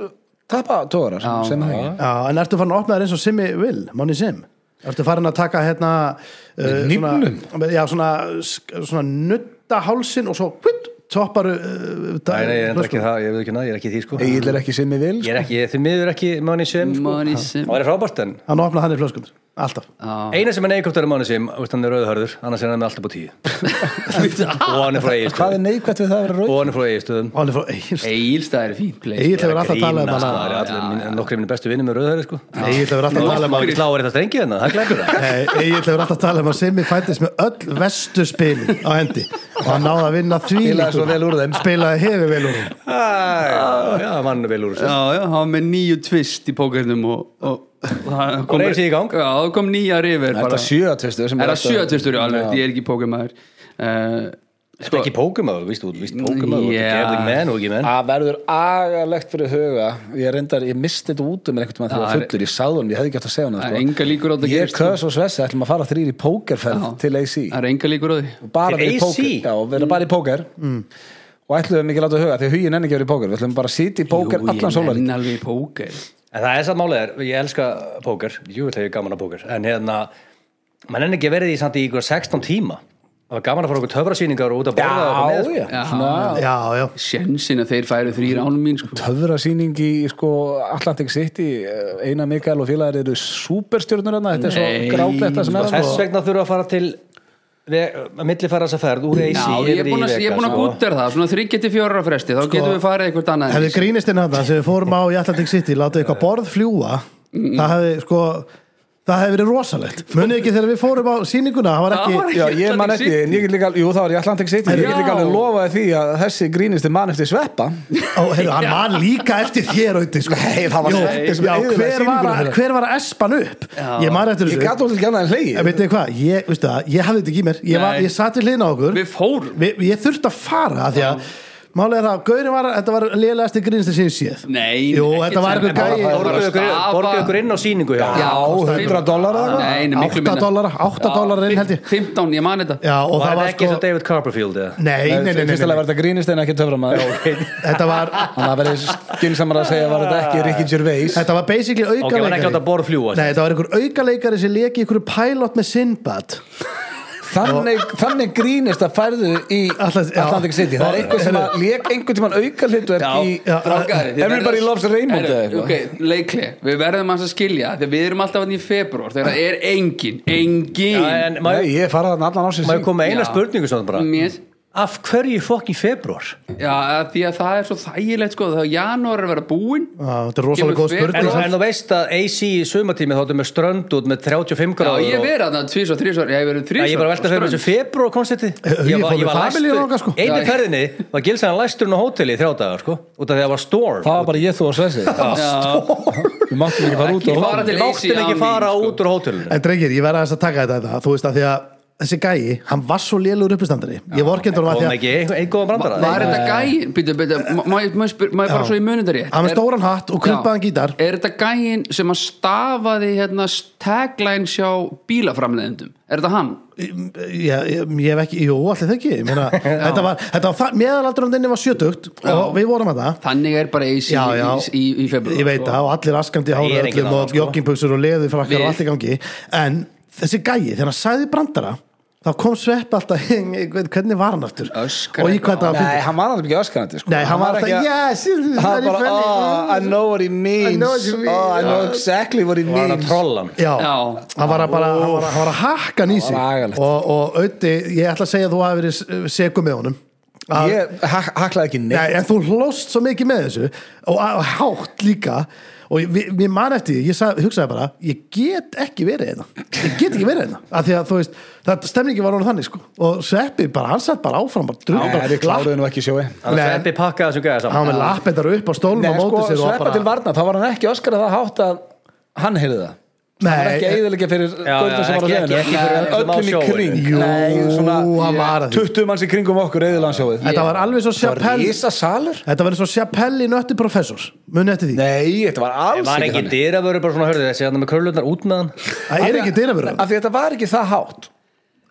Speaker 3: tappatórar sem það ekki
Speaker 1: Já, en ertu farin að opna þér eins og Simmi vil, Manni Sim? Ertu farin að taka hérna uh,
Speaker 3: hnífnum?
Speaker 1: svona- Já, svona, sk- svona nutta hálsin og svo hvitt, topparu uh,
Speaker 4: Nei, nei, ég er enda ekki það, ég viðurkenna, það, ég er ekki í því sko.
Speaker 3: Egil er ekki sem ég vil sko.
Speaker 4: Ég er ekki, þið miður ekki Máni Sim sko.
Speaker 2: Money Sim.
Speaker 4: Það væri frábært en
Speaker 1: Hann opnaði hann í flöskum, alltaf
Speaker 4: Eina sem er neikvæmt er Máni Sim, þú veist, hann er rauðhörður annars er hann með alltaf á tíu Og hann er frá
Speaker 3: Hvað er
Speaker 4: eigistöðum
Speaker 3: neikvægt við það að vera rauð?
Speaker 4: Og hann er frá eigistöðum
Speaker 1: Og hann er frá Egil
Speaker 2: Egilstæð er fín place
Speaker 1: Egil hefur alltaf talað um
Speaker 4: sko, Það
Speaker 1: hana
Speaker 4: er allir minn- nokkrir minni bestu vinnir með rauðhörður sko
Speaker 1: Egil hefur alltaf talað um
Speaker 4: Nokkri
Speaker 1: hana
Speaker 4: sláir þetta strengi þarna, það glæpur það
Speaker 1: Nei, Egil hefur alltaf talað um að Simmi fættist með öll vestu spilin á hendi og hann náði að vinna því
Speaker 3: Spilaði svo vel úr þeim.
Speaker 1: Spilaði hefur vel úr þeim
Speaker 4: Æ, Já, mann er vel úr þessu
Speaker 2: Já, já, hann var með nýju tvist í pókernum og, og, og það kom,
Speaker 4: reis í gang.
Speaker 2: Já, það kom nýja rifir
Speaker 3: Er það sjöatvistur?
Speaker 2: Er það sjö tvistur í alveg,
Speaker 3: Já.
Speaker 2: ég er ekki pókermaður uh,
Speaker 4: Þetta er ekki pókumáður, víst þú, víst pókumáður
Speaker 2: Já.
Speaker 4: Gefðu ekki menn og ekki menn
Speaker 3: Það verður agalegt fyrir huga Ég reyndar, ég misti þetta út um einhvern veginn þegar
Speaker 2: Það
Speaker 3: það
Speaker 2: er-
Speaker 3: fullur, ég sáði honum, ég hefði ekki átt að segja honum sko.
Speaker 2: Það er enga líkur á þetta
Speaker 3: Ég,
Speaker 2: gerist, sko.
Speaker 3: Kös og Svessi ætlum að fara þrýr í pókerferð til AC
Speaker 2: Það er enga líkur á því
Speaker 3: Og bara vera
Speaker 4: Til
Speaker 3: í
Speaker 4: AC?
Speaker 3: póker Já, og
Speaker 2: Mm.
Speaker 3: vera bara í póker Og ætlum við mikið láta huga, því hugin enn ekki verið í póker Við ætlum bara að sitja í póker allan
Speaker 2: Jú,
Speaker 3: sólar
Speaker 2: ég nenni alveg í póker
Speaker 4: En það er satt málið er, ég elska póker, jú vil hefur gaman að póker, en hérna, mann enn ekki verið í samt í ykkur 16 tíma. Það var gaman að fara okkur töfrasýningar og út að borða og
Speaker 3: Já,
Speaker 4: eitthvað með, sko.
Speaker 3: já,
Speaker 2: Já.
Speaker 3: svona
Speaker 1: Já, já
Speaker 2: Sjensin að þeir færu þrýr ánum mín sko.
Speaker 3: töfrasýning í sko, Atlantic City eh, Einar Mikael og félagar eru superstjörnur hana, þetta er svo
Speaker 2: Nei.
Speaker 3: grátlegt það sem er
Speaker 4: Þess
Speaker 3: sko.
Speaker 4: vegna þurfa að fara til, að milli fara þessa ferð úr
Speaker 2: Já,
Speaker 4: AC
Speaker 2: ég er búin að, ég er búin
Speaker 4: sko.
Speaker 2: að gúter það Svona 3-4 ára fresti, þá getum við farið eitthvað annað
Speaker 1: Hefði grínistinn hann sem við fórum á í Atlantic City látið eitthvað borð fljúa það hefði sko það hefði verið rosalegt munið ekki þegar við fórum á sýninguna það var
Speaker 2: Það var
Speaker 1: ekki
Speaker 2: ekki-
Speaker 3: Já, ég man
Speaker 2: Atlantic
Speaker 3: ekki, en ég get líka, jú það var í Atlantic City Ég get líka
Speaker 2: Já.
Speaker 3: alveg lofaði því að þessi grínisti mann eftir sveppa
Speaker 1: Ó, heyrðu, hann man líka eftir þér auðvitað sko.
Speaker 3: Nei, það var
Speaker 1: Jó,
Speaker 3: Sveppi sem
Speaker 1: já,
Speaker 3: eyðilagði
Speaker 1: hver, var
Speaker 3: sýninguna
Speaker 1: að,
Speaker 3: þeirra.
Speaker 1: hver var að espan upp ég man eftir
Speaker 3: Ég
Speaker 1: þessu
Speaker 3: gat hún ekki annað en
Speaker 1: En
Speaker 3: hlegi
Speaker 1: veitu hvað, ég, veistu það, ég hafði þetta ekki í mér Ég, var,
Speaker 2: Nei.
Speaker 1: ég sat við hliðina á okkur
Speaker 2: Við fórum.
Speaker 1: Við- Ég þurfti að fara af Því að Málega er það, Gauri var, þetta var lélegasti grínst sem ég séð
Speaker 2: Nei,
Speaker 1: Jú,
Speaker 2: ekki
Speaker 1: þetta var
Speaker 2: sem-
Speaker 1: einhver gæi-
Speaker 2: Það var bara stafa-
Speaker 4: Borgið ykkur inn á sýningu hjá.
Speaker 2: Já,
Speaker 3: Já, 100 dollara eða eitthvað?
Speaker 2: Nei, nei,
Speaker 1: 8
Speaker 2: miklu minna.
Speaker 1: dollara, 8 dollara inn held ég
Speaker 2: 15, ég man þetta
Speaker 1: Já, og
Speaker 4: Og
Speaker 1: það var
Speaker 4: ekki
Speaker 1: sko
Speaker 4: eins og David Copperfield, eða?
Speaker 1: Nei, nei, nei, nei, nei,
Speaker 3: Fyrstilega
Speaker 1: nei.
Speaker 3: var þetta grínisti en ekki töframæður
Speaker 1: Þetta var,
Speaker 3: Þannig að það verið skynnsamar að segja var þetta ekki Ricky Gervais
Speaker 1: þetta var basically
Speaker 4: Ok, hann ekki
Speaker 1: aukaleikari
Speaker 4: átt að borð fljúa.
Speaker 1: Nei, þetta var einhver aukaleikari sem leki einhverju pilot með Sinbad
Speaker 3: Þannig, þannig grínist að færðu í
Speaker 1: Atlas- já.
Speaker 3: Atlantic City Það er eitthvað sem að lék einhvern tímann auka hlutverk
Speaker 2: Já,
Speaker 3: í
Speaker 1: já.
Speaker 2: Strákar, þið
Speaker 3: Everybody
Speaker 2: verðið-
Speaker 3: loves Raymond
Speaker 2: Herru,
Speaker 3: eða eitthvað.
Speaker 2: ok, leikli, við verðum hans að skilja þegar við erum alltaf hann í februar þegar það er engin, engin
Speaker 4: Já, en má
Speaker 3: Nei,
Speaker 4: ég
Speaker 3: ég fara þarna allan ásins
Speaker 4: má ég koma með eina
Speaker 2: Já.
Speaker 4: spurningu svona bara?
Speaker 2: Mér,
Speaker 4: Af hverju fokk í februar?
Speaker 2: já, að því að það er svo þægilegt sko, þá janúar er að vera búinn
Speaker 1: Já, Þetta er rosalega
Speaker 2: Kemur
Speaker 1: góð
Speaker 2: fer-
Speaker 4: En,
Speaker 1: spurning
Speaker 4: en þú veist að AC í sumatími þá ertu með strönd út með 35
Speaker 2: Já,
Speaker 4: gráður
Speaker 2: ég
Speaker 4: og-
Speaker 2: hef verið þarna tvís og þrís já, ég hef verið
Speaker 4: Já,
Speaker 2: þrís
Speaker 4: ég bara velta fyrir mér þessu februar konserti
Speaker 1: ég fór með family þangað, sko.
Speaker 2: Já,
Speaker 4: Einu
Speaker 2: ég-
Speaker 4: ferðinni var gilsaðan læsturinn á hóteli í þrjá dagar sko Út af því að það var storm
Speaker 3: Það var bara ég þú og Svessi
Speaker 2: Já,
Speaker 3: Við máttum ekki fara út
Speaker 2: Ekki
Speaker 3: á
Speaker 2: fara til-
Speaker 3: hótelinu.
Speaker 4: Við máttum ekki
Speaker 2: Lazy
Speaker 4: fara
Speaker 2: ánýn, sko.
Speaker 4: út úr hótelinu
Speaker 1: En drengir, ég verða aðeins að taka þetta, þetta þú veist að því að þessi gæi, hann var svo lélugur uppistandari ég vorkendur hann að
Speaker 4: Kom
Speaker 1: því að
Speaker 4: ekki einhver- einn góðan brandara
Speaker 2: Var þetta gæin, býtu, býtu, má- má ég má ég spyr- má ég bara
Speaker 1: Já.
Speaker 2: svo í munundar rétt
Speaker 1: hann var
Speaker 2: Er-
Speaker 1: stóran hatt og krumpaðan
Speaker 2: Já.
Speaker 1: gítar
Speaker 2: Er þetta gæin sem að stafaði hérna tagline sjá bílaframleðendum? Er þetta hann?
Speaker 1: ég, ég, ég hef ekki, jú, allir það ekki Ég meina, þetta var, þetta var meðalaldurandinni var sjötugt og við vorum að það
Speaker 2: Þannig er bara AC
Speaker 1: Já, já.
Speaker 2: í, í, í februar
Speaker 1: ég veit það og allir askandi
Speaker 4: Það er
Speaker 1: hára
Speaker 4: enginn
Speaker 1: öllum
Speaker 4: annað,
Speaker 1: og
Speaker 4: sko.
Speaker 1: jogginbuxur og leðu frakkar
Speaker 2: Við-
Speaker 1: og allt í gangi en þessi gæi, þegar hann sagði brandara þá kom svepp alltaf hvernig var hann aftur
Speaker 2: Öskar
Speaker 1: og í
Speaker 2: eitthvað
Speaker 1: hvað það
Speaker 3: Nei, hann var alveg ekki öskanandi sko.
Speaker 1: Nei, hann var alltaf,
Speaker 3: ekki að-
Speaker 1: yes, it's
Speaker 3: Hann
Speaker 1: very
Speaker 3: bara,
Speaker 1: funny
Speaker 3: oh, I know what he
Speaker 1: I
Speaker 3: means
Speaker 1: know what you mean.
Speaker 3: Oh, I know exactly what he
Speaker 4: Var hann
Speaker 3: means
Speaker 4: að trolla hann?
Speaker 1: Já,
Speaker 2: Já.
Speaker 1: hann var að bara hann var, að- hann var að hakka hann í sig
Speaker 3: var agalegt.
Speaker 1: og, og auði, ég ætla að segja að þú hafi verið segum með honum að,
Speaker 3: Ég hak- haklaði ekki neitt
Speaker 1: nei, en þú hlóst svo mikið með þessu og, og hátt líka og ég- við- mér man eftir því, ég sag, hugsaði bara ég get ekki verið hérna ég get ekki verið hérna, af því að þú veist það stemningi var honum þannig sko og Sveppi bara, hann satt bara áfram, bara dröð
Speaker 3: Nei,
Speaker 1: bara,
Speaker 3: við kláruðu nú ekki sjói
Speaker 4: Þannig að
Speaker 1: Nei.
Speaker 4: Sveppi pakkaði þessum gæða
Speaker 1: hann
Speaker 4: saman
Speaker 1: var með lappendar upp á stólum
Speaker 3: Nei,
Speaker 1: á móti
Speaker 3: sko,
Speaker 1: sér og
Speaker 3: sveppa
Speaker 1: bara-
Speaker 3: til varna, þá var hann ekki öskarað það hátt að hann heyrði það hann var
Speaker 1: Nei,
Speaker 3: ekki
Speaker 1: eh,
Speaker 3: eiðilega fyrir
Speaker 4: Já,
Speaker 3: gauta
Speaker 4: já,
Speaker 3: sem var á
Speaker 4: ekki-
Speaker 3: leiðinu
Speaker 4: ekki- ekki fyrir öllum á
Speaker 3: öllum í
Speaker 4: sjóinu.
Speaker 3: kring
Speaker 1: Jú,
Speaker 3: Nei,
Speaker 1: hann var að því.
Speaker 3: 20 manns í kringum okkur eiðilega hann sjóið
Speaker 1: þetta var alveg svo Chappelle
Speaker 3: Rísa salur?
Speaker 1: þetta var eins og Chappelle í nötti professor muni eftir því
Speaker 3: Nei, þetta var alls
Speaker 4: Var
Speaker 3: ekki
Speaker 4: ekki
Speaker 3: þannig
Speaker 4: dyravöru bara svona hörðu þessi hann með krölunar út með hann
Speaker 1: Það er ekki dyravörður
Speaker 3: Af því þetta var ekki það hátt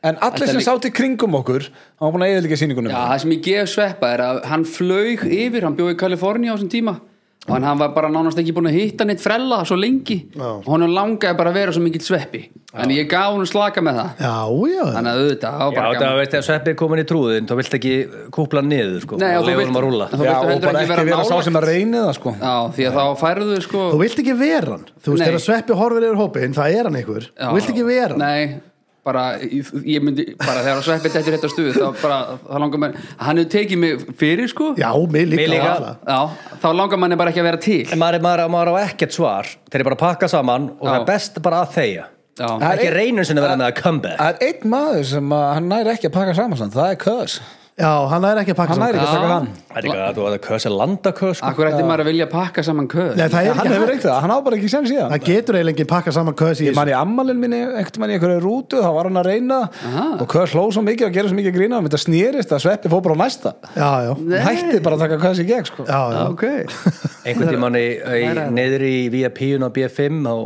Speaker 3: En allir
Speaker 2: Þetta
Speaker 3: sem
Speaker 2: líka-
Speaker 3: sátt í kringum okkur hann var búin að eiðilega síningunum
Speaker 2: Já, það sem ég gef sveppa er að hann flaug yfir, hann bjóði í Kaliforníu á þessum tíma og hann- hann var bara nánast ekki búin að hitta neitt frella svo lengi
Speaker 1: Já.
Speaker 2: og hann langaði bara að vera svo mikill sveppi Þannig ég gaf hún slaka með það
Speaker 1: Já, já,
Speaker 2: Þannig að auðvitað, það var
Speaker 4: Já,
Speaker 2: bara
Speaker 4: það
Speaker 2: gaman
Speaker 4: veist ef Sveppi er komin í trúðin þá vilt ekki kúpla hann niður sko
Speaker 2: Nei, og
Speaker 4: og
Speaker 2: þú
Speaker 4: leifa
Speaker 2: vilt-
Speaker 4: honum að rúlla
Speaker 2: þú
Speaker 3: Já,
Speaker 2: viltu
Speaker 3: og
Speaker 2: heldur ekki
Speaker 3: bara ekki
Speaker 2: vera
Speaker 3: vera sá
Speaker 2: nálægt.
Speaker 3: sem að reyni það sko
Speaker 2: Já, því að þá færðu sko
Speaker 1: Þú vilt ekki vera hann Þú veist,
Speaker 2: Nei.
Speaker 1: þegar sveppi horfir yfir hópin, það er hann einhver
Speaker 2: Já.
Speaker 1: Þú vilt ekki vera hann
Speaker 2: Nei, bara, ég ég myndi bara þegar að sveppi þetta rétt á stuðu þá bara, þá langar mér hann hefur tekið mig fyrir sko
Speaker 1: Já, mig líka,
Speaker 4: Mig líka.
Speaker 1: alla.
Speaker 2: Já, þá langar manni bara ekki að vera til
Speaker 4: En maður, maður, maður á ekkert svar þeir eru bara að pakka saman og
Speaker 2: Já.
Speaker 4: það er best bara að þegja
Speaker 2: Já,
Speaker 3: Það er
Speaker 4: ekki
Speaker 3: ein-
Speaker 4: reynun sinni að vera með að comeback
Speaker 3: Það er einn maður sem að, hann næri ekki að pakka saman samt, það er Kös
Speaker 1: Já, hann er ekki að pakka
Speaker 3: Hann
Speaker 1: saman.
Speaker 3: næri ekki að taka hann
Speaker 4: Það er ekki að þú að það kösa landakös sko.
Speaker 2: akkur ætti maður að vilja pakka saman köð
Speaker 1: Nei, það er
Speaker 3: Hann
Speaker 1: ekki
Speaker 3: hefur
Speaker 1: hægt
Speaker 3: reynt það, hann á bara ekki sem síðan
Speaker 1: Það getur eiginlega ekki pakka saman köðs í
Speaker 3: Ég man í ammalin minni, ekkert mann í einhverju rútu þá var hann að reyna og hvað hló svo mikið og gera svo mikið grína um þetta snýrist að sveppi fór bara á næsta
Speaker 1: Já, já,
Speaker 2: Nei.
Speaker 3: Hætti bara að taka hvað sér gegn sko
Speaker 1: já, já.
Speaker 2: Ok
Speaker 4: einhvern tímann í, í neðri í VIP-un á B5 á,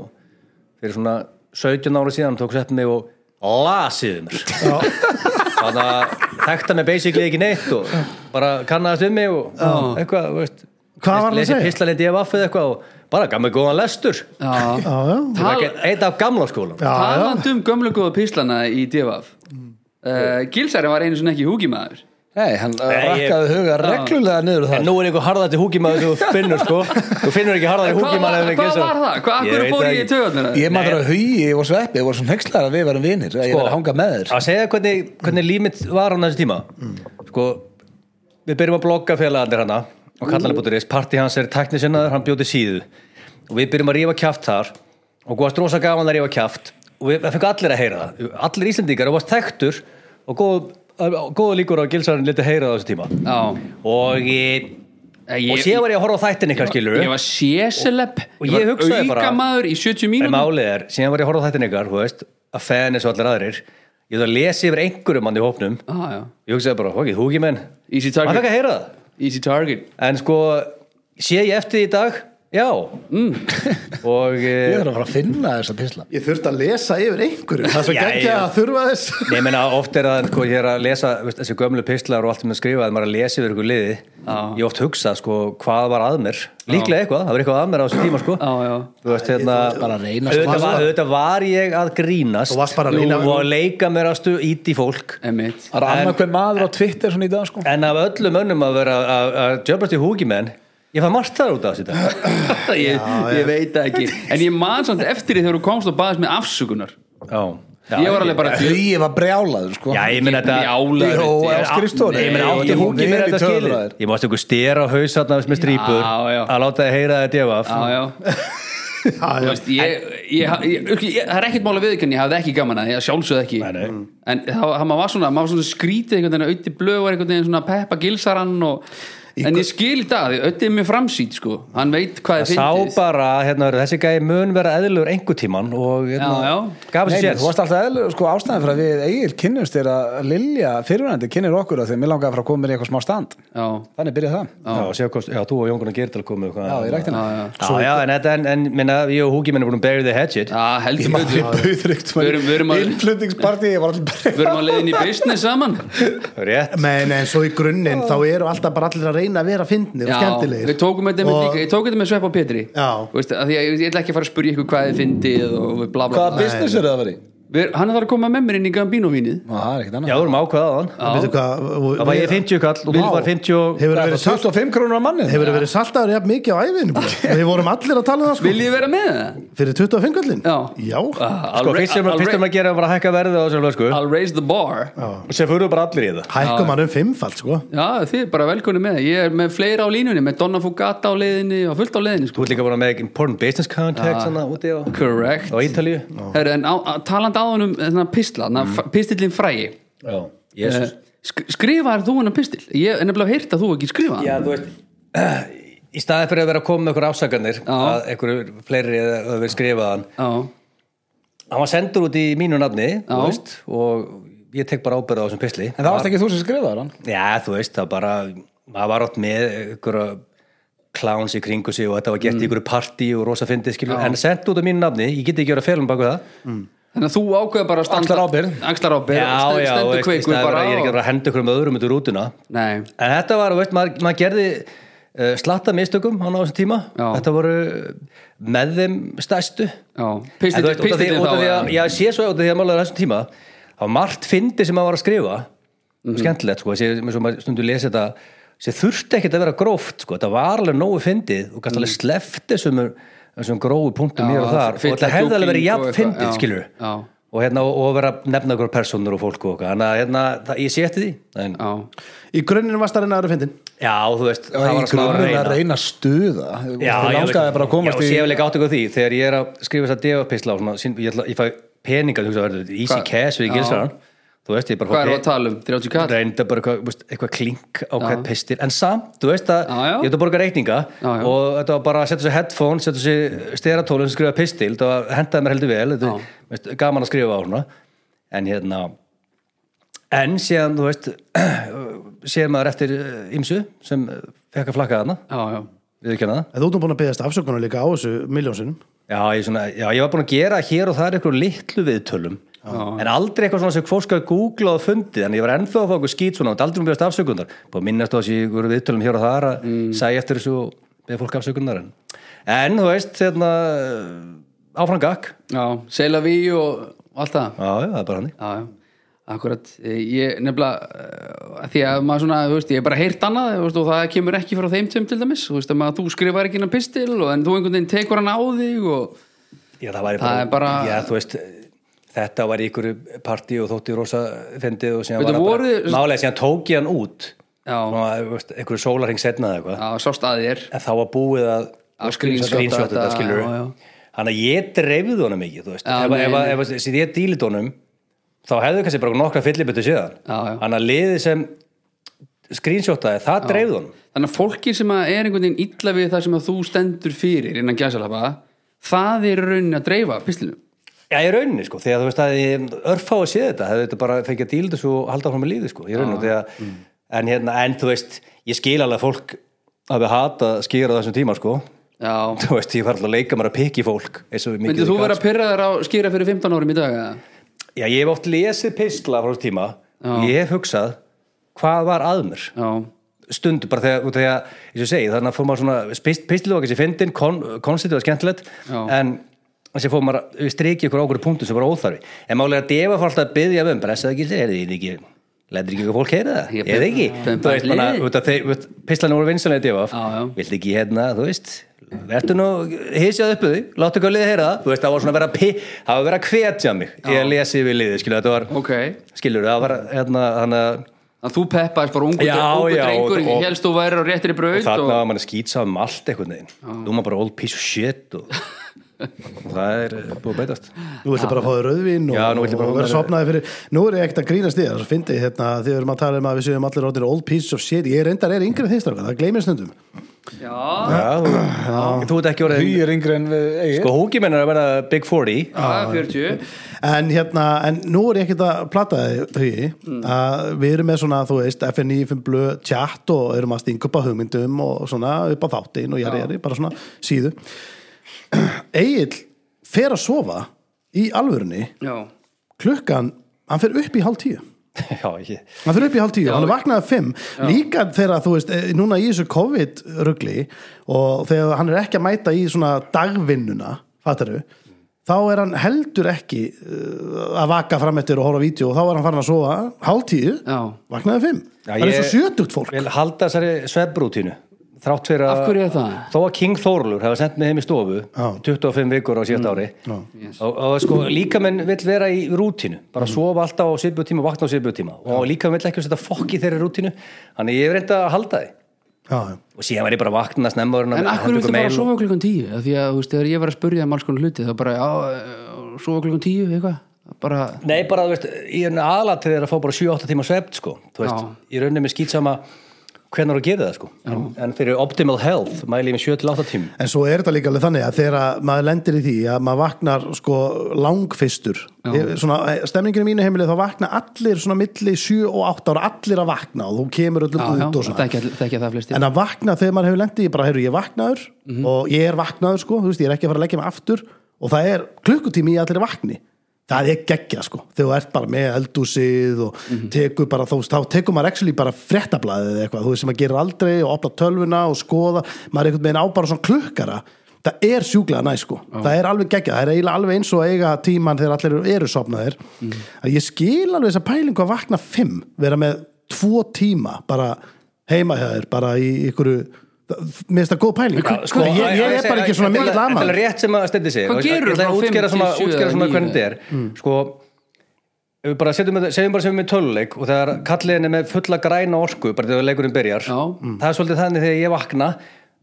Speaker 4: fyrir svona 17 ára síðan tók sett mig og lasiði mér þannig að þekkta mig basically ekki neitt og bara kannaðast um mig og eitthvað, þú veist
Speaker 1: Hvað var hann að segja?
Speaker 4: Pistalendi ef affið eitthvað og bara gaf mig góðan lestur
Speaker 2: Já,
Speaker 1: já, já.
Speaker 2: Tal-
Speaker 4: Eitt af gamla skólan
Speaker 1: Já, já.
Speaker 2: Talandi um gömlu góða píslana í divaf uh, Gilsari var einu svona ekki húkimaður
Speaker 3: Nei, hann Nei,
Speaker 4: Nei, ég-
Speaker 3: rakkaði huga reglulega niður
Speaker 4: En
Speaker 3: það
Speaker 4: nú er einhver harðati húkimaður sem þú finnur sko Þú finnur ekki harðati
Speaker 2: Hvað var,
Speaker 4: húkimaður en
Speaker 2: hvað
Speaker 4: Gizur.
Speaker 2: var það? Hvað,
Speaker 4: Ég
Speaker 2: akkur
Speaker 4: veit
Speaker 2: fór
Speaker 4: það
Speaker 2: ég í
Speaker 4: ekki.
Speaker 2: töðunar?
Speaker 3: Ég maður að hugi og sveppi, ég var svona hnekslar að við verum vinir að ég
Speaker 4: Sko,
Speaker 3: verið að hanga með þér
Speaker 4: að segja hvernig, hvernig límit var hann þessu tíma sko, við byrjum að blogga félagandir hana og kallanlega.is, parti hans er teknisinnaður, hann bjóti síðu og við byrjum að rífa kjaft þar og góðast rosa gaman að rífa kjaft og við, við fengum allir að heyra það, allir Íslendingar og varst þekktur og góð, góð líkur á að gilsarinn liti heyra það á þessu tíma
Speaker 2: Já,
Speaker 4: og ég,
Speaker 2: Ég-
Speaker 4: og síðan var ég að horfa á þættin ykkar skilur
Speaker 2: Ég var séseleb
Speaker 4: og ég hugsaði bara-
Speaker 2: Aukamaður í 70
Speaker 4: En
Speaker 2: mínútur
Speaker 4: málið er, síðan var ég að horfa á þættin ykkar, þú veist, að fæðin eins og allir aðrir, ég þú að lesa yfir einhverjum mann í hópnum,
Speaker 2: ah, já.
Speaker 4: ég hugsaði bara, ok, þú ekki menn,
Speaker 2: Easy
Speaker 4: maður fekk
Speaker 2: target
Speaker 4: að heyra það.
Speaker 2: Easy target
Speaker 4: En sko, sé ég eftir því í dag? Já. Mm. og,
Speaker 3: Ég
Speaker 4: eh,
Speaker 3: verið að fara að finna þessa písla
Speaker 1: Ég þurfti að lesa yfir einhverju Það er svo
Speaker 4: Já,
Speaker 1: geggja
Speaker 4: já.
Speaker 1: að þurfa þess
Speaker 4: nei, ég meina, oft er það, sko, ég er að lesa, veist, þessi gömlu pistlar og allt um að skrifa, að maður er að lesa yfir ykkur liði,
Speaker 2: Já.
Speaker 4: ég oft hugsa, sko, hvað var að mér? Líklega eitthvað, það var eitthvað að mér á þessu tíma, sko.
Speaker 2: Já, já
Speaker 4: Þú veist, hérna,
Speaker 3: bara að reyna að
Speaker 4: auðvitað
Speaker 3: slasa.
Speaker 4: var, auðvitað var ég að grínast
Speaker 1: Þú varst bara að reyna-
Speaker 4: og að leika mér að stu ít í fólk
Speaker 2: Emitt
Speaker 3: Það er annað hver maður á Twitter svona í dag sko
Speaker 4: En af öllum önnum að vera að- að djöfnast í húkimenn Ég fann margt þar út af þessu þetta
Speaker 2: ég, ég veit það ekki En ég man samt eftir því þegar þú komst og baðist með afsökunar
Speaker 4: Já, já
Speaker 2: Ég var alveg bara
Speaker 3: Hugi var brjálaður sko
Speaker 4: Já, ég meina þetta
Speaker 2: Brjálaður,
Speaker 3: Jó,
Speaker 2: þetta er-
Speaker 3: á skrifstofunni.
Speaker 4: Ég meina
Speaker 3: Nei,
Speaker 4: átti
Speaker 3: ég
Speaker 4: húkið
Speaker 3: var
Speaker 4: mér
Speaker 3: vel í
Speaker 4: þetta
Speaker 3: töður
Speaker 4: skilið
Speaker 3: þær.
Speaker 4: Ég mást einhver stera á hausatna með strýpur
Speaker 2: Já, já.
Speaker 4: að láta þið heyra þetta jafaf
Speaker 2: Já, já
Speaker 1: Já,
Speaker 2: Þú
Speaker 1: já.
Speaker 2: veist, ég, ég, ég, ég, ég, það er ekkert mál að viðkynni, ég hafði ekki gaman að því, ég sjálfsögð ekki
Speaker 4: Nei, nei.
Speaker 2: en það, það maður var svona, maður var svona skrítið einhvern veginn að auðvitað blöð var einhvern veginn svona peppa gilsarann og
Speaker 1: Í
Speaker 2: en
Speaker 1: hva-
Speaker 2: ég skil í dag, því öll er mjög framsýt sko. hann veit hvað
Speaker 4: Það sá bara, hérna, þessi gæði mun vera eðlur einhver tíman og
Speaker 2: Já, já.
Speaker 4: hérna, gaf
Speaker 3: Nei,
Speaker 4: þessi
Speaker 3: nei, þú
Speaker 4: séns
Speaker 3: varst alltaf eðlu, sko, ástæðan fyrir að við Egil kynnumst er að Lilja fyrirvændi kynnir okkur að þegar mér langaði að fara að koma mér í eitthvað smá stand
Speaker 2: já,
Speaker 3: þannig byrjaði það
Speaker 4: Já, sjá, hvort- já, þú og Jón Gunnar Gerdal komu hvað-
Speaker 3: Já, í ræktina.
Speaker 2: já, já.
Speaker 4: Já, já, en, þetta- en, en minna, ég og Húki minn er búin að bury the hatchet
Speaker 2: já heldur
Speaker 3: Maður
Speaker 2: betur.
Speaker 3: bauður
Speaker 2: Við erum- við erum
Speaker 3: eitthvað
Speaker 2: að-
Speaker 3: innflutningsparti ég var alltaf
Speaker 2: við erum að leiðin í business saman
Speaker 4: Rétt
Speaker 1: Men en svo í grunninn þá eru alltaf bara allir að reyna að vera fyndnir og skemmtilegir
Speaker 2: við tókum þetta með líka, ég tók þetta með Svepp og Pétri
Speaker 1: Já.
Speaker 2: Þú veist, af því að ég, ég ætla ekki að fara að spyrja ykkur hvað þið fyndið og bla bla
Speaker 3: hvaða
Speaker 2: bla
Speaker 3: business er það að vera í?
Speaker 2: við, hann er þar að koma með mér inn í Gambino-vínið
Speaker 3: Ná, það er ekkert
Speaker 4: Já,
Speaker 3: annað
Speaker 4: við erum ákveðað á hann
Speaker 1: Og veitu hvað, og-
Speaker 4: Það var ég 50 kall og Vil var 50 og...
Speaker 1: hefur
Speaker 3: Það er
Speaker 1: verið
Speaker 3: bara
Speaker 1: salt
Speaker 3: 25 krónur á manni
Speaker 1: hefur verið saltaður jafn mikið á æfinu við vorum allir að tala um það sko
Speaker 2: vil ég vera með það?
Speaker 1: fyrir 25 kallin
Speaker 2: Já.
Speaker 1: já.
Speaker 2: Ah, I'll
Speaker 4: Sko,
Speaker 2: ra-
Speaker 4: fyrst sem
Speaker 2: I'll ra-
Speaker 4: fyrst sem að gera var að hækka verðið á þessu lösku
Speaker 2: I'll raise the bar
Speaker 4: og sem fyrir bara allir í það
Speaker 1: hækkum hann um fimmfald sko
Speaker 2: Já, þið er bara velkunni með það. Ég er með fleira á línunni, með Donna Fugata á leiðinni og fullt á leiðinni,
Speaker 4: Þú
Speaker 2: sko.
Speaker 4: ert líka búin að með important business contact svona úti á,
Speaker 2: Correct.
Speaker 4: á Ítalíu
Speaker 2: Herru, en á, á, taland áðan um þennan pistla, mm. pistillin frægi.
Speaker 4: Já,
Speaker 2: Eh, Sk skrifaðar þú hennar pistil? Ég er nefnilega heyrt að þú ekki skrifað.
Speaker 4: Já, þú veist Í staði fyrir að vera að koma með ykkur ásakarnir
Speaker 2: Já.
Speaker 4: að einhverju fleiri eða að við skrifaðan
Speaker 2: Já,
Speaker 4: Hann var sendur út í mínu nafni þú
Speaker 2: Já.
Speaker 4: veist, og ég tek bara ábyrða á þessum pisli
Speaker 3: en það varst ekki þú sem skrifaði hann
Speaker 4: Já, þú veist, það bara maður var átt með ykkur kláns í kringu sig og þetta var gert
Speaker 2: Mm.
Speaker 4: í ykkur partí og rosa fyndið skilur, en sendt út á mínu nafni, ég get ekki verið að fela um baku það
Speaker 2: þannig að þú ákveða bara að standa...
Speaker 3: Axlar ábyrgð.
Speaker 2: Axlar ábyrð, stendur,
Speaker 4: þú
Speaker 2: stendur
Speaker 4: veist, í
Speaker 2: kveikur
Speaker 4: staðinn fyrir
Speaker 2: bara
Speaker 4: að ég er ekki að fara að henda ykkur um öðrum út úr rútuna
Speaker 2: Nei,
Speaker 4: en þetta var, þú veist, maður, maður gerði uh, slatta mistökum hann á þessum tíma
Speaker 2: Já.
Speaker 4: þetta voru með þeim stæstu
Speaker 2: já. Pistillin,
Speaker 4: pistillin
Speaker 2: pistillin
Speaker 4: þá
Speaker 2: þá.
Speaker 4: að,
Speaker 2: eða?
Speaker 4: Já, ég sé svo út af því að málaður þessum tíma það var margt fyndi sem maður var að skrifa
Speaker 2: Mhm.
Speaker 4: mm. skemmtilegt, sko, þessi- eins og maður stundu lesi þetta sem þurfti ekkert að vera gróft sko, þetta var alveg nógu fyndið og gæst alveg sleft þessum, þessum grófu punktum
Speaker 2: Mhm. Já,
Speaker 4: hér og þar og
Speaker 2: fylla
Speaker 4: þetta hefði alveg verið
Speaker 2: djúping og
Speaker 4: jafn
Speaker 2: eitthvað,
Speaker 4: fyndið,
Speaker 2: já,
Speaker 4: skilur
Speaker 2: já.
Speaker 4: og hérna, og, og vera að nefna ykkur personur og fólk og okkar, þannig að hérna, það, ég sé eftir því en,
Speaker 2: Já,
Speaker 1: í grunninn varst að reyna að vera fyndin
Speaker 4: já, þú veist, það
Speaker 3: það
Speaker 4: var
Speaker 3: var
Speaker 4: smá að
Speaker 3: grunnum
Speaker 4: reyna
Speaker 3: að reyna að stuða þú
Speaker 4: Já, ég
Speaker 3: langaði
Speaker 4: veit-
Speaker 3: bara að komast
Speaker 4: já,
Speaker 3: í
Speaker 4: og ég hef ekki átt eitthvað því þegar ég er að skrifa þess að defapisla og svona, sín- ég, ætla, ég fæ peninga þú veist að verður easy
Speaker 2: Hvað-
Speaker 4: cash við
Speaker 2: Já.
Speaker 4: gilsaran þú veist ég bara fá
Speaker 2: hvað er það að
Speaker 4: pe-
Speaker 2: tala um? 30 kall?
Speaker 4: reynda bara eitthvað, veist, eitthvað klink á
Speaker 2: Já.
Speaker 4: hvað pistil en samt, þú veist að
Speaker 2: Já, já.
Speaker 4: ég ætla að borga
Speaker 2: Já,
Speaker 4: reikninga
Speaker 2: já.
Speaker 4: og þetta var bara að setja sér headphone setja sér steratólun sem skrifa pistil það hendaði mér heldur vel þetta,
Speaker 2: Já.
Speaker 4: veist, gaman að skrifa á svona en hérna en síðan, þú veist sér maður eftir ymsu sem eh, fekk að flakka þarna
Speaker 2: Já, já.
Speaker 4: við ekki hana það
Speaker 1: en þú ert búin að beðast afsökunar líka á þessu miljónsinnum
Speaker 4: Já ég, svona, já, ég var búin að gera hér og það er eitthvað litlu viðtölum en aldrei eitthvað svona sem fólk skal googla og fundið, en ég var ennþá að fá eitthvað skýt svona og aldrei um bjöðast afsökundar, búin að minnast á þessi ykkur viðtölum hér og það að segja eftir þessu og beða fólk afsökundar en, en þú veist, hérna áfram gakk,
Speaker 2: Já, seila við og allt það.
Speaker 4: já, já, það er bara hann
Speaker 2: já, já, akkurat Eh, ég nefnilega, eh, því að maður svona þú veist, ég hef bara heyrt annað þú veist, og það kemur ekki frá þeim tveim til dæmis þú, veist, um að þú skrifar ekki innan pistil og, en þú einhvern veginn tekur hann á þig og,
Speaker 4: Já, það væri
Speaker 2: Það
Speaker 4: bara,
Speaker 2: er bara-
Speaker 4: já, þú veist þetta var í ykkur partí og þótti rosa fyndið og síðan
Speaker 2: Veitu,
Speaker 4: var það bara
Speaker 2: voru-
Speaker 4: málega, síðan tók ég hann út
Speaker 2: Já.
Speaker 4: Svona, þú veist, einhverju sólarhing setna eða eitthvað
Speaker 2: já, sást að þér
Speaker 4: en þá var búið að,
Speaker 2: Að screenshot
Speaker 4: screenshot
Speaker 2: þetta,
Speaker 4: þetta skilur
Speaker 2: já, já.
Speaker 4: þannig að ég dreifði honum ekki þú veist,
Speaker 2: Já,
Speaker 4: ef,
Speaker 2: nei,
Speaker 4: ef,
Speaker 2: nei.
Speaker 4: ef, ef, ef ég dílit honum þá hefðu kannski bara nokkra fyllibötu síðan
Speaker 2: Já, já.
Speaker 4: þannig að liðið sem screenshotaði, það dreifði honum
Speaker 2: þannig að fólki sem að er einhvern veginn illa við það sem að þú stendur fyrir innan gæsalapa það er í rauninni að dreifa pistilinu
Speaker 4: Já, í rauninni, sko, því að þú veist að ég örfá að sé þetta, hefði þetta bara fengið að díla þessu og halda áfram með lífið, sko, í rauninni, því að, en hérna, en þú veist, ég skil alveg að fólk að við hata skýra á þessum tíma, sko,
Speaker 2: já,
Speaker 4: þú veist, ég var alltaf að leika mér að pikki fólk, eins og við mikið
Speaker 2: myndið þú
Speaker 4: ég
Speaker 2: vera
Speaker 4: gat,
Speaker 2: að pyrra þér á skýra fyrir 15 árum í dag eða?
Speaker 4: sko. Já, ég hef oft lesið pistla frá þessum tíma, og ég hef hugsað, hvað var að mér?
Speaker 2: já,
Speaker 4: stundu bara þegar, út af því að eins og ég segi, þannig að fór maður svona spist- pistlið var kannski fyndin, kon, konstitið var skemmtilegt
Speaker 2: Já.
Speaker 4: en þessi fór maður að strikja ykkur ákveður punktum sem var óþarfi en málega að defa fór alltaf að byggja um bara þess að ekki, er þið ekki lætur ekki ykkur fólk heyra það,
Speaker 2: Ég
Speaker 4: eða
Speaker 2: bið-
Speaker 4: ekki
Speaker 2: bið-
Speaker 4: þú veist
Speaker 2: bið-
Speaker 4: bara, út af þeir, pistlanu voru vinsanlega devaf,
Speaker 2: Já, já.
Speaker 4: vilt ekki hérna þú veist, verður nú hysjað uppu því, láttu ekki að liða heyra það þú veist, það var svona að vera, að pi- það var að vera að hvetja mig ég að lesi við liðið, skilur, þetta var
Speaker 2: ok
Speaker 4: skilur, það var hérna, þannig að
Speaker 2: að þú peppaðist bara ungu,
Speaker 4: Já,
Speaker 2: ungu
Speaker 4: já, og-
Speaker 2: drengur
Speaker 4: og-
Speaker 2: helst þú væri á réttri braut
Speaker 4: og þarna
Speaker 2: og-
Speaker 4: var mann að skýtsa um allt einhvern veginn nú er maður bara old piece of shit og það er eh, búið að beitast
Speaker 1: Nú ætlum bara að fá þér rauðvín og,
Speaker 4: Já, nú ætla ég bara að
Speaker 1: og vera
Speaker 4: fá
Speaker 1: sopnaði fyrir Nú er ég ekkert að grínast í það, svo fyndi ég hérna Þegar við erum að tala um að við séum allir orðin old pieces of shit Ég reyndar er yngri en þeir stráka, það gleymir stundum
Speaker 2: Já,
Speaker 4: já, þú, þú ert ekki
Speaker 3: Því
Speaker 4: orðið
Speaker 3: er yngri en við eigin
Speaker 4: sko húkimenn er að verða Big 40
Speaker 2: það er 40
Speaker 1: En hérna, en nú er ég ekkert að plata þig hugi, að við erum með svona, þú veist, FN 95 blöð tjátt og erum að stinga upp á hugmyndum og svona upp á þáttin og jari jari, bara svona síðu Egil fer að sofa í alvörunni
Speaker 2: Já,
Speaker 1: klukkan, hann fer upp í hálf tíu
Speaker 4: já, ekki
Speaker 1: hann fyrir upp í hálf tíu, hann vaknaði fimm líka þegar þú veist, eh, núna í þessu COVID-rugli og þegar hann er ekki að mæta í svona dagvinnuna fattaru, þá er hann heldur ekki uh, að vaka fram eftir og horfa á vídeo og þá er hann farin að sofa hálf tíu,
Speaker 2: Já.
Speaker 1: vaknaði fimm
Speaker 4: Já,
Speaker 1: það er
Speaker 4: ég-
Speaker 1: svo sjötugt fólk
Speaker 4: vil halda þessari svefbrútínu þrátt fyrir
Speaker 2: Af hverju er
Speaker 4: að
Speaker 2: það?
Speaker 4: þó að King Þorlur hefði sendt mig heim í stofu 25 vikur á síðast ári og, og sko líkamenn vill vera í rútínu bara sofa alltaf á svipu tíma og vakna á svipu tíma og líkamenn vill ekki setja fokk í þeirri rútínu þannig ég hef reynda að halda þið
Speaker 1: já, já.
Speaker 4: og síðan var ég bara að vakna snemma
Speaker 2: en akkur viltu bara að sofa klukkan 10 Af Því að, þú veist, þegar ég var að spurja um alls konar hluti þá bara, já, eh, sofa klukkan 10 eitthvað, bara,
Speaker 4: Nei, bara, þú veist, ég er aðlatið er að fá bara 7-8 tíma svefn, sko, þú veist,
Speaker 2: Já.
Speaker 4: ég raunin með skýtsama hvernig að gera það, sko, en, en fyrir optimal health mæli ég með 7-8 tím
Speaker 1: en svo er þetta líka alveg þannig að þegar að maður lendir í því að maður vaknar sko langfistur Ég- svona, eh, stemningin í mínu heimili þá vakna allir svona milli 7 og 8 ára allir að vakna og þú kemur öllum
Speaker 2: já,
Speaker 1: út
Speaker 2: já,
Speaker 1: og svona
Speaker 2: þekkja þekkja það flestir
Speaker 1: en að vakna þegar maður hefur lendið ég bara, heyrðu, ég er vaknaður og ég er vaknaður, sko, þú veist, ég er ekki að fara að leggja mig aftur og það er klukkutími í allir vakni það er geggja, sko, þegar þú ert bara með eldúsið og tekur bara þá, þá tekur maður actually bara fréttablaðið eða eitthvað, þú veist, sem maður gerir aldrei og opna tölvuna og skoða, maður er einhvern veginn á bara svona klukkara það er sjúklega næ, sko, það er alveg geggja, það er eiginlega alveg eins og að eiga tíman þegar allir eru, eru sopnaðir að ég skil alveg þessa pælingu að vakna fimm, vera með tvo tíma bara heima hjá þér bara í ykkur mér finnst það góð pæling
Speaker 2: hva-
Speaker 1: sko, ég, ég, er bara ekki svona mikill
Speaker 4: Þetta
Speaker 1: amal
Speaker 4: er rétt sem að stendi sig
Speaker 2: Hvað
Speaker 4: Og ég-
Speaker 2: gerirðu
Speaker 4: Ég ætla
Speaker 2: frá
Speaker 4: að
Speaker 2: fimm
Speaker 4: útskýra
Speaker 2: til
Speaker 4: svona,
Speaker 2: sjö
Speaker 4: útskýra
Speaker 2: eða
Speaker 4: svona
Speaker 2: níu
Speaker 4: hvernig þetta er
Speaker 1: Mm.
Speaker 4: Sko ef við bara setjum, þetta- segjum bara sem við töluleik og þegar kalliðin er með fulla græna orku bara þegar leikurinn byrjar
Speaker 2: Já.
Speaker 1: Mm.
Speaker 4: það er svolítið þannig þegar ég vakna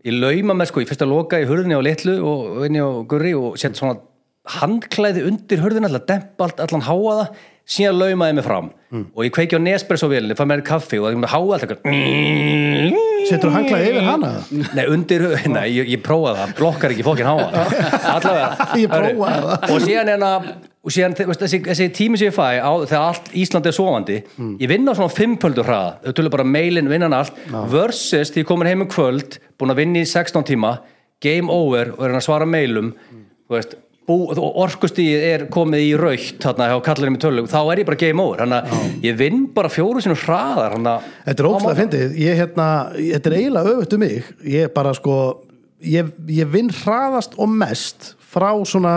Speaker 4: ég lauma með sko, ég fyrst að loka í hurðinni á litlu og inni á gurri og set svona handklæði undir hurðinni alltaf dempa allt, allan háaða síðan laumaði mig fram
Speaker 1: Mm.
Speaker 4: og ég kveiki á nespressovélinni, fæ mér kaffi og það er með háa alltaf
Speaker 1: setur þú hanglaði yfir hana
Speaker 4: Nei, undir, nei, ég, ég prófaði það, blokkar ekki fókin háa Allavega
Speaker 1: Ég prófaði það.
Speaker 4: Og síðan en að og síðan, þú veist, þessi, þessi tími sem ég fæ á, þegar allt Ísland er sofandi
Speaker 1: Hmm.
Speaker 4: ég vinn á svona fimmpöldu hraða, þau tölur bara meilin vinnan allt, versus því ég komin heim um kvöld, búin að vinna í 16 tíma game over og er hann að svara meilum, þú veist bú, og orkustíð er komið í raukt þarna hjá kallinum í tölum, þá er ég bara game over þannig að ég vinn bara fjóru sinum hraðar þannig að
Speaker 1: þetta er ókslega fyndið ég hérna, þetta er eiginlega öfutt um mig ég bara sko ég, ég vinn hraðast og mest frá svona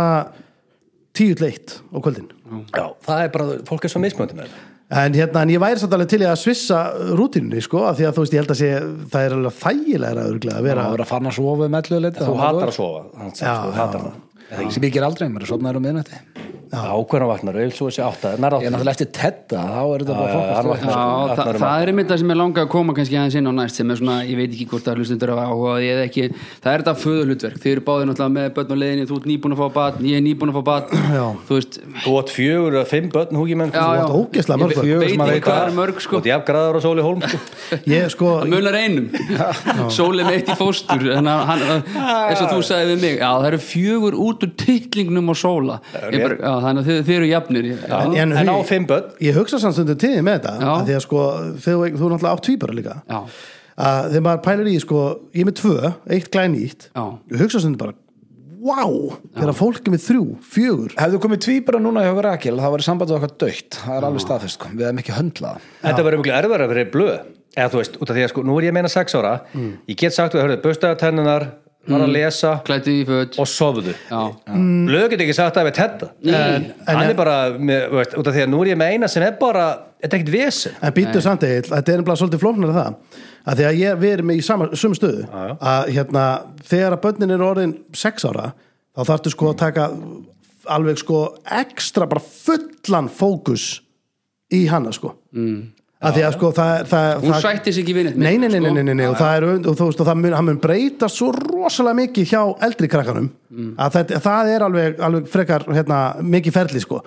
Speaker 1: tíu til eitt á kvöldin
Speaker 4: já, það er bara, fólk er svo mismöndið með þetta
Speaker 1: en hérna, en ég væri samt alveg til í að svissa rútinunni sko, af því að þú veist, ég held að sé það er alveg þægilega að vera
Speaker 3: Það var að fara að sofa um ellu leita
Speaker 4: þú hatar að sofa, þannig
Speaker 1: Já,
Speaker 4: að þú hatar það
Speaker 3: sofa Sem ég ger aldrei, maður er sofnaður um miðnætti Ég
Speaker 4: ákveðan vaknar, auðvitað svo þessi átta nær
Speaker 3: er
Speaker 4: átta,
Speaker 3: náttúrulega eftir tedda, þá er þetta bara
Speaker 4: Já, já, hann
Speaker 3: fokast
Speaker 4: vaknar.
Speaker 2: Já,
Speaker 4: Arnar
Speaker 2: það,
Speaker 4: um
Speaker 2: það er einmitt það sem er langa að koma kannski aðeins inn á næst sem er svona, ég veit ekki hvort það er hlustundur af áhugaði eða ekki, það er þetta föðulutverk þið eru báðið náttúrulega með börn á leiðinni, þú ert nýbúin að fá batn ég er nýbúin að fá batn, þú veist
Speaker 4: þú átt fjögur eða fimm börn húki menn
Speaker 2: já, já.
Speaker 1: átt ógeðslega mörg
Speaker 2: Ég
Speaker 1: börn.
Speaker 2: veit-
Speaker 3: Fjögur
Speaker 2: veit
Speaker 3: sem að
Speaker 2: ekki
Speaker 3: vita.
Speaker 2: hvað er mörg
Speaker 4: þú
Speaker 2: sko
Speaker 4: átt jafngraðar og sóli hólm sko.
Speaker 1: ég sko,
Speaker 2: það munar einum, sólin eitt í fóstur en hann- hann, eins og þú sagði við mig já, það eru fjögur út úr titlingnum á sóla, Ég bara, já, þannig að þið, þið eru jafnir já,
Speaker 1: En-
Speaker 2: já,
Speaker 1: en
Speaker 4: en á
Speaker 1: Hugi-
Speaker 4: fimm börn
Speaker 1: ég hugsa samt stundum tíðið með þetta
Speaker 2: Já.
Speaker 1: að því að sko, þegar þú, þú er náttúrulega átt tvíbara líka
Speaker 2: Já.
Speaker 1: að þegar maður pælir í sko, ég er með tvö, eitt glæn ítt
Speaker 2: Já.
Speaker 1: ég hugsa stundum bara, wow þegar fólk er með þrjú, fjögur
Speaker 3: Hefðu komið tvíbara núna hjá Rakel, þá var sambandið okkar dögt Það er alveg staðfest, sko. við hefum ekki höndlað
Speaker 4: þetta verður miklu erfara fyrir blöð eða þú veist, út af því að sko, nú er ég að meina sex ára
Speaker 2: Mm.
Speaker 4: ég get sagt við, hörðu, bustaðu tennunar var að lesa
Speaker 2: klættu í föt
Speaker 4: og sofðu
Speaker 2: Mm. já, Mm.
Speaker 4: blöð get ekki sagt það við tetta en, hann er bara, með, þú veist, út af því að nú er ég með eina sem er bara, þetta er ekkert vesen
Speaker 1: en býttu samt eða, þetta er bara svolítið flóknar það að því að ég verið með í sama, sum stöðu að hérna, þegar að börnin er orðin sex ára, þá þarftu sko að taka alveg sko ekstra bara fullan fókus í hana sko mm. að því að sko það, það,
Speaker 2: Hún
Speaker 1: það
Speaker 2: sætti sig ekki við neitt
Speaker 1: nei, nei, nei,
Speaker 2: sko.
Speaker 1: nei, nei, nei, nei, og það er und- og þú veist og það mun, hann mun breyta svo rosalega mikið hjá eldri krakkanum að það, það er alveg, alveg frekar hérna, mikið ferli sko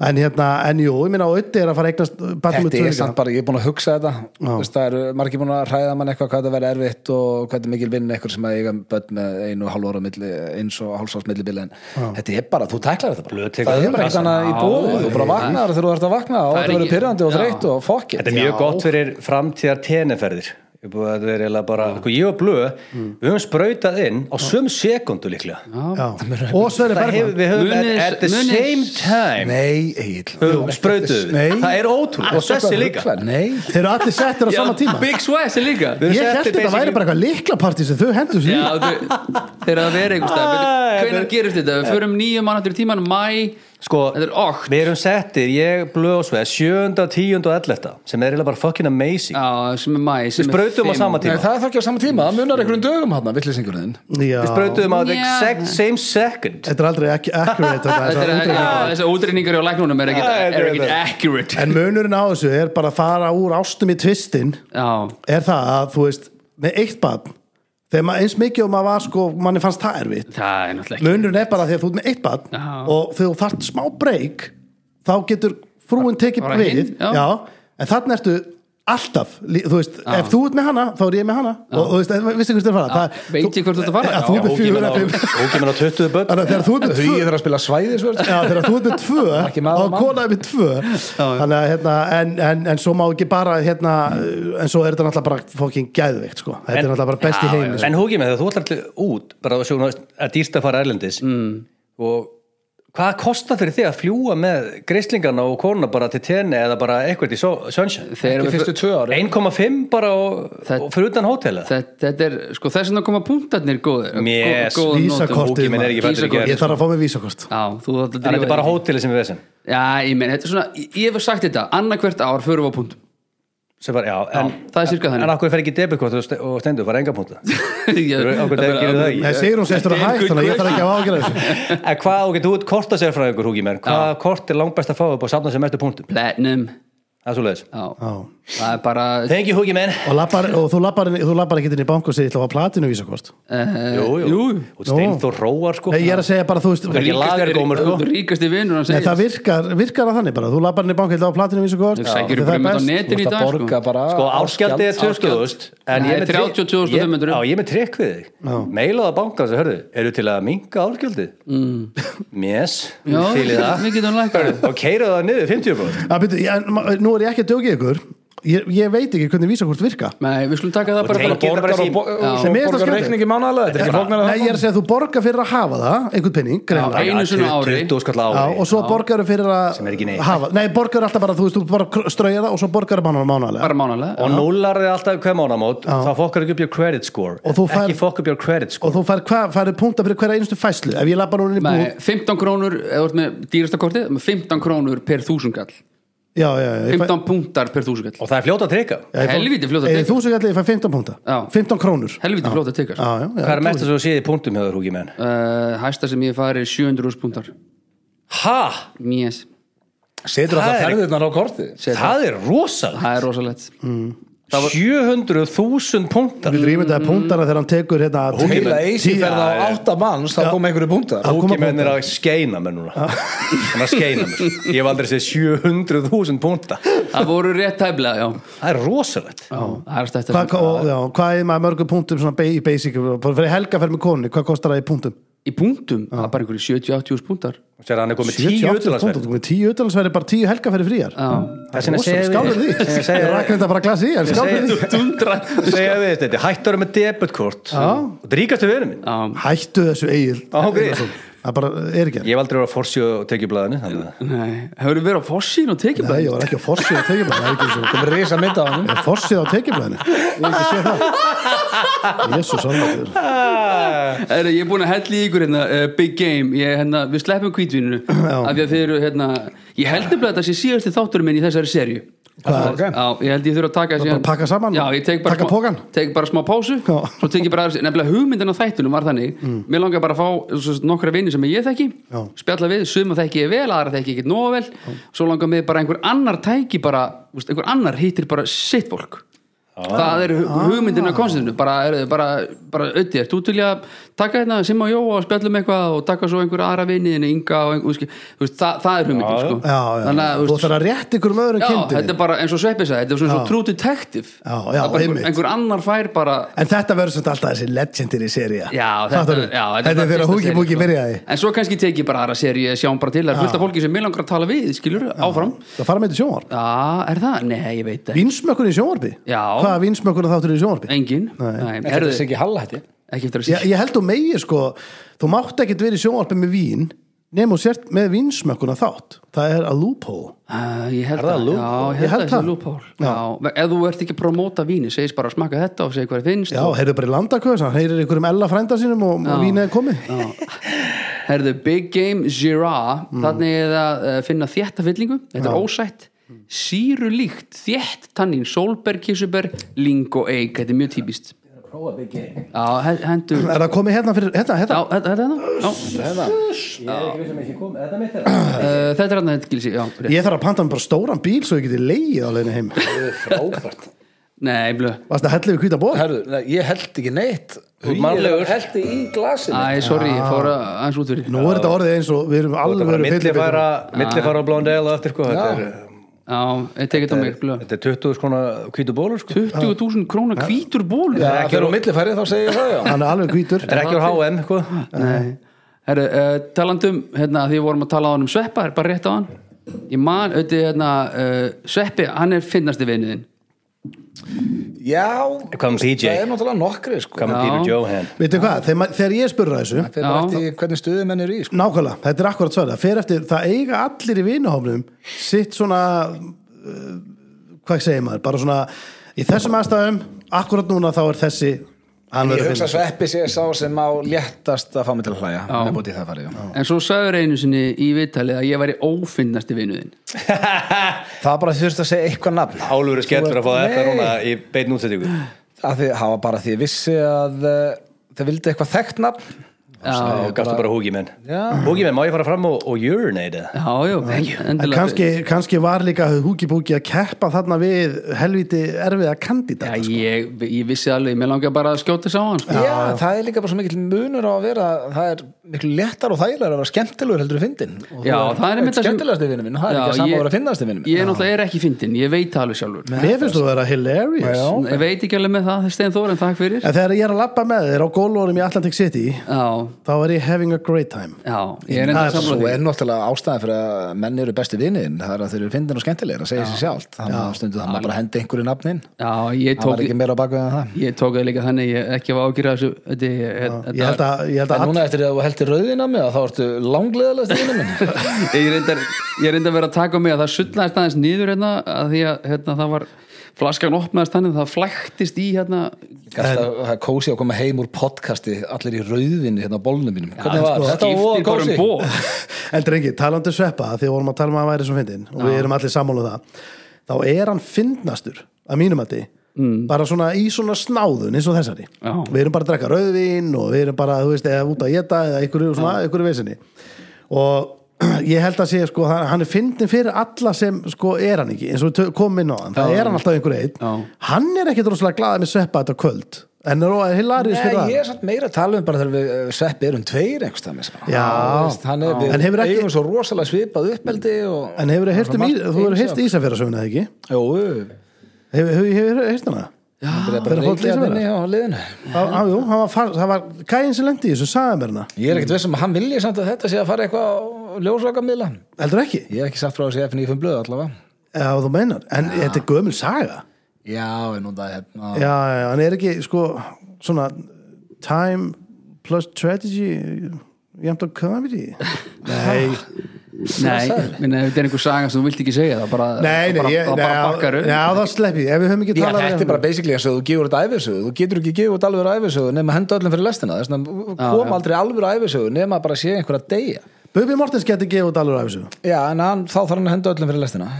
Speaker 1: en hérna, en jú, ég minna og auðvitað er að fara að eignast barnum
Speaker 3: Þetta er samt bara, ég er búin að hugsa þetta Þú veist, Það eru margir búin að hræða mann eitthvað hvað þetta verið erfitt og hvað þetta er mikil vinn eitthvað sem að eiga börn með einu og hálf ára milli, eins og hálfsás milli bíl en þetta er bara, þú tæklar þetta bara
Speaker 4: Blöð tekur
Speaker 3: Það er bara ekkert
Speaker 4: rassan.
Speaker 3: annað í bóði, þú bara vaknar þegar þú ert að vakna og
Speaker 2: Það er
Speaker 3: þetta verður
Speaker 2: ekki-
Speaker 3: pyrrandi og
Speaker 2: Já.
Speaker 3: þreytt og fokkið
Speaker 4: Þetta er mjög gott fyrir framtíðar teneferðir Ég er búið að þetta er eiginlega bara sko, Ég og Blöð,
Speaker 2: Mm.
Speaker 4: við höfum sprautað inn á sömu sekundu líklega
Speaker 1: já, og Sverri
Speaker 4: Það hefur,
Speaker 1: Bergman
Speaker 4: við höfum
Speaker 2: Munið-
Speaker 4: at, at the
Speaker 2: munið-
Speaker 4: same time
Speaker 3: Nei, Egil
Speaker 4: höfum sprautuð við.
Speaker 3: Nei.
Speaker 4: Það er ótrúlega, og þessi líka
Speaker 3: Nei,
Speaker 1: þeir eru allir settir á sama tíma
Speaker 2: Big Swass er líka
Speaker 4: Við höfum
Speaker 1: ég
Speaker 4: sett
Speaker 1: held þetta
Speaker 4: basically-
Speaker 1: væri bara eitthvað liklapartí sem þau hendur sér í.
Speaker 2: Já, þau- þeir eru að vera einhvers
Speaker 4: Ah,
Speaker 2: stað
Speaker 4: þetta
Speaker 2: Hvenær
Speaker 4: er-
Speaker 2: gerist þetta? Við förum nýjum mannættur tíman mæ
Speaker 4: Sko,
Speaker 2: Þetta er ótt.
Speaker 4: við erum settir, ég, Blöð og Sveð 7, 10 og 11 sem er eiginlega bara fucking amazing
Speaker 2: Já, sem er mæ sem
Speaker 4: Við
Speaker 2: er
Speaker 4: sprautum á
Speaker 2: fimm.
Speaker 4: sama
Speaker 3: Nei,
Speaker 4: tíma
Speaker 3: það er þá ekki á sama tíma, það munar einhverjum dögum hann, villisingurinn
Speaker 1: Já.
Speaker 4: Við sprautum á the
Speaker 2: Já.
Speaker 4: exact same second
Speaker 1: þetta er aldrei ac- accurate þetta,
Speaker 2: Þetta er-
Speaker 1: þessar útreikningar.
Speaker 2: já, Þessar útrýningar á læknunum er
Speaker 4: Já, þetta
Speaker 2: ekkit-
Speaker 4: er
Speaker 2: er ekkit
Speaker 4: þetta.
Speaker 2: accurate
Speaker 1: en munurinn á þessu er bara að fara úr ástum í tvistin
Speaker 2: Já,
Speaker 1: er það að þú veist með eitt barn þegar maður eins mikið og maður var sko manni fannst það erfitt
Speaker 2: það er náttúrulega
Speaker 1: munurinn er bara því að þú ert með eitt barn
Speaker 2: Já.
Speaker 1: og þegar þú þarft smá breyk þá getur frúin tekið
Speaker 2: bara
Speaker 1: við
Speaker 2: hinn, já.
Speaker 1: en þannig ertu alltaf lí- þú veist, ef þú ert með hana þá er ég með hana og þú veist, eh, vissi hvert þú ert að fara Það-
Speaker 2: Veit ég hvert þú ert að fara?
Speaker 1: Ja, þú
Speaker 2: Já,
Speaker 1: ert með fjögur eða fimm
Speaker 4: Ógjumenn á 20 börn
Speaker 1: þannig að þegar þú ert með
Speaker 3: Því
Speaker 1: tvö
Speaker 3: ég þarf að spila svæðisvörð sko.
Speaker 1: Já, þegar þú ert með tvö
Speaker 3: Ekki maður
Speaker 1: og
Speaker 3: og
Speaker 1: konaði með tvö þannig að hérna, en, en, en svo má ekki bara hérna, en svo er þetta náttúrulega bara fókin gæðveikt, sko, þetta
Speaker 4: En-
Speaker 1: er náttúrulega bara best í
Speaker 2: Já,
Speaker 1: heimi, sko.
Speaker 4: En húkið með það, þú ætlar allir út bara að sjóna að dýrst að fara erlendis mm. og hvað kostar fyrir þig að fljúa með greislingana og konuna bara til tenni eða bara eitthvað í so- sunshine?
Speaker 2: Þegar
Speaker 3: Ekki
Speaker 2: við-
Speaker 3: fyrstu tvö ári
Speaker 4: 1,5 bara og,
Speaker 2: Það-
Speaker 4: og fyrir utan hótela?
Speaker 2: Þetta, þetta er, sko, þess að koma punktarnir góðir
Speaker 4: Yes,
Speaker 2: góð,
Speaker 1: vísakortið,
Speaker 4: Húkið minn er ekki fættur í
Speaker 2: Vísakortið.
Speaker 4: gerð
Speaker 1: ég
Speaker 4: sko.
Speaker 1: þarf að fá mig vísakost
Speaker 2: Já, þú þátt að
Speaker 4: Þannig að
Speaker 2: drífa
Speaker 4: þetta er bara
Speaker 2: þig.
Speaker 4: hóteli sem við vesum
Speaker 2: Já, ég meina, þetta er svona, ég- ég hef sagt þetta annarkvert ár förum við á punktum
Speaker 4: sem var, já, en,
Speaker 2: það er sirka þannig.
Speaker 4: En akkur fer ekki debitkort og ste- og stendur, var enga púnta
Speaker 2: Ég-
Speaker 4: Af hverju
Speaker 2: það er
Speaker 4: gerir það
Speaker 2: bara-
Speaker 4: ekki?
Speaker 1: en segir hún sestur að
Speaker 2: Þetta er
Speaker 1: hægt,
Speaker 2: good
Speaker 1: þannig að ég þarf ekki að ágjöra þessu
Speaker 4: En hvað, ok, þú ert korta sér frá ykkur húkið mér Hvað kort er langbæst að fá upp og safna sem mestu púntum?
Speaker 2: Platinum
Speaker 4: Það er svo leiðis
Speaker 2: Já,
Speaker 1: Já.
Speaker 2: það er bara
Speaker 4: Thank you húkið minn
Speaker 1: og, lappar, og þú lappar, þú lappar ekki inn í bank og segir, ég ætla að fá platinu vísakost
Speaker 2: eh,
Speaker 4: Jú, jú, og steinþór róar sko
Speaker 1: Nei, ég er að segja bara, þú veist
Speaker 4: Ekki
Speaker 2: ríkasti-
Speaker 4: lagergómur, sko.
Speaker 2: Ríkasti vinnur hann
Speaker 1: Nei,
Speaker 2: segir
Speaker 1: það virkar, virkar að þannig bara, þú lappar inn í bank og ætla að fá platinu vísakost
Speaker 2: Sækir um brömmið á
Speaker 3: Þú
Speaker 2: netin í
Speaker 3: ert
Speaker 2: dag
Speaker 3: að borga
Speaker 2: sko.
Speaker 3: bara
Speaker 4: Sko áskjaldið er
Speaker 2: áskjald.
Speaker 4: 20.000 en
Speaker 2: Nei,
Speaker 4: ég er með
Speaker 2: 32.500.
Speaker 4: trikk- Ég- Já, ég er með trikk við þig Meilaða banka sem hörðu, eru til að minka áskjaldið? Mm. Yes,
Speaker 2: Já,
Speaker 4: til í það
Speaker 2: við getum lækkað það.
Speaker 4: Og keira það niður 50%
Speaker 1: Að, byrju, ég, en ma- nú er ég ekki að djókið ykkur ég, ég veit ekki hvernig vísakost virka
Speaker 2: Nei, við skulum taka það bara
Speaker 4: tengið-
Speaker 2: bara
Speaker 4: Borgar
Speaker 3: borgar
Speaker 4: og
Speaker 3: og
Speaker 4: bo-
Speaker 1: og svo borgar
Speaker 3: borgar
Speaker 1: reikningi
Speaker 3: reikningi mánalega þetta er ekki flóknar
Speaker 1: Nei, ég er að segja, þú borgar fyrir að hafa það einhvern penning, greinlega
Speaker 2: einu sinni á ári.
Speaker 4: 20 skall á
Speaker 1: Já,
Speaker 4: ári
Speaker 1: og svo borgaru fyrir að
Speaker 4: Sem er ekki neitt.
Speaker 1: hafa, nei, borgaru alltaf bara, þú veist, þú bara kr- strauja það og svo borgaru mánulega mánulega
Speaker 2: bara mánalega
Speaker 4: Og núlar þið alltaf hver mánamót þá fokkar ekki upp your credit score
Speaker 1: Og þú fær-
Speaker 4: ekki fokk upp your credit score
Speaker 1: og þú fær, hva, færðu punkta fyrir hverja einustu fæslu ef ég lappa núna inn í búð
Speaker 2: Nei, 15 krónur, ef þú ert með dýrasta kortið með 15 krónur per þúsungall
Speaker 1: já, já, já, ég fæ-
Speaker 2: 15 punktar per þúsungall
Speaker 4: Og það er fljóta að trikka
Speaker 1: já, ég fá-
Speaker 2: helvíti fljóta
Speaker 1: Ef
Speaker 2: tekjur.
Speaker 1: þú sem gætli, ég fæ 15 punkta
Speaker 2: Já.
Speaker 1: 15 krónur já,
Speaker 2: helviti flóta tekar uh,
Speaker 1: já, já,
Speaker 4: Hvað er mest að svo séð í punktum hjá þér húkið menn?
Speaker 2: Eh, hæsta sem ég hef farið er 700 úrs punktar
Speaker 4: Ha?
Speaker 2: yes.
Speaker 3: setur
Speaker 4: Það
Speaker 3: alltaf
Speaker 4: er-
Speaker 3: ferðirnar á korti
Speaker 4: Það er rosalegt
Speaker 2: það er rosalegt Það var-
Speaker 4: 700.000 punktar
Speaker 1: Við drýmum þetta punktana þegar hann tekur hérna
Speaker 3: heila eisi ferða á átta manns þá koma einhverju búnda
Speaker 1: Já. koma
Speaker 4: Póki menn er að skeina mér núna hann er að skeina mér ég hef aldrei séð 700.000 púnta það
Speaker 2: það voru rétt tæflega já.
Speaker 4: er rosalegt
Speaker 2: Já, það er stætt
Speaker 1: Hvað og- já, hvað er maður mörgum punktum svona ba- í basic bara fyrir helga fyrir með konni, hvað kostar það í punktum?
Speaker 2: í punktum, það er bara einhverju 70-80 úrs punktar
Speaker 4: sér hann er komið 10
Speaker 1: 78 punktum,
Speaker 4: utalansverð
Speaker 1: þú komið 10 utalansverði bara 10 helga fyrir fríar
Speaker 4: þess vegna segja við-
Speaker 1: Skálur því,
Speaker 4: þess vegna segja-
Speaker 1: ég rakna þetta bara glas í en skálur því
Speaker 2: dundra
Speaker 4: segja við þetta, hættar með debutkort og það ríkastu verið minn
Speaker 2: já,
Speaker 1: Hættu þessu eigil
Speaker 4: Á, ok.
Speaker 1: Það bara er ekki
Speaker 4: ég hef aldrei verið að forsjó og tekið blæðinu
Speaker 2: nei, hefur verið á fossin og tekið
Speaker 1: Nei, ég var ekki á fossið á teikiblæðinu
Speaker 3: það er reysa mynda á hann
Speaker 1: Fossið á teikiblæðinu Ég hef ekki sé það Jésús alveg
Speaker 3: Ah!
Speaker 2: Heru, ég er búin að hella í ykkur hérna, uh, Big Game ég, hérna, Við sleppum kvítvinnu af því að þið eru hérna, Ég held nefnilega að þetta sé síðasti þáttur minn í þessari serju
Speaker 1: Hvað,
Speaker 5: Ok.
Speaker 2: Já, ég held ég þurfa að taka þessi
Speaker 1: bara að pakka saman?
Speaker 2: Já, ég tek bara,
Speaker 1: Taka
Speaker 2: smá-
Speaker 1: pokann?
Speaker 2: tek bara smá pásu
Speaker 1: Já. Mm.
Speaker 2: Svo tek ég bara aðeins- Nefnilega hugmyndin á þættunum var þannig Mér langar bara að fá svo sagt, nokkra vini sem ég þekki
Speaker 1: Já.
Speaker 2: Spjalla við, suma þekki ég vel, aðra þekki ég ekkert nóg vel Svo langar mig bara einhver annar tæki bara þú veist, Einhver annar hittir bara sitt fólk Það er hu-
Speaker 1: Ah.
Speaker 2: hugmyndin á konstinu bara, er, bara, bara öddi, ert þú til í að taka hérna Simma og Jóa og spjallum eitthvað og taka svo einhver aðra viniðinu, Inga og einhver, þú veist, þú veist, það, það er hugmyndin sko.
Speaker 1: Já, já,
Speaker 2: Þannig að,
Speaker 1: þú
Speaker 2: þú veist,
Speaker 1: ætlar að rétt ykkur um öðru
Speaker 2: Já, þetta
Speaker 1: kindinni
Speaker 2: er bara eins og Sveppi sagði, þetta er svona eins og true detective
Speaker 1: Já, já,
Speaker 2: Það er bara
Speaker 1: einmitt.
Speaker 2: einhver, einhver annar fær bara
Speaker 1: En þetta verður svolítið alltaf þessi legendary seria
Speaker 2: Já, þetta,
Speaker 1: Fattarðu?
Speaker 2: já,
Speaker 1: þetta, er
Speaker 2: bara
Speaker 1: þegar
Speaker 2: fyrsta
Speaker 1: húki búki
Speaker 2: serían, sko.
Speaker 1: byrjaði
Speaker 2: En svo kannski tekið bara aðra seri, sjáum um bara til Það er fullt af fólki sem mér langar að tala við, skilur, áfram
Speaker 1: Það fara með til sjónvarp
Speaker 2: Já, er það? Nei, ég veit ekki
Speaker 1: Vinsmökkun í sjónvarpi?
Speaker 2: Já.
Speaker 1: Hvaða vinsmökkun þáttur í sjónvarpi?
Speaker 2: Engin,
Speaker 1: Nei.
Speaker 2: nei,
Speaker 3: Ekki
Speaker 2: herðu,
Speaker 3: þessi ekki halla hætti
Speaker 2: ekki eftir að
Speaker 1: Ég,
Speaker 2: segja
Speaker 1: ég held þú megi sko Þú mátt ekkert verið í sjónvarpi með vín Nefnum sért með vinsmökkun þátt Það er að loophole
Speaker 2: Uh, ég held
Speaker 3: Er það
Speaker 2: að,
Speaker 3: loophole?
Speaker 2: já,
Speaker 1: Ég held
Speaker 2: ég held að
Speaker 1: það.
Speaker 2: þessi lúphól Já, ef þú ert ekki að promóta víni, segist bara að smaka þetta og segja hvað er finnst
Speaker 1: Já,
Speaker 2: og-
Speaker 1: heyrðu bara í landaköðsan Heyrir ykkur um Ella frænda sínum og, og
Speaker 2: Já.
Speaker 1: vínið er komið
Speaker 2: Já. Herðu, Big Game Gira
Speaker 1: Mm.
Speaker 2: þannig er að eh, finna þétta fyllingu þetta er ósætt síru líkt, þétt tannin sólberg, kissuber, ling og eik þetta er mjög típist Já, he- hendur Já,
Speaker 1: Er það komið hérna fyrir, hérna, hérna
Speaker 2: þetta þetta er það Eh, Þetta er hann, þetta gilsi já, rétt.
Speaker 1: Ég þarf að panta mér bara stóran bíl svo ég geti leið á leiðinu heim
Speaker 3: Frábært
Speaker 2: Nei, blöð
Speaker 1: Varst það hellið við kvítan ból?
Speaker 3: Herru, nei, ég held ekki neitt
Speaker 4: er mannlegur.
Speaker 3: Hælti í glasinu
Speaker 2: Æ, sorry, ég fór að- aðeins út fyrir
Speaker 1: Nú er þetta orðið eins og við erum
Speaker 4: Þetta
Speaker 1: alveg
Speaker 4: bara millifæra, millifæra á Blondale og eftir sko, þetta er,
Speaker 2: Já, ég tekið þetta á mig, blöð
Speaker 4: þetta er 20 skona hvítu bólur sko.
Speaker 2: 20.000 króna hvítur bólur
Speaker 3: Já, þegar hún millifæri þá segi ég það já
Speaker 1: Hann er alveg hvítur
Speaker 4: Þetta er ekki úr H&M sko.
Speaker 2: Nei. Herru, uh, talandum hérna, því við vorum að tala á hann um Sveppa er bara rétt á hann ég man, auðvitað, hérna, uh, Sveppi, hann er finnasti vinniðin
Speaker 3: Já,
Speaker 4: Hvað um PJ?
Speaker 3: það er náttúrulega nokkri sko
Speaker 4: Hvað með
Speaker 2: Já.
Speaker 4: Peter Johan?
Speaker 1: Veitu hvað, þegar, ma- þegar ég spurði að þessu
Speaker 3: Fyrir bara
Speaker 2: Já.
Speaker 3: eftir hvernig stuðum menn eru í sko
Speaker 1: Nákvæmlega, þetta er akkurat svar það fer eftir, það eiga allir í vinuhófnum sitt svona uh, hvað segir maður, bara svona í þessum aðstæðum, akkurat núna þá er þessi hann
Speaker 3: Ég
Speaker 1: verður að
Speaker 3: hugsa að
Speaker 1: finna
Speaker 3: sveppi sé sá sem á léttast að fá mig til að hlæja Með bóti í það farið, já
Speaker 2: en svo sagður einu sinni í viðtalið að ég væri ófinnasti vinniðin
Speaker 3: Það bara þurfti að segja eitthvað nafn
Speaker 4: Álfur er skellur að fá þetta
Speaker 3: Nei.
Speaker 4: núna í beitin útsettingu
Speaker 3: að því, það var bara því ég vissi að uh, það vildi eitthvað þekkt nafn
Speaker 2: Ah,
Speaker 4: og gafstu bara húgi menn húgi menn, má ég fara fram og, og urinate eða?
Speaker 2: já, já,
Speaker 1: En
Speaker 2: endilega
Speaker 1: kannski, kannski var líka húki búki að keppa þarna við helviti erfiða
Speaker 2: já,
Speaker 1: kandidata sko.
Speaker 2: ég, ég vissi alveg, mér langar bara að skjóta þess á hann sko.
Speaker 3: Já, það er líka bara svo mikill munur á að vera það er miklu léttar og þægilegar að vera skemmtilegur heldur í fyndin og
Speaker 2: já, það er einmitt það sem-
Speaker 3: skemmtilegast í vinnum minn, það er
Speaker 2: Já,
Speaker 3: ekki að sama
Speaker 2: ég-
Speaker 3: að vera finnast í vinnum minn
Speaker 2: ég náttúrulega er ekki fyndin, ég veit það alveg sjálfur
Speaker 1: Mér finnst þú að vera hilarious
Speaker 3: Já.
Speaker 2: ég veit ekki alveg með það, Stein Þóren, takk fyrir já,
Speaker 1: En þegar ég er að labba með þér á gólvarum í Atlantic City
Speaker 2: já,
Speaker 1: þá er ég having a great time Það
Speaker 2: ég er
Speaker 1: er
Speaker 2: enda
Speaker 3: Svo
Speaker 2: samlega
Speaker 3: er náttúrulega ástæðan fyrir að menn eru besti vinninn, það er að þeir eru fyndin og skemmtilegir, það segir sér sjálft þannig að stundu það maður bara hendi einhverju nafnin
Speaker 2: já, ég
Speaker 3: það var
Speaker 2: tók
Speaker 3: ekki meira á bakveð en það
Speaker 2: ég tók það líka þannig, ég ekki var ágjur þessu, þetta, þetta
Speaker 1: Ég held að, ég held að
Speaker 3: En
Speaker 1: all...
Speaker 3: núna eftir að þú heldur rauðina mig þá ertu langleðalegast í vinnum minn
Speaker 2: ég reyndar, ég reyndar að vera að taka á mig að það sullaðist aðeins niður hérna að því að hérna, það var flaskan opnaðist þannig að það flæktist í hérna
Speaker 3: Gast að- Það er kósi að koma heim úr podcasti allir í rauðvinni hérna á bólnum mínum Hvernig var?
Speaker 2: sko,
Speaker 3: Þetta var voða
Speaker 2: skipti bara um
Speaker 3: kósi
Speaker 2: ból.
Speaker 1: En drengi, talandi um sveppa því að vorum að tala um að hann væri svo fyndin og við erum allir sammála um það þá er hann fyndnastur að mínum að því bara svona í svona snáðun eins og þessari
Speaker 2: Mm. Já.
Speaker 1: við erum bara að drekka rauðvín og við erum bara, þú veist, eða út að geta eða einhverju svona, einhverju vesinni og ég held að sé, sko, hann- hann er fyndin fyrir alla sem, sko, er hann ekki eins og við tö- komum inn á hann, það
Speaker 2: Já.
Speaker 1: er hann alltaf einhverju
Speaker 2: Já.
Speaker 1: einn, hann er ekkit rosalega glaðið með sveppa þetta kvöld, en er, er hilarious fyrir
Speaker 3: Nei,
Speaker 1: það
Speaker 3: ég er samt meira að tala um bara þegar við uh, sveppi erum tveir einhverstað
Speaker 1: Já.
Speaker 3: hann er
Speaker 1: En
Speaker 3: við
Speaker 1: hefur ekki-
Speaker 3: eigum svo rosalega svipað uppeldi og
Speaker 1: En hefur heyrt um, í-
Speaker 3: Margt
Speaker 1: þú hefur
Speaker 3: eins
Speaker 1: heyrt
Speaker 3: af-
Speaker 1: Ísafjörðarsöfuna eða ekki?
Speaker 3: Jú,
Speaker 1: Hefur hef, hef, hef, heyrt hana?
Speaker 3: það er
Speaker 1: Þeir
Speaker 3: bara
Speaker 1: eru fólk
Speaker 3: reykjaðinni
Speaker 1: Ísafjarðar?
Speaker 3: á liðinu
Speaker 1: Já, já, hérna. jú, hann var, far- það var gæinn sem lendi í þessu, sagði mér hana
Speaker 3: Ég er ekkert vissum að hann vilji samt að þetta sé að fara eitthvað á ljósvakamiðla
Speaker 1: Heldur ekki?
Speaker 3: Ég er ekki satt frá þessi FNF blöð allavega
Speaker 1: Já, þú meinar, en þetta er gömul saga
Speaker 3: Já, en nú það hérna
Speaker 1: Já, já, hann er ekki, sko, svona time plus strategy jæmt á comedy Nei,
Speaker 2: nei, minna, þetta er einhver saga sem þú vilt ekki segja það bara,
Speaker 1: nei,
Speaker 2: það
Speaker 1: nei,
Speaker 2: bara,
Speaker 1: ég,
Speaker 2: það
Speaker 1: nei
Speaker 2: bara bakkar
Speaker 1: já,
Speaker 2: upp
Speaker 1: já, það slepp ég, ef við höfum ekki
Speaker 3: Já,
Speaker 1: talað um-
Speaker 3: þetta er bara basically eins og þú gefur þetta æfisögu þú getur ekki gefur þetta alveg æfisögu nema að henda öllum fyrir lestina þess vegna kom aldrei alveg æfisögu nema að bara sé einhverja deyja
Speaker 1: Bubi Mortens geti gefið út alveg af þessu
Speaker 3: Já, en hann, þá þarf hann að henda öllum fyrir lestina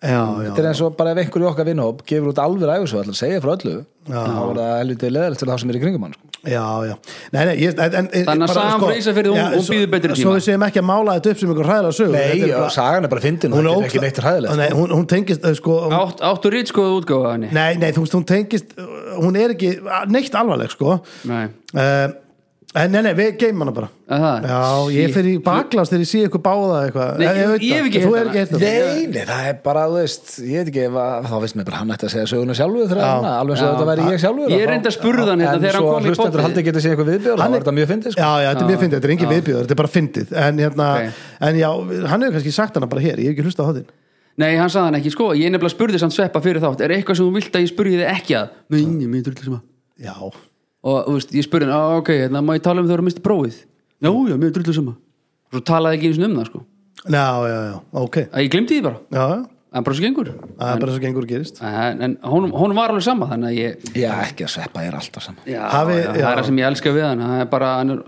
Speaker 1: já, já,
Speaker 3: þetta er eins og bara ef einhverju okkar vinnhóp gefur út alveg æfisöðu, allar segja frá öllu þá er það helviti leðilegt fyrir þá sem er í kringum hann sko.
Speaker 1: já, já. Nei, nei, ég, en, en,
Speaker 2: Þannig að sagan frá Ísafirði, hún-
Speaker 1: Já,
Speaker 2: hún
Speaker 1: svo-
Speaker 2: býður betri
Speaker 1: Svo
Speaker 2: tíma.
Speaker 1: við segjum ekki að mála þetta upp sem ykkur hræðilega sögur
Speaker 3: nei,
Speaker 1: Þetta er
Speaker 3: já,
Speaker 1: bara-
Speaker 3: sagan er bara fyndin og
Speaker 1: hún,
Speaker 3: þetta
Speaker 1: er
Speaker 3: er ekki
Speaker 1: ógeðslega-
Speaker 3: neitt ræðilegt
Speaker 1: Nei, hún, hún tengist eh, sko, hún,
Speaker 2: Átt, áttu rýtskoðu útgáfa af henni
Speaker 1: nei, nei, þú veist, hún tengist eh, hún er ekki eh, neitt alvarleg sko.
Speaker 2: Nei.
Speaker 1: uh, en nei, nei, við geymum hana bara
Speaker 2: Er það?
Speaker 1: já, ég fer í baklás þegar ég sé ykkur báða eitthvað
Speaker 2: Nei,
Speaker 1: Eh,
Speaker 2: ég-
Speaker 1: veit
Speaker 2: ég hef
Speaker 1: það.
Speaker 2: ekki
Speaker 1: þú
Speaker 2: heyrt
Speaker 1: er ekki
Speaker 2: hana.
Speaker 1: eitt
Speaker 3: Nei, nei, það er bara, þú veist, ég veit ekki, ef að- þá veist mér bara hann ætti að segja söguna sjálfur þegar hann, alveg eins og
Speaker 2: Já.
Speaker 3: þetta væri ég sjálfur.
Speaker 2: Ég reyndi að spurða hann hérna þegar hann kom í
Speaker 3: En svo hlustendur
Speaker 2: poddið.
Speaker 3: haldi ekki að segja eitthvað viðbjörn, þá var þetta mjög fyndið, sko.
Speaker 1: já, já, þetta er mjög fyndið, þetta er engin viðbjöður, þetta er bara fyndið en, hérna,
Speaker 2: Ok.
Speaker 1: en já, hann hefur kannski sagt hana bara hér ég hef ekki hlustað á þinn
Speaker 2: Nei, hann sagði hann ekki, sko, ég nefnilega spurði samt sveppa fyrir þátt, er eitthvað sem þú vilt að ég spurði þið ekki að? Nei, ég mér drull sem að
Speaker 1: já,
Speaker 2: Og, þú veist, ég spurði hann, "Á, ok, hérna, má ég tala um þegar að misti prófið? Já, já, mér drull sem að Svo talaði ekki eins og um það, sko
Speaker 1: já, já, já, ok já,
Speaker 2: Að ég glimti því bara,
Speaker 1: já,
Speaker 2: en bara svo gengur
Speaker 1: það er bara svo gengur gerist
Speaker 2: En, en honum, honum var alveg sama, þannig að ég
Speaker 3: Já, ekki að sveppa, ég er alltaf saman.
Speaker 2: já,
Speaker 1: Hafi- já.
Speaker 2: já, það er það sem ég elska við hann hann er bara, hann er,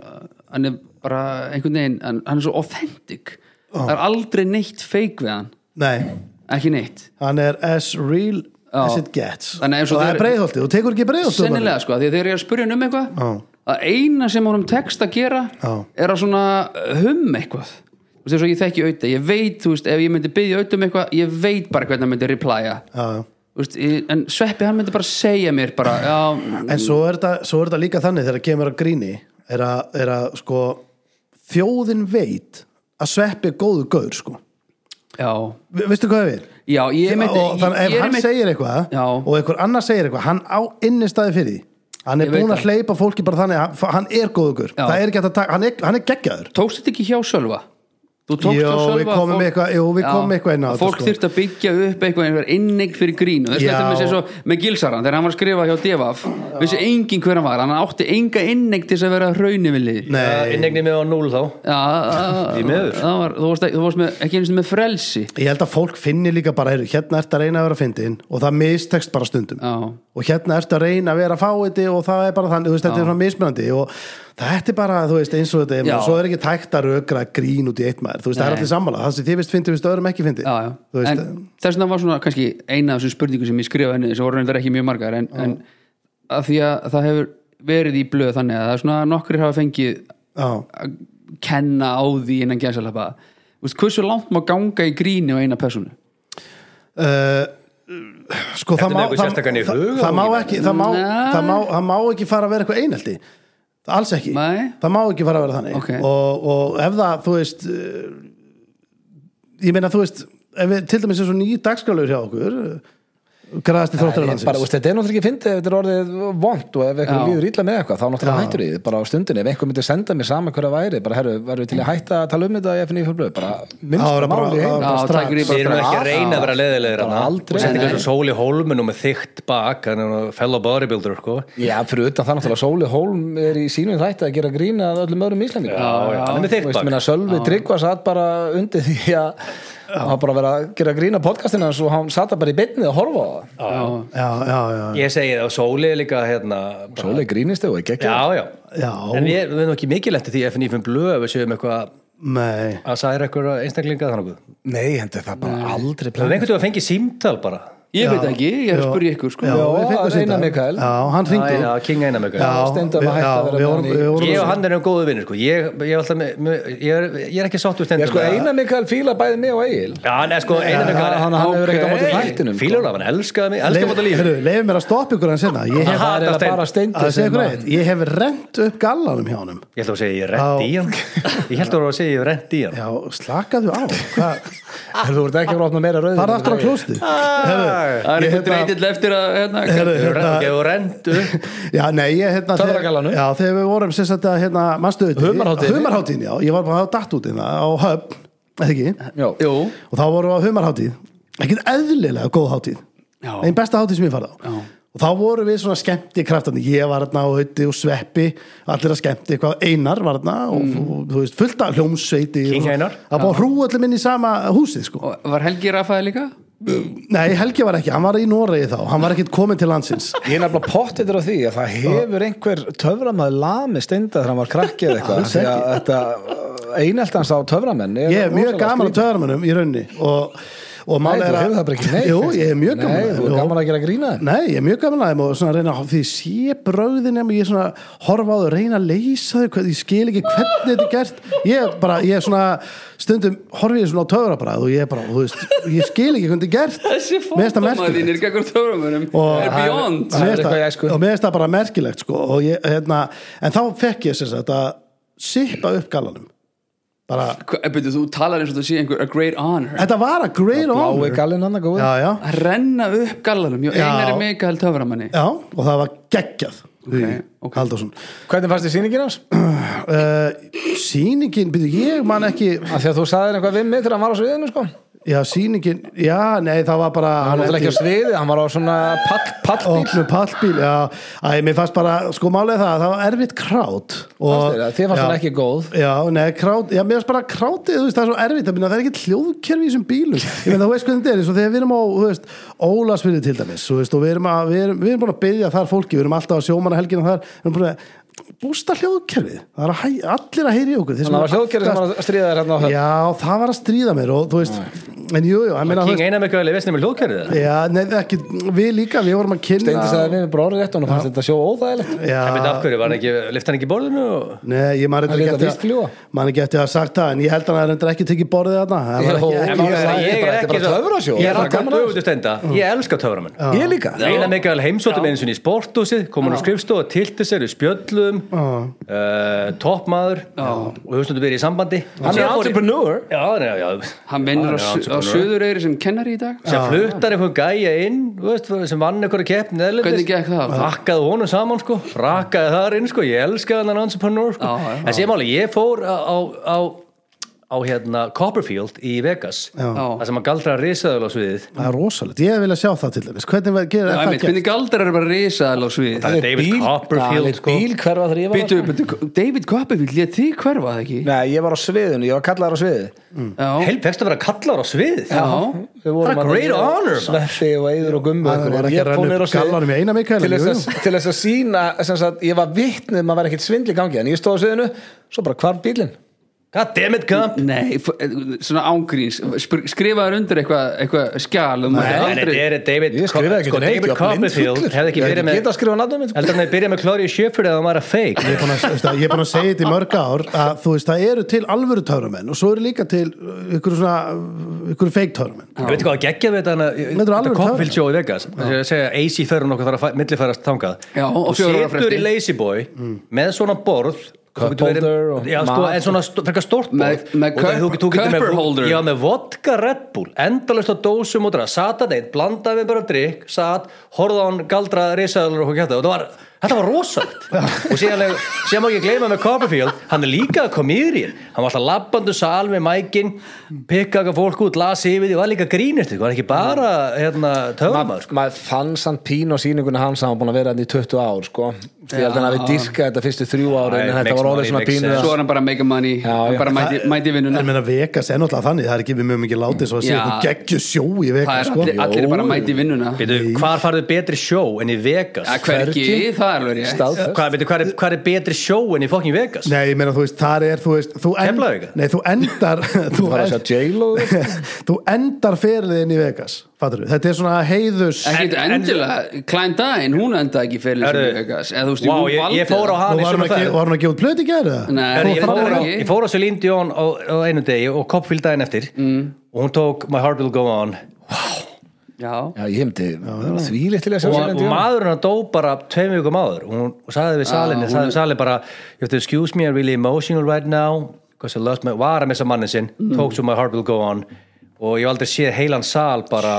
Speaker 2: hann er bara einhvern veginn, hann, hann er svo authentic það er aldrei neitt fake við hann
Speaker 1: nei,
Speaker 2: ekki neitt
Speaker 1: hann er as real
Speaker 2: Já.
Speaker 1: as it gets
Speaker 2: Þannig eins og
Speaker 1: það
Speaker 2: þeir-
Speaker 1: er breiðholtið, þú tekur ekki breiðholtið
Speaker 2: sennilega sko, því að þegar ég er að spurja hann um eitthvað
Speaker 1: Já.
Speaker 2: að eina sem honum tekst að gera
Speaker 1: Já.
Speaker 2: er að svona hum eitthvað þú veist þess að ég þekki auðvitað, ég veit þú veist, ef ég myndi byggja auðvitað um eitthvað ég veit bara hvernig hann myndi replya
Speaker 1: já, já
Speaker 2: Þú veist, ég- en Sveppi hann myndi bara segja mér bara, já,
Speaker 1: En svo er þetta, svo er þetta líka þannig þegar kemur að gríni er að, er að sko þjóðin veit að sveppi er góðu gaur sko.
Speaker 2: já
Speaker 1: Vi- Veistu hvað við?
Speaker 2: já, ég myndi
Speaker 1: og þannig ef hann segir eitthvað
Speaker 2: Já.
Speaker 1: og einhver annar segir eitthvað, hann á innistæði fyrir því. Hann er
Speaker 2: Ég veit
Speaker 1: búin að
Speaker 2: það.
Speaker 1: hleypa fólki bara þannig að hann- hann er góðu gaur.
Speaker 2: Já.
Speaker 1: Það er ekki hægt að taka, hann er, hann er geggjaður.
Speaker 2: tókst þetta ekki hjá Sölva? Þú tókst
Speaker 1: Jó,
Speaker 2: hjá Sölva
Speaker 1: við
Speaker 2: að
Speaker 1: komum
Speaker 2: fólk-
Speaker 1: eitthvað- jú, við
Speaker 2: Já,
Speaker 1: komum eitthvað inn á
Speaker 2: að
Speaker 1: þetta,
Speaker 2: Fólk
Speaker 1: sko.
Speaker 2: þyrfti að byggja upp eitthvað einhver innig fyrir grín og þess
Speaker 1: Já.
Speaker 2: að þetta með sér svo með Gilsaran þegar hann var að skrifa hjá Devaf vissi engin hver hann var, hann átti enga innig til þess að vera raunni við lið
Speaker 1: Nei,
Speaker 4: innegni mig á 0 þá
Speaker 2: Já, að-
Speaker 4: Því miður.
Speaker 2: það var, þú varst, ekki, þú varst með, ekki einu sinni með frelsi
Speaker 1: ég held að fólk finni líka bara, heyrðu, hérna ertu að reyna að vera fyndin og það mistekst bara stundum.
Speaker 2: Já,
Speaker 1: og hérna ertu að reyna að vera fáiði og það er bara þannig, þú veist, þetta er svona mismunandi og þetta er bara, þú veist, eins og þetta er
Speaker 2: Já.
Speaker 1: og svo er ekki tækt að rökra grín út í eitt maður þú veist, það er
Speaker 2: Nei.
Speaker 1: allir sammála, það sem þið veist fyndi, veist öðrum ekki fyndi
Speaker 2: já, já.
Speaker 1: þú veist, eh,
Speaker 2: en þess vegna var svona kannski eina af þessum spurningum sem ég skrifaði henni sem voru reyndar ekki mjög margar en, en að því að það hefur verið í blöð þannig að það er svona nokkrir hafa fengið
Speaker 1: já,
Speaker 2: að kenna á því innan gæsalappa Vist, hversu langt má ganga í gríni á eina personu
Speaker 1: Eh, sko
Speaker 4: Ertu
Speaker 1: það
Speaker 4: með
Speaker 1: má
Speaker 4: eitthvað
Speaker 1: það,
Speaker 4: sérstakan í
Speaker 1: það,
Speaker 4: huga
Speaker 1: það má
Speaker 4: og-
Speaker 1: ekki það má,
Speaker 2: Nei.
Speaker 1: það, má, það má ekki fara að vera eitthvað einhaldi alls ekki,
Speaker 2: Nei.
Speaker 1: það má ekki fara að vera þannig
Speaker 2: Ok.
Speaker 1: og, og ef það, þú veist eh, ég meina, þú veist ef við, til dæmis er svo nýjir dagskrálur hjá okkur græðasti
Speaker 3: Bara,
Speaker 1: þróttur
Speaker 3: þú veist, þetta er náttúrulega ekki fyndið ef þetta er orðið vond og ef
Speaker 2: Já.
Speaker 3: eitthvað líður illa með eitthvað, þá náttúrulega hættur ég því, bara á stundinni, ef einhver myndi senda mér sama hverja væri, bara herru, verður við til að hætta að tala um þetta í FNI fyrir blöð, bara
Speaker 1: Já,
Speaker 3: minnst
Speaker 1: bara-
Speaker 3: máli í
Speaker 1: bara-
Speaker 3: heim
Speaker 2: Já,
Speaker 1: strax.
Speaker 2: tækir því
Speaker 4: Við erum
Speaker 2: bara
Speaker 4: ekki að reyna að vera leðilegir
Speaker 3: Bara aldrei.
Speaker 4: Og setja
Speaker 3: Nei.
Speaker 4: þessu sól í hólminu með þykkt bak Þannig að fellow bodybuilder sko
Speaker 3: Já, fyrir utan það náttúrulega Sóli Hólm er í sínum þætti að gera grína að öllum öðrum Íslandingum
Speaker 4: Já, já, hann er með þykkt bak.
Speaker 3: minna, Sölvi Tryggva satt bara undir því að hann var bara að vera að gera grína podcastina hans og hann satt bara í beinnið að horfa á það
Speaker 2: já,
Speaker 1: já, já, já,
Speaker 4: Ég segi það, sóli er líka hérna bara-
Speaker 3: Sóli grínist þau ekki ekki
Speaker 4: Já, já
Speaker 1: Já.
Speaker 4: En við, við erum ekki mikið lent í því FNF um blöð ef Við séum eitthvað
Speaker 1: Nei,
Speaker 4: að særa eitthvað einstaklinga þannig að
Speaker 3: Nei, hendur það bara aldrei
Speaker 4: Það er einhvern veginn að fengi símtal bara
Speaker 2: ég veit ekki, ég er að spyrja ykkur sko.
Speaker 1: já, við fengum
Speaker 3: að
Speaker 1: símtal.
Speaker 3: reyna Mikael.
Speaker 1: Já, hann hringdi
Speaker 4: Já, King Einar með
Speaker 1: Já,
Speaker 3: Steindór var
Speaker 1: við-
Speaker 3: hætt að
Speaker 1: já, við
Speaker 3: vera með
Speaker 1: vorum-
Speaker 3: hann í-
Speaker 1: við vorum-
Speaker 4: Ég og hann erum góðu vinnir sko. ég, ég, er alltaf með- með- ég, er- ég er ekki sáttur stendur
Speaker 3: Ég sko eina Mikael fíla bæði mig og Egil
Speaker 4: Já, en sko, Einar með
Speaker 3: hann- hann- hann hefur ekkert á móti þættinum, sko.
Speaker 4: Fílur af hann, elskaði mig, elskaði móti líf
Speaker 1: Leifum mér að stoppa ykkur hann senna Ég hef,
Speaker 4: Aha,
Speaker 3: Það er eiginlega
Speaker 4: Stein.
Speaker 3: bara
Speaker 1: að
Speaker 3: steindi
Speaker 1: segja
Speaker 3: sem
Speaker 1: ykkur
Speaker 3: að
Speaker 1: eitt Ég hef rent upp gallanum hjá honum
Speaker 4: Ég ætla að segja ég er rent í hann Ég held að voru að segja ég er rent í hann
Speaker 1: Já, slakaðu á Hvað
Speaker 3: Þú voru ekki að rátt með meira rauðin
Speaker 1: er aftur á klósti?
Speaker 2: það er
Speaker 1: Ég
Speaker 2: eitthvað
Speaker 1: hérna-
Speaker 2: reytill eftir að hérna,
Speaker 1: Heyrðu, hérna-
Speaker 4: Ég er rent upp
Speaker 1: Já, nei, ég hérna
Speaker 3: Töfra
Speaker 1: þegar-
Speaker 3: gallanum.
Speaker 1: Já, þegar við vorum sem sagt að hérna manstu auðvitað-
Speaker 3: Humarhátíðinni.
Speaker 1: Humarhátíðinni, já, ég var bara að datt út í það á höfn, eða ekki
Speaker 3: Já,
Speaker 2: jú,
Speaker 1: og þá vorum við á humarhátíð ekkert eðlilega góð hátíð
Speaker 2: Já.
Speaker 1: einn besta hátíð sem ég farið á
Speaker 2: Já.
Speaker 1: og þá vorum við svona skemmti kraftandi ég var þarna og hauti og sveppi allir að skemmti eitthvað einar var þarna og,
Speaker 2: Mm.
Speaker 1: og þú veist, fullt af hljómsveiti og
Speaker 4: King
Speaker 1: svona.
Speaker 4: Einar.
Speaker 1: það búið að hrú öllum inn í sama húsið sko.
Speaker 2: og var Helgi Rafaði líka?
Speaker 1: nei, Helgi var ekki, hann var í Noregi þá hann var ekkert kominn til landsins
Speaker 3: Ég er nefnilega pottitur á því að það hefur einhver töframaður lami steinda þegar hann var krakki eða eitthvað því að þetta eineltans á töframenn
Speaker 1: ég hef mjög gaman að töðarmönnum í raunni og, og mál
Speaker 3: Nei,
Speaker 1: er
Speaker 3: þú hefur það bara ekki neitt.
Speaker 1: Jú, ég er mjög gaman
Speaker 3: Nei,
Speaker 1: að-
Speaker 3: þú er
Speaker 1: Jú.
Speaker 3: gaman að gera grína þeim.
Speaker 1: Nei, ég er mjög gaman að þeim og svona reyna að því sé bröðin nema ég svona horfa á þau, reyna að leysa þau hvað- ég skil ekki hvernig þetta er gert ég er bara, ég er svona stundum horfi ég svona á töfrabræð og ég er bara, þú veist ég skil ekki hvernig þetta er gert
Speaker 2: þessi
Speaker 1: Mér finnst það
Speaker 2: fótamaður
Speaker 1: merkilegt.
Speaker 2: þín er geggur töframunum
Speaker 1: Og-
Speaker 2: er beyond
Speaker 1: Mér
Speaker 3: er
Speaker 1: finnst
Speaker 3: eitthvað í
Speaker 1: það-
Speaker 3: æsku.
Speaker 1: og mér finnst það bara merkilegt sko, og ég, hérna, en þá fekk ég þess að sippa upp gallanum bara,
Speaker 2: Hva- eh, byrju, þú talar eins og þú sé einhver a great honor
Speaker 1: þetta var að great
Speaker 3: Blái
Speaker 1: honor
Speaker 3: gallinn annað góð
Speaker 1: já, já,
Speaker 2: að renna upp gallanum hjá
Speaker 1: Já.
Speaker 2: einari Mikael töframanni
Speaker 1: já, og það var geggjað okay,
Speaker 2: ok.
Speaker 1: Haldarsson
Speaker 3: Hvernig fannst þið sýningin hans?
Speaker 1: uh, sýningin, byrju, ég man ekki
Speaker 3: Af því að þú sagðir eitthvað við mig þegar hann var á sviðinu sko.
Speaker 1: já, sýningin, já, nei, það var bara
Speaker 3: Hann var náttúrulega ekki á sviði, hann var á svona pall, pallbíl
Speaker 1: opnu pallbíl, já, æ, mér fannst bara sko málið er það, að það var erfitt krát
Speaker 3: Fannst þér það? Þér fannst
Speaker 1: Já.
Speaker 3: hún ekki góð.
Speaker 1: já, nei, krát, já, mér fannst bara krátið þú veist, það er svo erfitt, það, það er ekki hljóðkerfi í þessum bílum, ég meina, þú veist hvernig þetta er eins og þegar við erum á, þú veist, Ólasfyrði til dæmis þú veist, og við erum, að, við, erum, við erum búin að byggja þar fólki, við erum alltaf á sjómanna helgina þar við erum búin að bústa hljóðkerfið það er að hæ, allir að heyri okkur þeir sem
Speaker 3: Þannig að það
Speaker 1: eru
Speaker 3: var hljóðkerri
Speaker 1: aftast-
Speaker 3: sem var að stríða þér hérna á höfn
Speaker 1: já, það var að stríða mér og þú veist, en jú, jú, ég
Speaker 3: Hérna
Speaker 1: meina, þú veist-
Speaker 4: King einar með gæli, veist nefnir hljóðkerfið það
Speaker 1: Já, nei, ekki, við líka, við vorum að kynna
Speaker 3: Steindi sagði við bara orðið rétt og hann fannst þetta sjó óþægilegt
Speaker 4: Það veit af
Speaker 1: Já,
Speaker 4: hverju, var hann ekki, lyfti hann ekki borðinu og...
Speaker 1: nei, ég maður
Speaker 3: Hann
Speaker 1: ekki
Speaker 3: lét það víst
Speaker 1: eftir
Speaker 3: fljúga.
Speaker 1: að Man ekki eftir að hafa sagt það, en ég held að hann er reyndar ekki tekið borðið þarna Það var
Speaker 3: Jó,
Speaker 1: ekki-
Speaker 3: en
Speaker 1: ekki-
Speaker 3: maður- sagði, þetta er bara- þetta er bara töfrasjó.
Speaker 4: Ég
Speaker 3: Þetta er bara
Speaker 4: er alltaf
Speaker 3: gaman að Mm. þessu.
Speaker 4: döfutust enda Ég elska töframann
Speaker 3: Ég líka
Speaker 4: Einar með gæli heimsóttum einu sinni í sporthúsið komin á
Speaker 2: Já.
Speaker 4: skrifstofu, tilti sér, við spjöllum uh, toppmaður og höfum stundum verið í sambandi
Speaker 3: Hann er
Speaker 4: Síðan fór ég-
Speaker 3: entrepreneur
Speaker 4: Já, já, já
Speaker 2: hann vinnur á,
Speaker 4: Hann er
Speaker 2: su- á
Speaker 4: entrepreneur.
Speaker 2: Suðureyri sem kennari í dag
Speaker 4: sem fluttar einhver gæja inn þú veist, sem vann einhverja keppni eðlendis.
Speaker 2: Hvernig gekk það?
Speaker 4: Þakkaði honum saman sko, rakaði þar inn sko, ég elskaði hann entrepreneur sko.
Speaker 2: Já, já, já.
Speaker 4: en sem áli, ég fór á, á, á, á hérna Copperfield í Vegas
Speaker 2: Já.
Speaker 4: það sem að galdra risaðal á sviðið
Speaker 1: Það er rosalegt, ég vilja sjá það til þess Hvernig var- gerir
Speaker 2: Já,
Speaker 1: það
Speaker 2: einmitt,
Speaker 1: ekki?
Speaker 2: hvernig galdrar er bara risaðal á svið
Speaker 4: Það er David Copperfield,
Speaker 3: David
Speaker 4: sko.
Speaker 3: Bíl hverfa þegar ég var
Speaker 2: Býtu, býtu, David Copperfield, ég þið hverfa það ekki
Speaker 3: Nei, ég var á sviðinu, ég var kallaður á sviði
Speaker 2: Já,
Speaker 4: Hel, fegstu að vera kallar á sviðið
Speaker 2: já,
Speaker 3: Við vorum
Speaker 4: Það er
Speaker 3: að-
Speaker 4: great honor, maður.
Speaker 3: Sveppi og Eður og Gumbu
Speaker 1: Hann
Speaker 3: og
Speaker 1: var
Speaker 3: einhverjir.
Speaker 1: ekki
Speaker 3: Ég
Speaker 1: að
Speaker 3: fór
Speaker 1: renna
Speaker 3: niður
Speaker 1: upp
Speaker 3: á svið
Speaker 1: gallanum í eina
Speaker 3: til
Speaker 1: mikael
Speaker 3: þess að- til þess að sína að ég var vitnið maður var ekkert svindl í gangi en ég stóð á sviðinu, svo bara hvarf bílinn
Speaker 4: God damn it, Gump
Speaker 2: Nei, f- eh, svona ángríns spr- Skrifaður undir eitthvað eitthvað skjal um
Speaker 4: Nei, en þetta er David
Speaker 3: Ég skrifaði ekki
Speaker 4: sko,
Speaker 3: neitt, ég
Speaker 4: David
Speaker 3: var
Speaker 4: Copperfield
Speaker 3: blindfullur.
Speaker 4: hefði ekki
Speaker 3: Ég
Speaker 4: verið
Speaker 3: get
Speaker 4: með
Speaker 3: að skrifa nafnum mitt sko.
Speaker 4: heldur hann hefði byrjað með Gloria Sjöfjörð eða hann var að fake
Speaker 1: Ég er búin að- veist það, ég er búin að segja þetta í mörg ár að þú veist, það eru til alvöru töframenn og svo eru líka til uh, ykkur svona ykkur feikt töframenn
Speaker 4: Ég veit hvað að gegja við þetta hana-
Speaker 1: Þetta er
Speaker 4: Þetta
Speaker 1: alveg
Speaker 4: Copperfield show í Vegas Það er að segja AC ferðun okkur þarf að millifærast þangað
Speaker 2: Já, og
Speaker 4: Þú
Speaker 2: fjögurra ára
Speaker 4: situr
Speaker 2: fresti.
Speaker 4: í Lazy Boy með svona borð þú getur verið-
Speaker 3: holder og
Speaker 4: Já, sko,
Speaker 3: mat
Speaker 4: en svona st- frekar stórt borð
Speaker 2: Með- með
Speaker 4: Og það- þú-
Speaker 2: cup-
Speaker 4: þú getur með-
Speaker 2: cupper holder.
Speaker 4: Já, með vodka Red Bull endalust á dósum og dra sat að neitt, blandaði með bara drikk sat, horfða á hann galdra risaðalur og hvað kjátt og þetta var, þetta var rosalegt og síðan, er- síðan má ekki gleyma með Copperfield hann er líka komýrin hann var alltaf labbandu sal með mækin pikkaði fólk út, lasi yfir því var líka grínist, hann er ekki bara hérna, töfumar, sko
Speaker 3: maður fann samt pín á sýninguna hans hann var búin að vera hann í 20 ár sko. því að hann hafi dyrkað þetta fyrstu þrjú ára
Speaker 4: Já,
Speaker 3: en
Speaker 4: makes
Speaker 3: þetta var
Speaker 4: money,
Speaker 3: orðið svona
Speaker 4: makes
Speaker 3: pínu
Speaker 4: sense.
Speaker 2: Svo er hann bara að make money hann
Speaker 3: já.
Speaker 2: bara mæti, mæti vinnuna
Speaker 1: En meina Vegas er náttúrulega þannig, það er ekki við mjög mikið látið svo að sé
Speaker 2: Já.
Speaker 1: eitthvað geggju sjó í
Speaker 2: Það er
Speaker 1: Vegas sko.
Speaker 2: allir, allir bara mæti vinnuna
Speaker 4: Beidu, hvar farðu betri sjó en í Vegas?
Speaker 2: Að hvergi, það er alveg rétt
Speaker 3: staðfest
Speaker 4: Hvað, beidu, hvað, er, hvað er betri sjó en í fokkin Vegas?
Speaker 1: Nei, ég meina, þú veist, þar er, þú veist þú
Speaker 4: Keflavík?
Speaker 1: Nei, þú endar Þú
Speaker 3: var
Speaker 1: end-
Speaker 3: að sjá J-Lo
Speaker 1: þú endar ferliðin í Vegas fattur þetta er svona heiðus
Speaker 2: Ekkert
Speaker 4: En- en-
Speaker 2: endilega, Klein Dine, hún endaði ekki fyrir sem
Speaker 4: Herðu,
Speaker 2: Vegas Eða þú veist,
Speaker 4: Vá,
Speaker 2: hún
Speaker 4: ég,
Speaker 2: valdi
Speaker 4: ég fór á
Speaker 2: það.
Speaker 1: Nú
Speaker 4: hann í
Speaker 1: var hann
Speaker 4: sömu
Speaker 1: að ge-
Speaker 4: ferð
Speaker 1: var hann að gefa út plöti gerði það?
Speaker 2: Nei,
Speaker 4: Herri, ég,
Speaker 2: hún
Speaker 4: fór
Speaker 2: fór
Speaker 4: á,
Speaker 2: ekki.
Speaker 4: ég fór á Celine Dion á, á einu degi og Copfield daginn eftir og hún tók My Heart Will Go On
Speaker 2: Já,
Speaker 3: já, ég myndi því léttilega að sjá
Speaker 4: og,
Speaker 3: Celine
Speaker 4: og
Speaker 3: Dion.
Speaker 4: maðurinn hann dó bara tveim vikum áður og hún og sagði við salinni, sagði við salin bara you have to excuse me, I'm really emotional right now because I lost my, var að missa mannin sinn tók svo My Heart Will Go On og ég hef aldrei séð heilan sal bara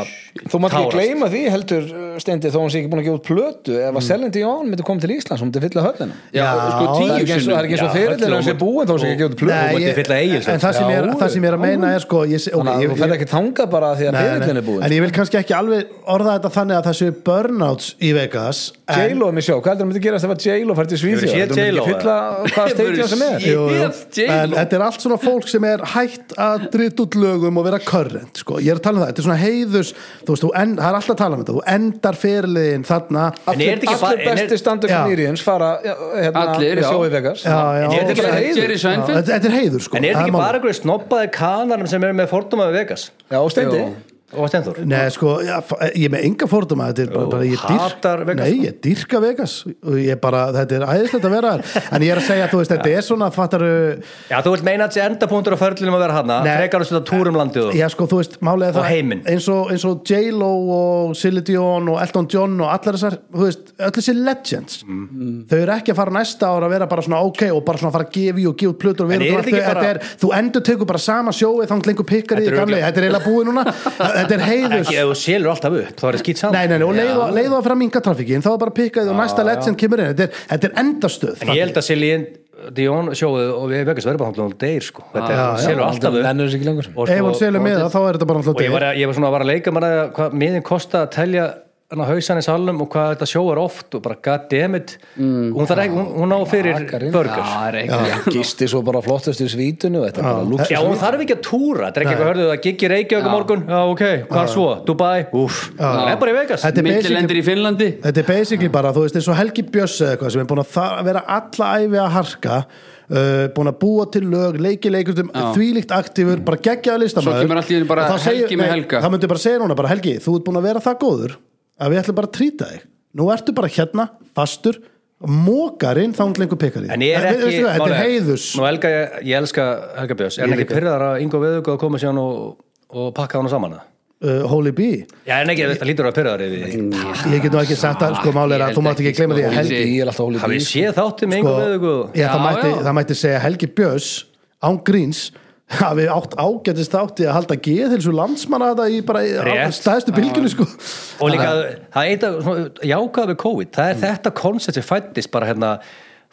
Speaker 3: þú mátt ekki
Speaker 4: tárast.
Speaker 3: gleyma því heldur uh, Steindi þó hún sé ekki búin að gefa út plötu ef
Speaker 1: Mm.
Speaker 3: að Celine Dion myndi koma til Íslands hún myndi fylla höllina
Speaker 2: já,
Speaker 1: Já,
Speaker 2: sko
Speaker 3: það er
Speaker 2: tíu
Speaker 3: ekki eins og- það er ekki eins og
Speaker 4: Já,
Speaker 3: fyrirlega
Speaker 4: höllina
Speaker 3: hún sé búin þá hún sé ekki að gefa út plötu Hún-
Speaker 4: Nei, mátti fylla Egilsfjörð.
Speaker 1: en það sem, ég, er-
Speaker 3: Já,
Speaker 1: það sem ég er að meina er sko ég, sé- ok,
Speaker 3: þannig að
Speaker 1: ég,
Speaker 3: þú fer
Speaker 1: ég,
Speaker 3: ekki þanga bara því að
Speaker 1: Nei, nei,
Speaker 3: fyrirlega er
Speaker 1: en
Speaker 3: búin
Speaker 1: ég vil kannski ekki alveg orða þetta þannig að það séu burnouts í Vegas en,
Speaker 3: J-Lo er mér sjá, hvað heldur hún myndi gerast ef að J-Lo fær til Svíþjóð
Speaker 4: Hefurðu séð
Speaker 3: heldur hún myndi
Speaker 4: J.Lo,
Speaker 3: ekki fylla hvaða
Speaker 2: Hefurðu
Speaker 3: steytja sem er
Speaker 2: séð- Ég hef J-Lo.
Speaker 1: en þetta er allt svona fólk sem er hætt að dritt út lögum og vera körrent sko. ég er að tala um það, þetta er svona heiðus þú veist, þú en, það er alltaf að tala um þetta þú endar ferliðin þarna
Speaker 4: En er þetta ekki bara-
Speaker 3: allir
Speaker 4: en er-
Speaker 3: besti standur
Speaker 1: Já.
Speaker 3: komýriðins fara já, hérna,
Speaker 2: Allir,
Speaker 3: með
Speaker 2: já.
Speaker 3: sjói Vegas
Speaker 1: Já, já.
Speaker 4: En er þetta ekki bara
Speaker 3: heiður?
Speaker 2: Jerry
Speaker 1: Já,
Speaker 2: Seinfeld
Speaker 1: þetta, þetta er heiður sko
Speaker 4: En
Speaker 1: það
Speaker 4: er þetta
Speaker 1: málið.
Speaker 4: ekki bara einhverju snobbaði kanarum sem eru með fordóma við Vegas?
Speaker 3: já og steindi
Speaker 2: Jú.
Speaker 4: og Stenþór
Speaker 1: Nei, sko, já, fa- ég er með enga forduma þetta er bara, bara ég
Speaker 4: hatar Vegas,
Speaker 1: Nei, ég dyrka Vegas og ég bara, þetta er æðislegt að vera þar en ég er að segja, þú veist, þetta er svona fattar,
Speaker 4: Já, þú vilt meina að þessi endapunktur á förlunum að vera hana
Speaker 1: Nei.
Speaker 4: frekar þessu þetta túrum landið og
Speaker 1: já, sko, þú veist, málið er
Speaker 4: Og
Speaker 1: það
Speaker 4: heiminn.
Speaker 1: eins og, eins og J-Lo og Silly Dion og Elton John og allar þessar, þú veist, öll þessi legends
Speaker 4: Mm.
Speaker 1: þau eru ekki að fara næsta ára að vera bara svona ok og bara svona að fara að gefa í og gefa út plötur og
Speaker 4: En
Speaker 1: vera
Speaker 4: er
Speaker 1: bara,
Speaker 4: þetta ekki
Speaker 1: þau-
Speaker 4: bara-
Speaker 1: þetta er, þú endur tegur bara sama sjóið þá hann lengur pikkar í
Speaker 4: Þetta er
Speaker 1: gamlega, þetta er eiginlega búið núna þetta er heiðus
Speaker 4: ekki, ef þú selur alltaf upp, þá er það skýt saman
Speaker 1: Nei, nei, nei, og leiðu, leiðu að fram minga trafíkin þá er bara pikkaðið og næsta legend kemur inn þetta er, þetta er endastöð
Speaker 4: En ég held að Silly Dion sjóðu og við Vegas verður bara hann deyr sko Þetta er, hún selur alltaf upp
Speaker 6: Nennur þessi ekki lengur
Speaker 4: og,
Speaker 1: ef hún selur
Speaker 4: og-
Speaker 1: með það, þá er þetta bara
Speaker 4: sko, og ég
Speaker 1: alltaf
Speaker 4: var, að- ég var svona að vara að leika mér að hvað miðin kosta að telja hana hausan í salnum og hvað þetta sjóar oft og bara goddammit mm, hún, þarf ekki- hún, hún á fyrir
Speaker 6: Bakarinn.
Speaker 4: burgers
Speaker 2: það er ekki
Speaker 6: Gisti svo bara á flottustu svítunum Þetta er bara lúks
Speaker 4: Já, hún þarf ekki að túra, þetta er ekki eitthvað hörðu það giggi Reykjavík á morgun, já ok, hvað svo Dubai, úff, hún er bara í Vegas
Speaker 1: Þetta er
Speaker 2: Millilendir í Finnlandi
Speaker 1: þetta er basically bara, þú veist, eins og Helgi Björs eða eitthvað sem er búin að þa- vera alla æfi að harka uh, búin að búa til lög, leiki leikundum þvílíkt aktífur, bara geggjaða listamæður
Speaker 2: Svo kemur allt í einu bara
Speaker 1: Og þá segir-
Speaker 2: Helgi með
Speaker 1: nei,
Speaker 2: Helga.
Speaker 1: þá myndi ég bara segja núna, bara Helgi, þú ert búin að vera það góður að við ætlum bara að trýta þig nú ertu bara hérna, fastur mókarinn þá hann lengur pikkar í
Speaker 4: En ég er ekki
Speaker 1: þetta er
Speaker 4: málið
Speaker 1: heiðus
Speaker 4: Nú elga ég, ég elska Helga Björns Er hann ekki pyrraðar að Ingo Veðug að koma sér og, og pakka hann saman það?
Speaker 1: uh, Holy Bee
Speaker 4: Já, en ekki, þetta lítur að pyrraðar yfir því
Speaker 1: ég get nú ekki sagt að sko máli er
Speaker 2: ég
Speaker 1: að
Speaker 2: held
Speaker 1: þú mátt ekki
Speaker 2: ekki,
Speaker 1: gleyma því
Speaker 2: sko,
Speaker 1: að
Speaker 2: ég
Speaker 1: Helgi
Speaker 2: sé-
Speaker 6: Ég er alltaf hólið
Speaker 4: Hafið þið séð þáttið með Ingo
Speaker 1: sko,
Speaker 4: Veðug
Speaker 1: já, það,
Speaker 2: Já,
Speaker 1: mætti,
Speaker 2: já.
Speaker 1: það mætti segja Helgi Björns án gríns hafi átt ágættist átti að halda geðhilsu landsmanna þetta í bara í- á
Speaker 4: Rétt.
Speaker 1: stæðstu bylginu sko
Speaker 4: Og líka, það er eitthvað jákað við COVID,
Speaker 1: Mm.
Speaker 4: það er þetta koncept sem fættist bara hérna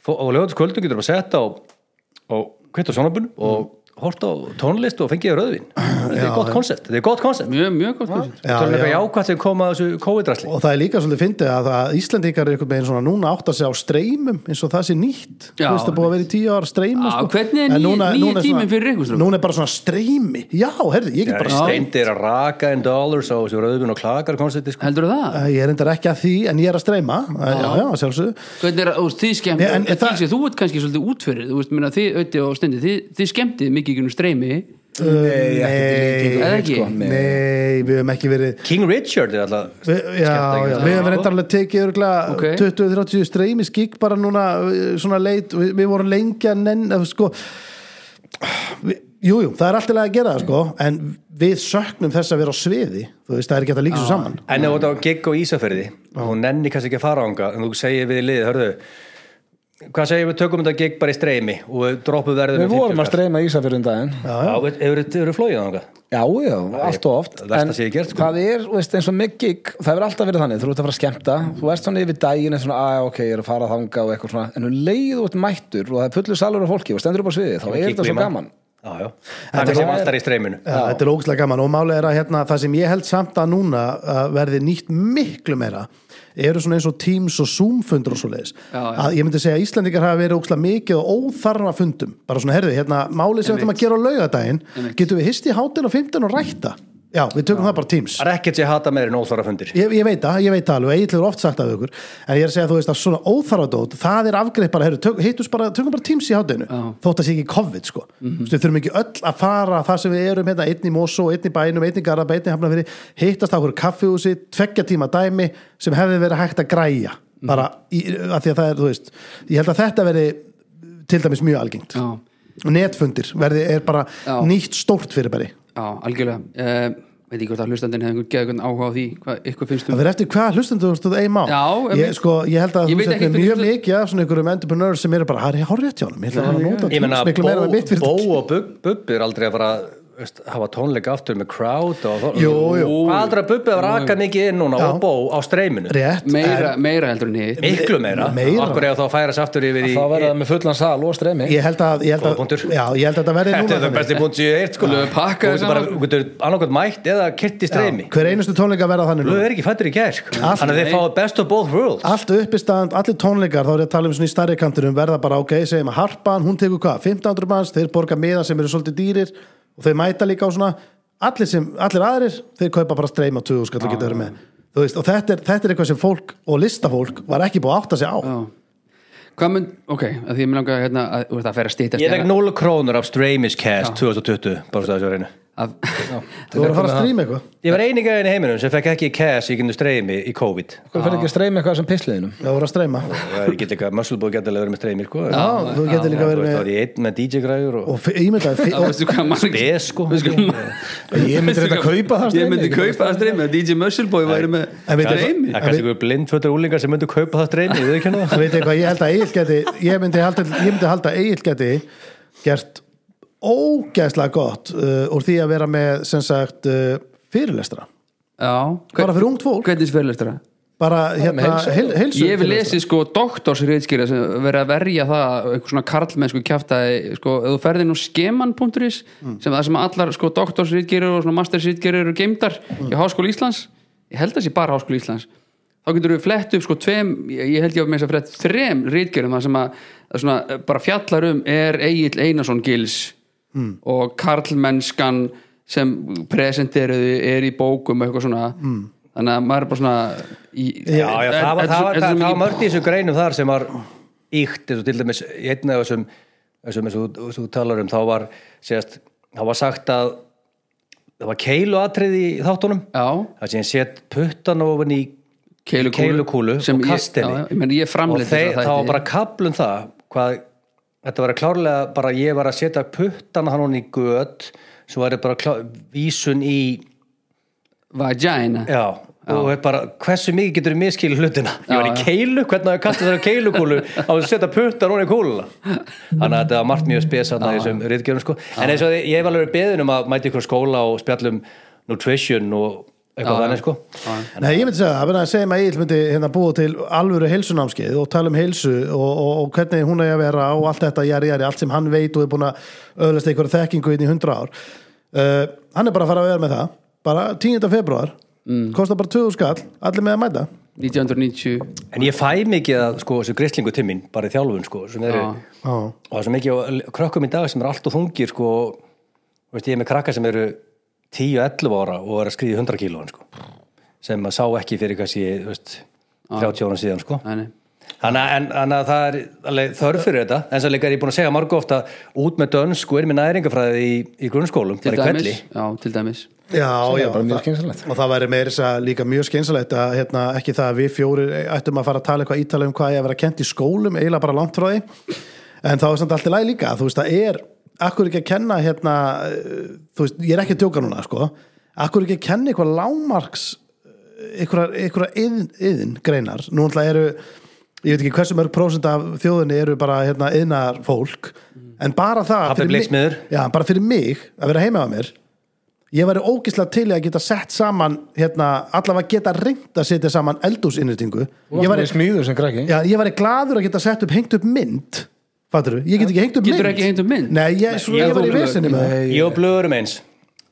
Speaker 4: fó- og lögðast kvöldum getur bara sett á og kvitt á
Speaker 1: Mm.
Speaker 4: sjónabunum og hort á tónlist og fengið rauðvin Þetta er gott koncept, þetta er gott koncept
Speaker 2: Mjög, mjög gott koncept.
Speaker 1: Já,
Speaker 4: Það er eitthvað
Speaker 1: já.
Speaker 4: jákvæmt sem kom að þessu COVID-ræsli
Speaker 1: og það er líka svolítið fyndið að, að Íslendingar er einhvern veginn svona núna átt að segja á streymum eins og það sé nýtt
Speaker 2: Já,
Speaker 1: þú veist það er búið að vera í tíu ára streymum
Speaker 2: Á,
Speaker 1: sko.
Speaker 2: hvernig er
Speaker 1: En
Speaker 2: nýi-
Speaker 1: núna-
Speaker 2: nýi
Speaker 1: núna er svona-
Speaker 2: tíminn fyrir ykkur, sko? strákar?
Speaker 1: núna er bara svona streymi já, herði, ég get bara
Speaker 4: Steindir að raka en dollars á þessu rauðvin og klakar koncepti sko.
Speaker 2: Heldur það?
Speaker 1: Æ, ég er endar ekki að því en ég er að streyma já, já, já sjálfsög
Speaker 2: Hvernig er það, þið skemmt
Speaker 1: Nei, en
Speaker 2: en,
Speaker 1: það-
Speaker 2: Þú ert kannski svolítið útfyrir Þú veist, minna, þið, Ötti og Stendi Þið, þið skemmtið mikið í gegnum streymi
Speaker 1: Nei,
Speaker 2: líkingu við,
Speaker 1: nei,
Speaker 2: sko.
Speaker 1: nei, við höfum ekki verið
Speaker 4: King Richard er alltaf
Speaker 1: Við, já, já, við höfum reyndar alveg tekið örgulega
Speaker 2: Ok.
Speaker 1: 20-30 streymi skikk bara núna eh, svona leit, við, við vorum lengi að nenn eh, sko við- Jú, jú, það er alltaf að gera það sko en við söknum þess að vera á sviði þú veist, það er ekki hægt að líka svo saman
Speaker 4: En ef þú ert á gig og Ísafyrði og hún nenni kannski ekki að fara ánga en þú segir við liðið, hörðu hvað segir við tökum þetta gig bara í streymi og við droppum verðum
Speaker 6: Við vorum að streyma Ísa fyrir um daginn
Speaker 4: streyma Hefur þú flóið ánga?
Speaker 6: Já, já, allt og oft
Speaker 4: versta
Speaker 6: En
Speaker 4: sé ég gert, sko.
Speaker 6: Það er, þú veist, eins og með gig Það er alltaf verið þannig, þú ert að fara að skemmta Þú ert svona yfir daginn, eins og svona, að ok, ég er að fara að þanga og eitthvað svona En þú leiðu út mættur og það er fullur salur af fólki og stendur upp á sviði, þá er þetta svo gaman
Speaker 4: Já, já, það er sem alltaf í streyminu
Speaker 1: Já, þetta er ógæslega gaman og málið er að hérna, það sem ég held samt að núna að verði nýtt miklu meira eru svona eins og Teams og Zoom fundur og svo leiðis
Speaker 2: Já, já.
Speaker 1: að ég myndi segja að Íslandingar hafa verið ógæslega mikið og óþarfa fundum bara svona herðu, hérna, málið sem við ætlum að gera á laugadaginn getum við hist í hátinn og 15 og rækta já, við tökum það bara Teams
Speaker 4: Það er ekkert sem ég hata meir en óþvara fundir
Speaker 1: Ég, ég veit það, ég veit það alveg, Egil er oft sagt af ykkur en ég er að segja, þú veist, að svona óþarfadót það er afgreitt bara, heyrðu, tök- hittumst bara tökum bara tíms í hátinu, þótt að sé ekki COVID sko.
Speaker 2: Mhm.
Speaker 1: mm -hmm. við þurfum ekki öll að fara það sem við erum, hérna, einn í Mosó, einn í bænum einn í Garab, einn í Hafnafyrir, hittast á hverju kaffihúsi, tveggja tíma dæmi sem hefði verið hægt að græja
Speaker 2: Mhm.
Speaker 1: bara, í, að því að það er, þú veist ég held að þetta veri til dæmis mjög algengt
Speaker 2: Já.
Speaker 1: netfundir verði, er bara
Speaker 2: Já.
Speaker 1: nýtt stórt fyrirbæri
Speaker 2: Já, algjörlega uh, Veit ekki hvort að hlustandinn hefði einhvern geðan áhuga á því Hvað ykkur finnst
Speaker 1: Það
Speaker 2: um
Speaker 1: verður eftir hvað hlustendu þú stóð eigi mál
Speaker 2: Já,
Speaker 1: ég,
Speaker 2: einmitt.
Speaker 1: sko, ég held að
Speaker 2: Ég
Speaker 1: þú
Speaker 2: veit um-
Speaker 1: sett
Speaker 2: ekki
Speaker 1: með
Speaker 2: hvernig
Speaker 1: mjög
Speaker 2: þú-
Speaker 1: mikið af svona einhverjum entrepreneur sem eru bara, það er hárrétt hjá honum ég ætla að fara að nota
Speaker 4: Ég menna,
Speaker 1: Teams miklu meira með mitt
Speaker 4: Bó, bó
Speaker 1: fyrir
Speaker 4: og Bub- Bubbi er aldrei að fara veist, hafa tónleika aftur með crowd og
Speaker 1: Jú, jú.
Speaker 4: Hvað aldrei að Bubbi hafa rakað mikið inn núna
Speaker 1: Já.
Speaker 4: og Bó á streyminu
Speaker 1: rétt
Speaker 2: meira, meira heldur en hitt
Speaker 4: Miklu meira,
Speaker 1: Meira.
Speaker 4: okkur eða þá að færa sér aftur yfir í
Speaker 6: Þá verður það með fullan sal og streymi
Speaker 1: en Ég held að, ég held
Speaker 4: Góða
Speaker 1: að,
Speaker 4: punktur.
Speaker 1: já, ég held að þetta verði
Speaker 4: Þetta
Speaker 1: núna
Speaker 4: er það
Speaker 1: þannig.
Speaker 4: besti punkt sem ég heirt sko
Speaker 2: Skulum við pakka
Speaker 4: Þú
Speaker 2: þessu
Speaker 4: getur bara,
Speaker 2: saman?
Speaker 4: þú getur annarkvæmt mætt eða kert í streymi
Speaker 1: Hver einustu tónleika verða þannig
Speaker 4: Þú
Speaker 1: núna.
Speaker 4: er ekki fættur í gær sko Þannig að þið
Speaker 2: Nei.
Speaker 4: fáið best of both worlds
Speaker 1: Allt uppistand, allir tónleikar, þá er ég að tala um svona í starri kantinum verða bara, ok, segjum að harpan hún tekur hvað, 1500 manns, þeir borga miða sem eru svolítið dýrir og þeir mæta líka á svona, allir sem, allir aðrir þeir kaupa bara streyma 20 skall og geta verið með Þú veist, og þetta er, þetta er eitthvað sem fólk og listafólk var ekki búið að átta sig á
Speaker 2: Já. Hvað mun, ok, að því ég mér langa hérna, að þú ert að færa að stýta
Speaker 4: Ég fekk 0 krónur af Streymis Cast 2020 bara svo þessu reynu
Speaker 2: að,
Speaker 1: Þú voru að fara að stríma eitthvað
Speaker 4: Ég var eini gæðin í heiminum sem fekk ekki cash í kynnu streymi í COVID
Speaker 6: Hvað fyrir ekki að streyma eitthvað sem pissliðinum?
Speaker 1: Já, þú voru að streyma
Speaker 4: Það er ekki líka, Muscleboy gæti alveg verið með streymi sko.
Speaker 1: Já, þú getur líka
Speaker 4: Þú
Speaker 1: verið
Speaker 4: veist, þá
Speaker 1: með
Speaker 4: er ég einn með DJ-græður og,
Speaker 1: Og ímyndaði
Speaker 2: að veistu hvað margir
Speaker 4: spes sko
Speaker 2: veistu hvað-
Speaker 6: Ég myndi reynda að kaupa það
Speaker 2: ég myndi kaupa það streymi að DJ Muscleboy væri með
Speaker 1: En veitir-
Speaker 2: streymi
Speaker 4: Það er kannski ykkur blindfötur úlingar sem myndu kaupa það streymi, við ekki
Speaker 1: Þú veit eitthvað, ég held að Egil geti ég myndi halda, ég myndi halda að Egil geti gert ógæðslega gott uh, úr því að vera með sem sagt uh, fyrirlestra
Speaker 2: já,
Speaker 1: bara fyrir ungt fólk,
Speaker 2: hvernig fyrirlistur það
Speaker 1: bara hérna
Speaker 6: heilsu.
Speaker 1: heil- heilsu
Speaker 2: Ég hef
Speaker 1: fyrirlestra.
Speaker 2: lesið sko doktorsriðskýra sem verið að verja það einhver svona karlmenn sko kjaftaði sko, ef þú ferði nú skeman.is sem það sem allar sko doktorsriðskýra og svona mastersriðskýra eru geimdar í Háskóla Íslands ég held að sé bara Háskóla Íslands þá getur við flett upp sko tveim ég ég held ég að með þess að frett þrem riðskýrum það sem að, að svona, eh, bara fjallar um er Egil Einarsson gils og karlmennskan sem presenteruðu er í bókum og eitthvað svona þannig að maður er bara svona í,
Speaker 4: Já, já, það var,
Speaker 2: Þetta er
Speaker 4: það var,
Speaker 2: svo- þetta er svo
Speaker 4: það, það var
Speaker 2: mikið-
Speaker 4: mörgt í þessu greinum þar sem var íkt eins og til dæmis í einna af þessum, þessum eins og þú- þú talar um þá var, sést, þá var sagt að það var keiluatrið í þáttunum
Speaker 2: Já,
Speaker 4: það sé hann set puttan ofan í
Speaker 2: keilukúlu,
Speaker 4: keilukúlu
Speaker 2: Sem
Speaker 4: og
Speaker 2: ég-
Speaker 4: kastinni
Speaker 2: já, já, ég, meni, ég
Speaker 4: og
Speaker 2: framleiti
Speaker 4: þeir,
Speaker 2: þætti.
Speaker 4: það var bara kaplum það hvað, þetta var klárlega bara ég var að setja puttan hann hún í gött svo var þetta bara klá, vísun í
Speaker 2: Vagina
Speaker 4: Já, og er bara, hversu mikið getur þú miskilu hlutina? Ég var í
Speaker 2: já.
Speaker 4: keilu, hvernig að kasta þessar keilukúlu á að setja puttar hún í kúluna Þannig að þetta var margt mjög spes þarna í þessum riðgjörum sko. En eins og ég hef alveg verið beðin um að mæti ykkur skóla og spjallum nutrition og eitthvað þannig sko.
Speaker 1: Nei, ég myndi segja það, að segja maður að Egil myndi hérna búa til alvöru heilsunámskeið og tala um heilsu og, og, og hvernig hún er að vera og allt þetta, jari, jari, allt sem hann veit og er búin að öðlast einhverja þekkingu inn í 100 ár uh, Hann er bara að fara að vera með það bara 10. februar kostar bara 20 skall, allir með að mæta
Speaker 2: 1990
Speaker 4: En ég fæ mikið að sko, þessu grislingu timminn, bara í þjálfun sko, sem eru,
Speaker 2: Já.
Speaker 1: Já,
Speaker 4: og það er svo mikið á krökkum í dag sem eru allt og þungir sko, og veist, ég er með krakka sem eru 10-11 ára og er að skriði 100 kílóin sko, sem að sá ekki fyrir kannski þú veist, 30 ára síðan sko.
Speaker 2: Nei, nei.
Speaker 4: þannig að, en, þannig að það er alveg þörf fyrir þetta en svo líka er ég búin að segja margu ofta út með dönsku er með næringafræði í, í grunnskólum
Speaker 2: Til
Speaker 4: bara í kvelli
Speaker 2: dæmis Já, til dæmis
Speaker 1: já, já
Speaker 6: bara mjög
Speaker 1: það-
Speaker 6: skynsamlegt.
Speaker 1: Og það væri meira þess að líka mjög skynsalegt að hérna, ekki það að við fjórir ættum að fara að tala eitthvað ítala um hvað ég að vera kent í skólum eiginlega bara langt frá því en þá er samt allt í læg líka, þú veist það er akkur ekki að kenna hérna eh, þú veist, ég er ekki að tjóka núna sko akkur ekki að kenna eitthvað eh, lámarks einhverja, einhverja yðn, yðn greinar, nú náttúrulega eru ég veit ekki hversu mörg prósent af þjóðinni eru bara hérna yðnar fólk en bara það
Speaker 4: Pabbi bleiksmiður.
Speaker 1: mig, já, bara fyrir mig að vera heima á mér ég væri ógislega til í að geta sett saman hérna, allavega geta reynd að setja saman eldúsinnitingu ég
Speaker 6: Ég var
Speaker 1: væri,
Speaker 6: í smíður sem krakki
Speaker 1: já, ég væri gladur að geta sett upp hengt upp mynd fattur ég get ekki hengt upp mynd
Speaker 2: Geturðu ekki hengt upp mynd?
Speaker 1: nei, ég, svo,
Speaker 4: ég
Speaker 1: ég, var í
Speaker 4: þú-
Speaker 1: vesinni með það
Speaker 4: ég og blöður um eins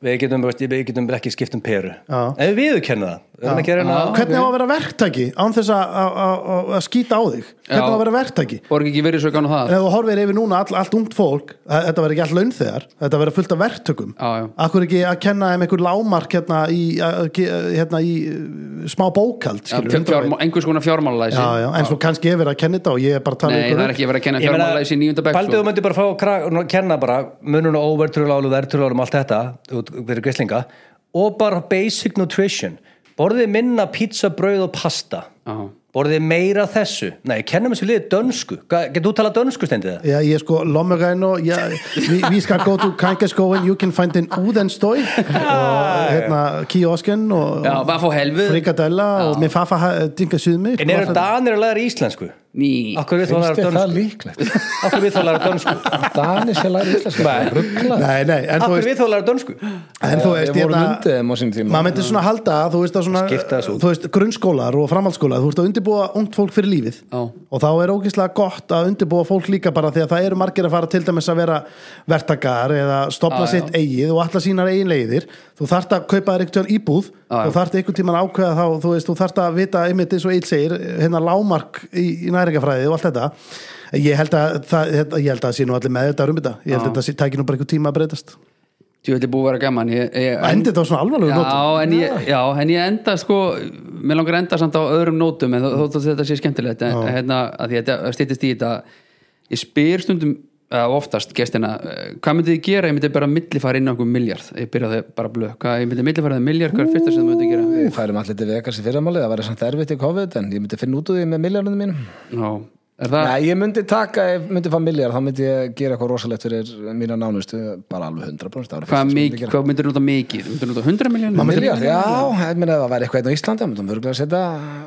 Speaker 4: við getum, veist, við getum ekki skipt um peru
Speaker 1: Já.
Speaker 4: en við viðurkenna það við erum ekki að reyna að
Speaker 1: hvernig á að vera verktaki án þess að- að- að að- að skýta á þig hvernig á að vera verktaki
Speaker 2: Borg ekki verið svo gánu það
Speaker 1: En ef þú horfir yfir núna all, allt ungt fólk, að- þetta verður ekki all launþegar, þetta verður fullt af verktökum.
Speaker 2: Já, já.
Speaker 1: Akkur ekki að kenna þeim einhver lámark hérna í, að- ge- hérna í uh, smá bókald,
Speaker 2: Já,
Speaker 1: skilur.
Speaker 2: fjár- fjármál- Einhers konar fjármálalæsi
Speaker 1: já, já, en svo kannski er verið að kenna þetta og ég er bara að tala
Speaker 2: Nei, það er ekki verið að kenna fjármálalæsi í nýjunda bekk
Speaker 4: Baldið þú
Speaker 2: sko.
Speaker 4: myndir bara fá að kra- nú, kenna bara mununa óvertrúlálu, vertrúlálum, allt þetta út- fyrir grislinga og bara basic nutrition borðið minna pizza, brauð og pasta
Speaker 2: Já.
Speaker 4: borðið meira af þessu nei, kennum þessu liðið dönsku Ga- getur þú talað dönsku stendið það?
Speaker 1: Já, ég er sko lommeræn og ég, vi, vi skal gå til Kankaskóin, you can find in Udenstøy og hérna kiosken og
Speaker 2: Já, hvað fór helvið?
Speaker 1: frikadella og eh, min farfar har dinket syden med.
Speaker 4: en eru danir að læra íslensku?
Speaker 2: Ný
Speaker 4: Akkur við þá
Speaker 6: Finnst
Speaker 4: að læra
Speaker 6: þér það
Speaker 4: dönsku?
Speaker 6: líklegt?
Speaker 4: Akkur við þá að læra dönsku?
Speaker 6: Danis ég læri íslenska
Speaker 1: Nei, nei, en þú
Speaker 4: Akkur
Speaker 1: veist,
Speaker 4: við þá að læra dönsku?
Speaker 1: en þú veist,
Speaker 6: Við vorum undið þeim á sín tíma
Speaker 1: maður myndir svona halda að þú veist að svona,
Speaker 4: Skipta þessu út.
Speaker 1: þú veist, grunnskólar og framhaldsskólar þú veist að undirbúa ungt fólk fyrir lífið
Speaker 2: Já.
Speaker 1: og þá er ógeðslega gott að undirbúa fólk líka bara því að það eru margir að fara til dæmis að vera vertakar eða stopna
Speaker 2: Já, já.
Speaker 1: sitt eigið og alla sínar eigin leiðir þú þarft að kaupa þér einhvern tímann íbúð
Speaker 2: Já, já.
Speaker 1: þú þarft einhvern tímann að ákveða þá þú veist, þú þarft að vita einmitt eins og eitt segir hérna lámark í, í næringafræði og allt þetta ég held að það, þetta- ég held að það sé nú allir með þetta um þetta ég held að þetta sé- tæki nú bara einhvern tíma að breytast
Speaker 2: Þú ætli búið að vera gaman ég, ég,
Speaker 1: endi þetta á svona alvarlegu nótum
Speaker 2: já, en ég, já, en ég enda sko mér langar að enda samt á öðrum nótum en þó, þó, þó þetta sé skemmtilegt en, hérna, að því að þetta styttist í þetta ég spyr stundum uh, oftast gestina uh, hvað myndið þið gera, ég myndið bara millifæra inn á okkur miljard, ég byrjaði bara blöð hvað, ég myndið millifæra það miljard, hvað er fyrsta sem þú myndið gera
Speaker 6: Við færum allir til Vegas í fyrramáli, það væri samt erfitt í COVID en ég myndi finna út úr því með miljarunum mínum
Speaker 2: Já, er það
Speaker 6: Nei, ég myndi taka, ef ég myndi fá miljar þá myndi ég gera eitthvað rosalegt fyrir mína nánustu, bara alveg 100% það væri fyrsta
Speaker 2: hvað,
Speaker 6: sem ég myndi
Speaker 2: mikið,
Speaker 6: gera.
Speaker 2: hvað myndir nota mikið myndir nota 100 miljónir
Speaker 6: Milljarð, já, ég meina ef það væri eitthvað einn á Íslandi, þá myndum við að setja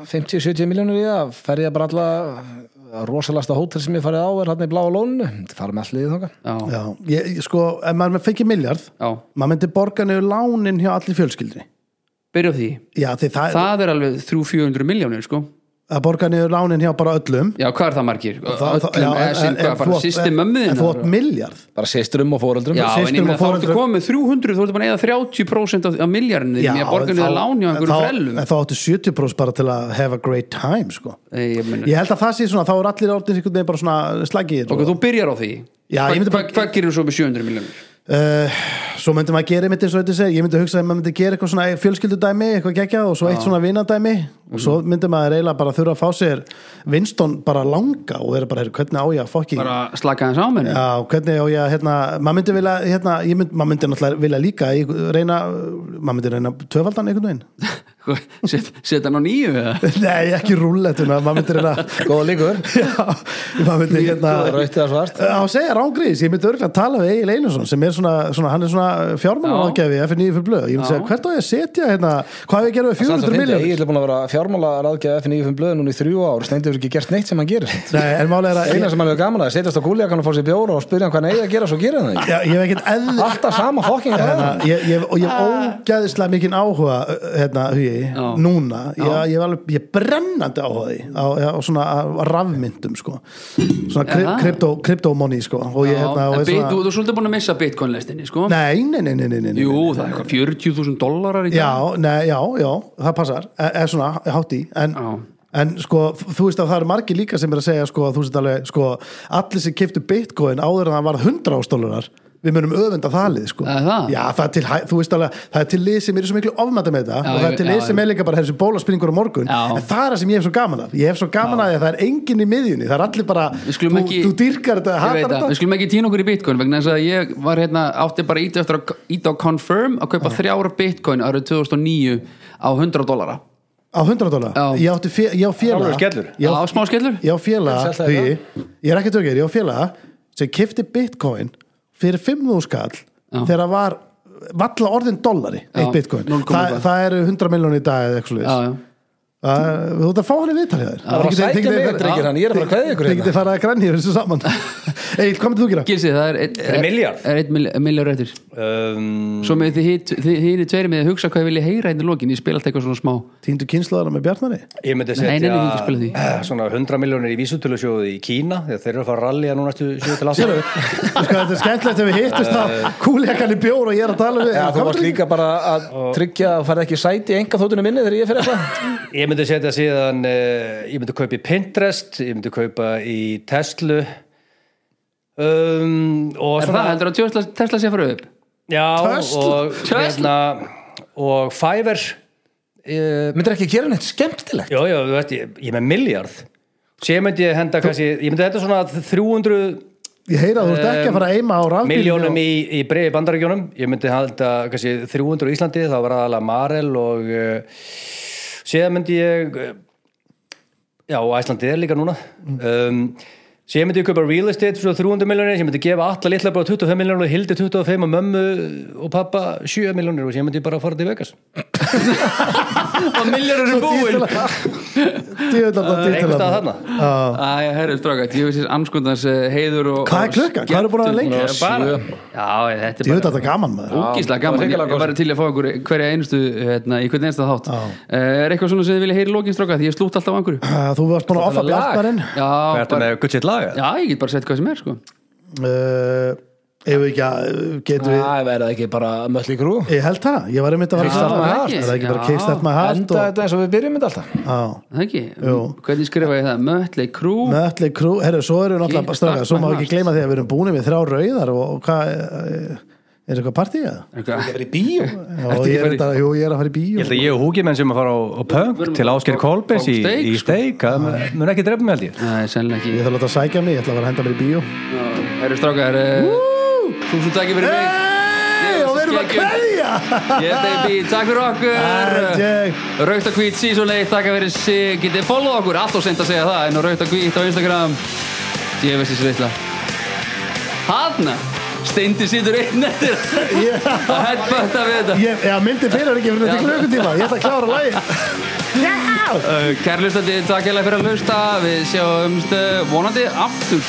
Speaker 6: 50-70 miljónur í það, fer ég bara alla rosalasta hótel sem ég farið á er hann í bláa lónu, það fara með allir í þóka
Speaker 2: já,
Speaker 1: Já, ég, ég- sko, ef maður fengi miljard
Speaker 2: já,
Speaker 1: maður myndi borga niður lánin hjá allir fjölskyldri
Speaker 2: byrja á því
Speaker 1: Já, því það,
Speaker 2: það er alveg 300-400 miljónir sko
Speaker 1: að borga niður lánin hjá bara öllum
Speaker 2: já, hvað er það margir?
Speaker 1: Það- það- já,
Speaker 2: öllum,
Speaker 1: en-
Speaker 2: essin,
Speaker 1: en- en
Speaker 2: hvað,
Speaker 1: þú
Speaker 2: bara
Speaker 1: átt-
Speaker 2: sýsti
Speaker 1: en- En þú átt
Speaker 2: mömmuðin
Speaker 1: miljard
Speaker 6: bara sýsturum og fóreldrum
Speaker 2: já, en
Speaker 1: systrum
Speaker 2: ég meina
Speaker 1: og
Speaker 2: þá ertu
Speaker 1: foreldrum.
Speaker 2: komið 300 þú ertu bara að eða 30% af, af miljarnir ég borgar niður lán hjá einhverjum frellum
Speaker 1: En þá áttu 70% bara til að have a great time sko.
Speaker 2: Nei, ég meina-
Speaker 1: Ég held að það sé svona, þá er allir orðin einhvern veginn bara svona slagir
Speaker 2: ok, þú byrjar á því
Speaker 1: Já,
Speaker 2: Hvað-
Speaker 1: ég myndi bara-
Speaker 2: hvað- hvað gerir þú svo með 700 miljónir?
Speaker 1: uh, Svo myndi maður gera einmitt eins og þetta segir Ég myndi hugsa að maður myndi gera eitthvað svona fjölskyldudæmi eitthvað gegja og svo eitt svona vinadæmi og svo myndi maður eiginlega bara þurfa að fá sér Winston bara langa og vera bara, "Heyrðu, hvernig á ég að fokki
Speaker 2: bara slaka þess á menni
Speaker 1: Já, hvernig á ég að, hérna, maður myndi vilja, hérna, ég mynd, maður myndi náttúrulega vilja líka í- reyna, maður myndi reyna tvöfaldan einhvern veginn.
Speaker 2: Set- setja hann á nýju eða?
Speaker 1: Nei, ekki rúlletuna, maður myndi reyna,
Speaker 6: Góða líkur,
Speaker 1: já, maður myndi hérna...
Speaker 6: rautt eða svart
Speaker 1: Á að segja rángrís, ég myndi örgulega tala við Egil Einarsson sem er svona, svona hann er svona uh, fjármálaráðgjafi F9 fyrir blöð, ég myndi
Speaker 2: Já.
Speaker 1: segja hvert á ég að setja hérna, hvað á ég að gera við 400
Speaker 6: Ég
Speaker 1: miljónir
Speaker 6: ætla búin að vera fjármála ráðgjaði F95 blöð núna í þrjú ár, stendur ekki gert neitt sem hann gerir
Speaker 1: Nei, en málega er að
Speaker 6: Einar
Speaker 1: ég,
Speaker 6: sem hann hefur gaman að setjast á gúljakan og fá sér bjóra og spyrja hann hvað hann eigi að gera svo gera hann það ekki.
Speaker 1: Já, ég hef ekkert eðl
Speaker 6: Alltaf sama fokking
Speaker 1: hérna, ég, ég, og ég hef ógæðislega mikinn áhuga hérna, hugi,
Speaker 2: Já.
Speaker 1: núna ég, ég, hef alveg, ég er brennandi áhuga því á, á, á svona á rafmyndum sko. svona kryp,
Speaker 2: Jaha.
Speaker 1: krypto, kryptomoni sko. og ég
Speaker 2: Já,
Speaker 1: hérna, og
Speaker 2: en
Speaker 1: er
Speaker 2: bit- þú
Speaker 1: svona,
Speaker 2: þú er svolítið búin að missa bitcoin lestinni sko?
Speaker 1: nei, nei, nei, nei, nei, nei, nei.
Speaker 2: jú, það er eitthvað 40.000 dólarar í dag
Speaker 1: já, nei, já, já, það passar e, eða svona, hátt í en,
Speaker 2: Já.
Speaker 1: en sko, f- þú veist að það eru margir líka sem er að segja sko, að þú veist alveg, sko, allir sem keftu bitcoin áður en það varð 100 ástólunar við munum öfunda þalið sko.
Speaker 2: Það er það?
Speaker 1: Já, það er til, hæ- þú veist alveg, það er til lið sem er svo miklu ofmæta með þetta
Speaker 2: Já,
Speaker 1: og það er
Speaker 2: ég-
Speaker 1: til
Speaker 2: já,
Speaker 1: lið sem
Speaker 2: já.
Speaker 1: er líka bara þessi bólaspinningur á morgun
Speaker 2: Já.
Speaker 1: en það er það sem ég hef svo gaman af ég hef svo gaman af því að það er engin í miðjunni það er allir bara,
Speaker 2: Við skulum
Speaker 1: þú,
Speaker 2: ekki-
Speaker 1: þú dýrkar þetta,
Speaker 2: Ég veit
Speaker 1: hatar
Speaker 2: það, við
Speaker 1: þetta
Speaker 2: skulum ekki týna okkur í bitcoin vegna þess að ég var hérna átti bara ít eftir að íta á confirm að kaupa þrjára bitcoin árið 2009 á 100 dólara
Speaker 1: á 100 dólar,
Speaker 2: Já.
Speaker 1: ég átti fé- ég á félaga
Speaker 4: Alvöru skellur.
Speaker 1: Ég á
Speaker 2: á smá skellur
Speaker 1: ég á félaga
Speaker 6: Ég seldi
Speaker 1: Hugi, ég er ekki tökir, ég á félaga sem kifti bitcoin fyrir 5.000 skall þegar það var valla orðin dollari
Speaker 2: Já,
Speaker 1: eitt bitcoin,
Speaker 2: 0,1.
Speaker 1: Þa, það eru 100 miljón í dag eða eitthvað
Speaker 2: já,
Speaker 1: sliðis
Speaker 2: já.
Speaker 1: þú ert að fá hann í viðtal hjá þér
Speaker 6: Það var að
Speaker 1: Þið getið-
Speaker 6: sækja
Speaker 1: þið
Speaker 6: mig,
Speaker 1: getið-
Speaker 6: drengir, hann, ég er að fara að kveðja ykkur hérna.
Speaker 1: þið getið farað að grann hér þessu saman Egil, hvað myndir þú gera?
Speaker 2: Gilsi, það er eitt-
Speaker 4: er milljarð.
Speaker 2: er eitt mil- milljarð réttir
Speaker 4: um,
Speaker 2: svo með því hinn tveiri með að hugsa hvað ég vilja heyra hérna í lokin ég spila alltaf eitthvað svona smá
Speaker 1: Týndu kynslaðana með Bjarnari?
Speaker 4: ég myndi
Speaker 2: Nei, nei, nei, ég
Speaker 4: setja
Speaker 2: spila því.
Speaker 4: eh, svona 100 miljónir í vísutölusjóði í Kína þegar þeir eru að fara að rallija nú næstu 7 til 8
Speaker 1: Sérðu, þú sko, þetta er skemmtilegt ef við hittust að kúljakan í bjór og ég er að tala við
Speaker 6: Já, þú
Speaker 1: Hvað
Speaker 6: varst
Speaker 1: myndirðu
Speaker 6: líka bara að tryggja að fara ekki sæti í enga þóttunum minni þegar ég fyrir eitthvað
Speaker 4: ég myndi setja síðan uh, ég myndi kaupa í Pinterest ég myndi kaupa í Tesla um, og
Speaker 2: er það, heldur að Tesla, Tesla sé að fara upp
Speaker 4: já,
Speaker 1: Tesla?
Speaker 4: og, hérna,
Speaker 2: Tesla?
Speaker 4: og Fiverr uh,
Speaker 6: Myndir ekki gera neitt skemmtilegt
Speaker 4: já, já, þú veist, ég, ég er með miljard svo ég myndi henda kannski, ég myndi henda svona 300
Speaker 1: Ég heyra að þú ert ekki að fara að eima á rafbílum
Speaker 4: miljónum í, í breiði bandarækjónum ég myndi halda kannski 300 í Íslandi þá var aðalega Marel og uh, síðan myndi ég uh, já, og Íslandi er líka núna
Speaker 2: Mm.
Speaker 4: um, síðan myndi ég kaupa real estate fyrir 300 miljónir, ég myndi gefa alla litla bara 25 miljónir og hildi 25 og mömmu og pappa 7 miljónir og síðan myndi ég bara fara til Vegas
Speaker 2: og milljarður er búinn
Speaker 1: Djöðlanda
Speaker 4: einhvers stað þarna
Speaker 2: Æ, herri, stráka, ég veist anskundans heiður og
Speaker 1: Hvað er klukkan? Hvað eru búin að vera lengi?
Speaker 2: Ég er bara- Já, þetta er
Speaker 1: Ég
Speaker 2: bara
Speaker 1: veit að þetta er gaman maður
Speaker 2: ógíslega gaman, ég er bara til að fá ykkur hverja einustu, hérna, í hvernig einsta þátt uh, er eitthvað svona sem þið vilja heyra í lokin stróka því ég slútt alltaf á einhverju já,
Speaker 1: Uh, Þú varst búin að offa
Speaker 6: lag.
Speaker 1: bjartmarinn
Speaker 4: Hvað ertu
Speaker 2: bara,
Speaker 4: með gutt sitt laga?
Speaker 2: já, ég get bara sett hvað sem er sko.
Speaker 1: uh, Ef við ekki að getum
Speaker 3: Ah.
Speaker 1: við
Speaker 6: Það verða ekki bara möll í grú
Speaker 1: Ég held það, ég var einmitt að fara að
Speaker 6: Kickstart my heart.
Speaker 1: starta með Það er ekki bara
Speaker 2: Já.
Speaker 1: kickstart my heart
Speaker 6: Enda
Speaker 1: og,
Speaker 6: þetta eins og við byrjum þetta alltaf
Speaker 1: á,
Speaker 2: það ekki,
Speaker 1: Jú.
Speaker 2: hvernig skrifa ég það Mötli Krú,
Speaker 1: Með öllu krú, herru, svo erum við náttúrulega
Speaker 2: Kickstart
Speaker 1: strafga Svo
Speaker 2: my
Speaker 1: má ekki
Speaker 2: heart.
Speaker 1: gleyma því að við erum búin með þrjá rauðar og, og hvað eh, Er eitthvað partíð eða?
Speaker 2: Eitthvað-
Speaker 6: verið bíó
Speaker 1: Já, ég er, þetta, jú, ég er að fara í bíó
Speaker 4: Ég held að ég og Húkimenn sem að fara á, á punk
Speaker 2: Við-
Speaker 4: til Ásker Kolbens í,
Speaker 2: á steik,
Speaker 4: í
Speaker 2: sko.
Speaker 4: steik það mun- mun ekki drefnum held ég
Speaker 2: Nei, sennilega ekki
Speaker 1: Ég þarf að láta að sækja mig, ég ætla að vera að henda mér í bíó
Speaker 2: Það eru strákar eh, Þúsund takk fyrir mig
Speaker 1: Hei, og við erum að kveðja
Speaker 2: Ég baby, takk fyrir
Speaker 1: Ah,
Speaker 2: okkur
Speaker 1: Jay.
Speaker 2: Raukt og hvít season 1, takk fyrir sig Getið follow okkur, allt og sent að segja það En á raukt og hvít á Instagram Ég veist þessi veitla Hanna, steindi situr einn eftir Það headbutta við þetta
Speaker 1: Ég- Já, myndi fyrir ekki fyrir þetta
Speaker 2: Já.
Speaker 1: klukkutíma Ég ætla að klára lagi
Speaker 2: Kærlustandi, takk hella fyrir að hlusta Við sjáumst eh, vonandi eh, aftur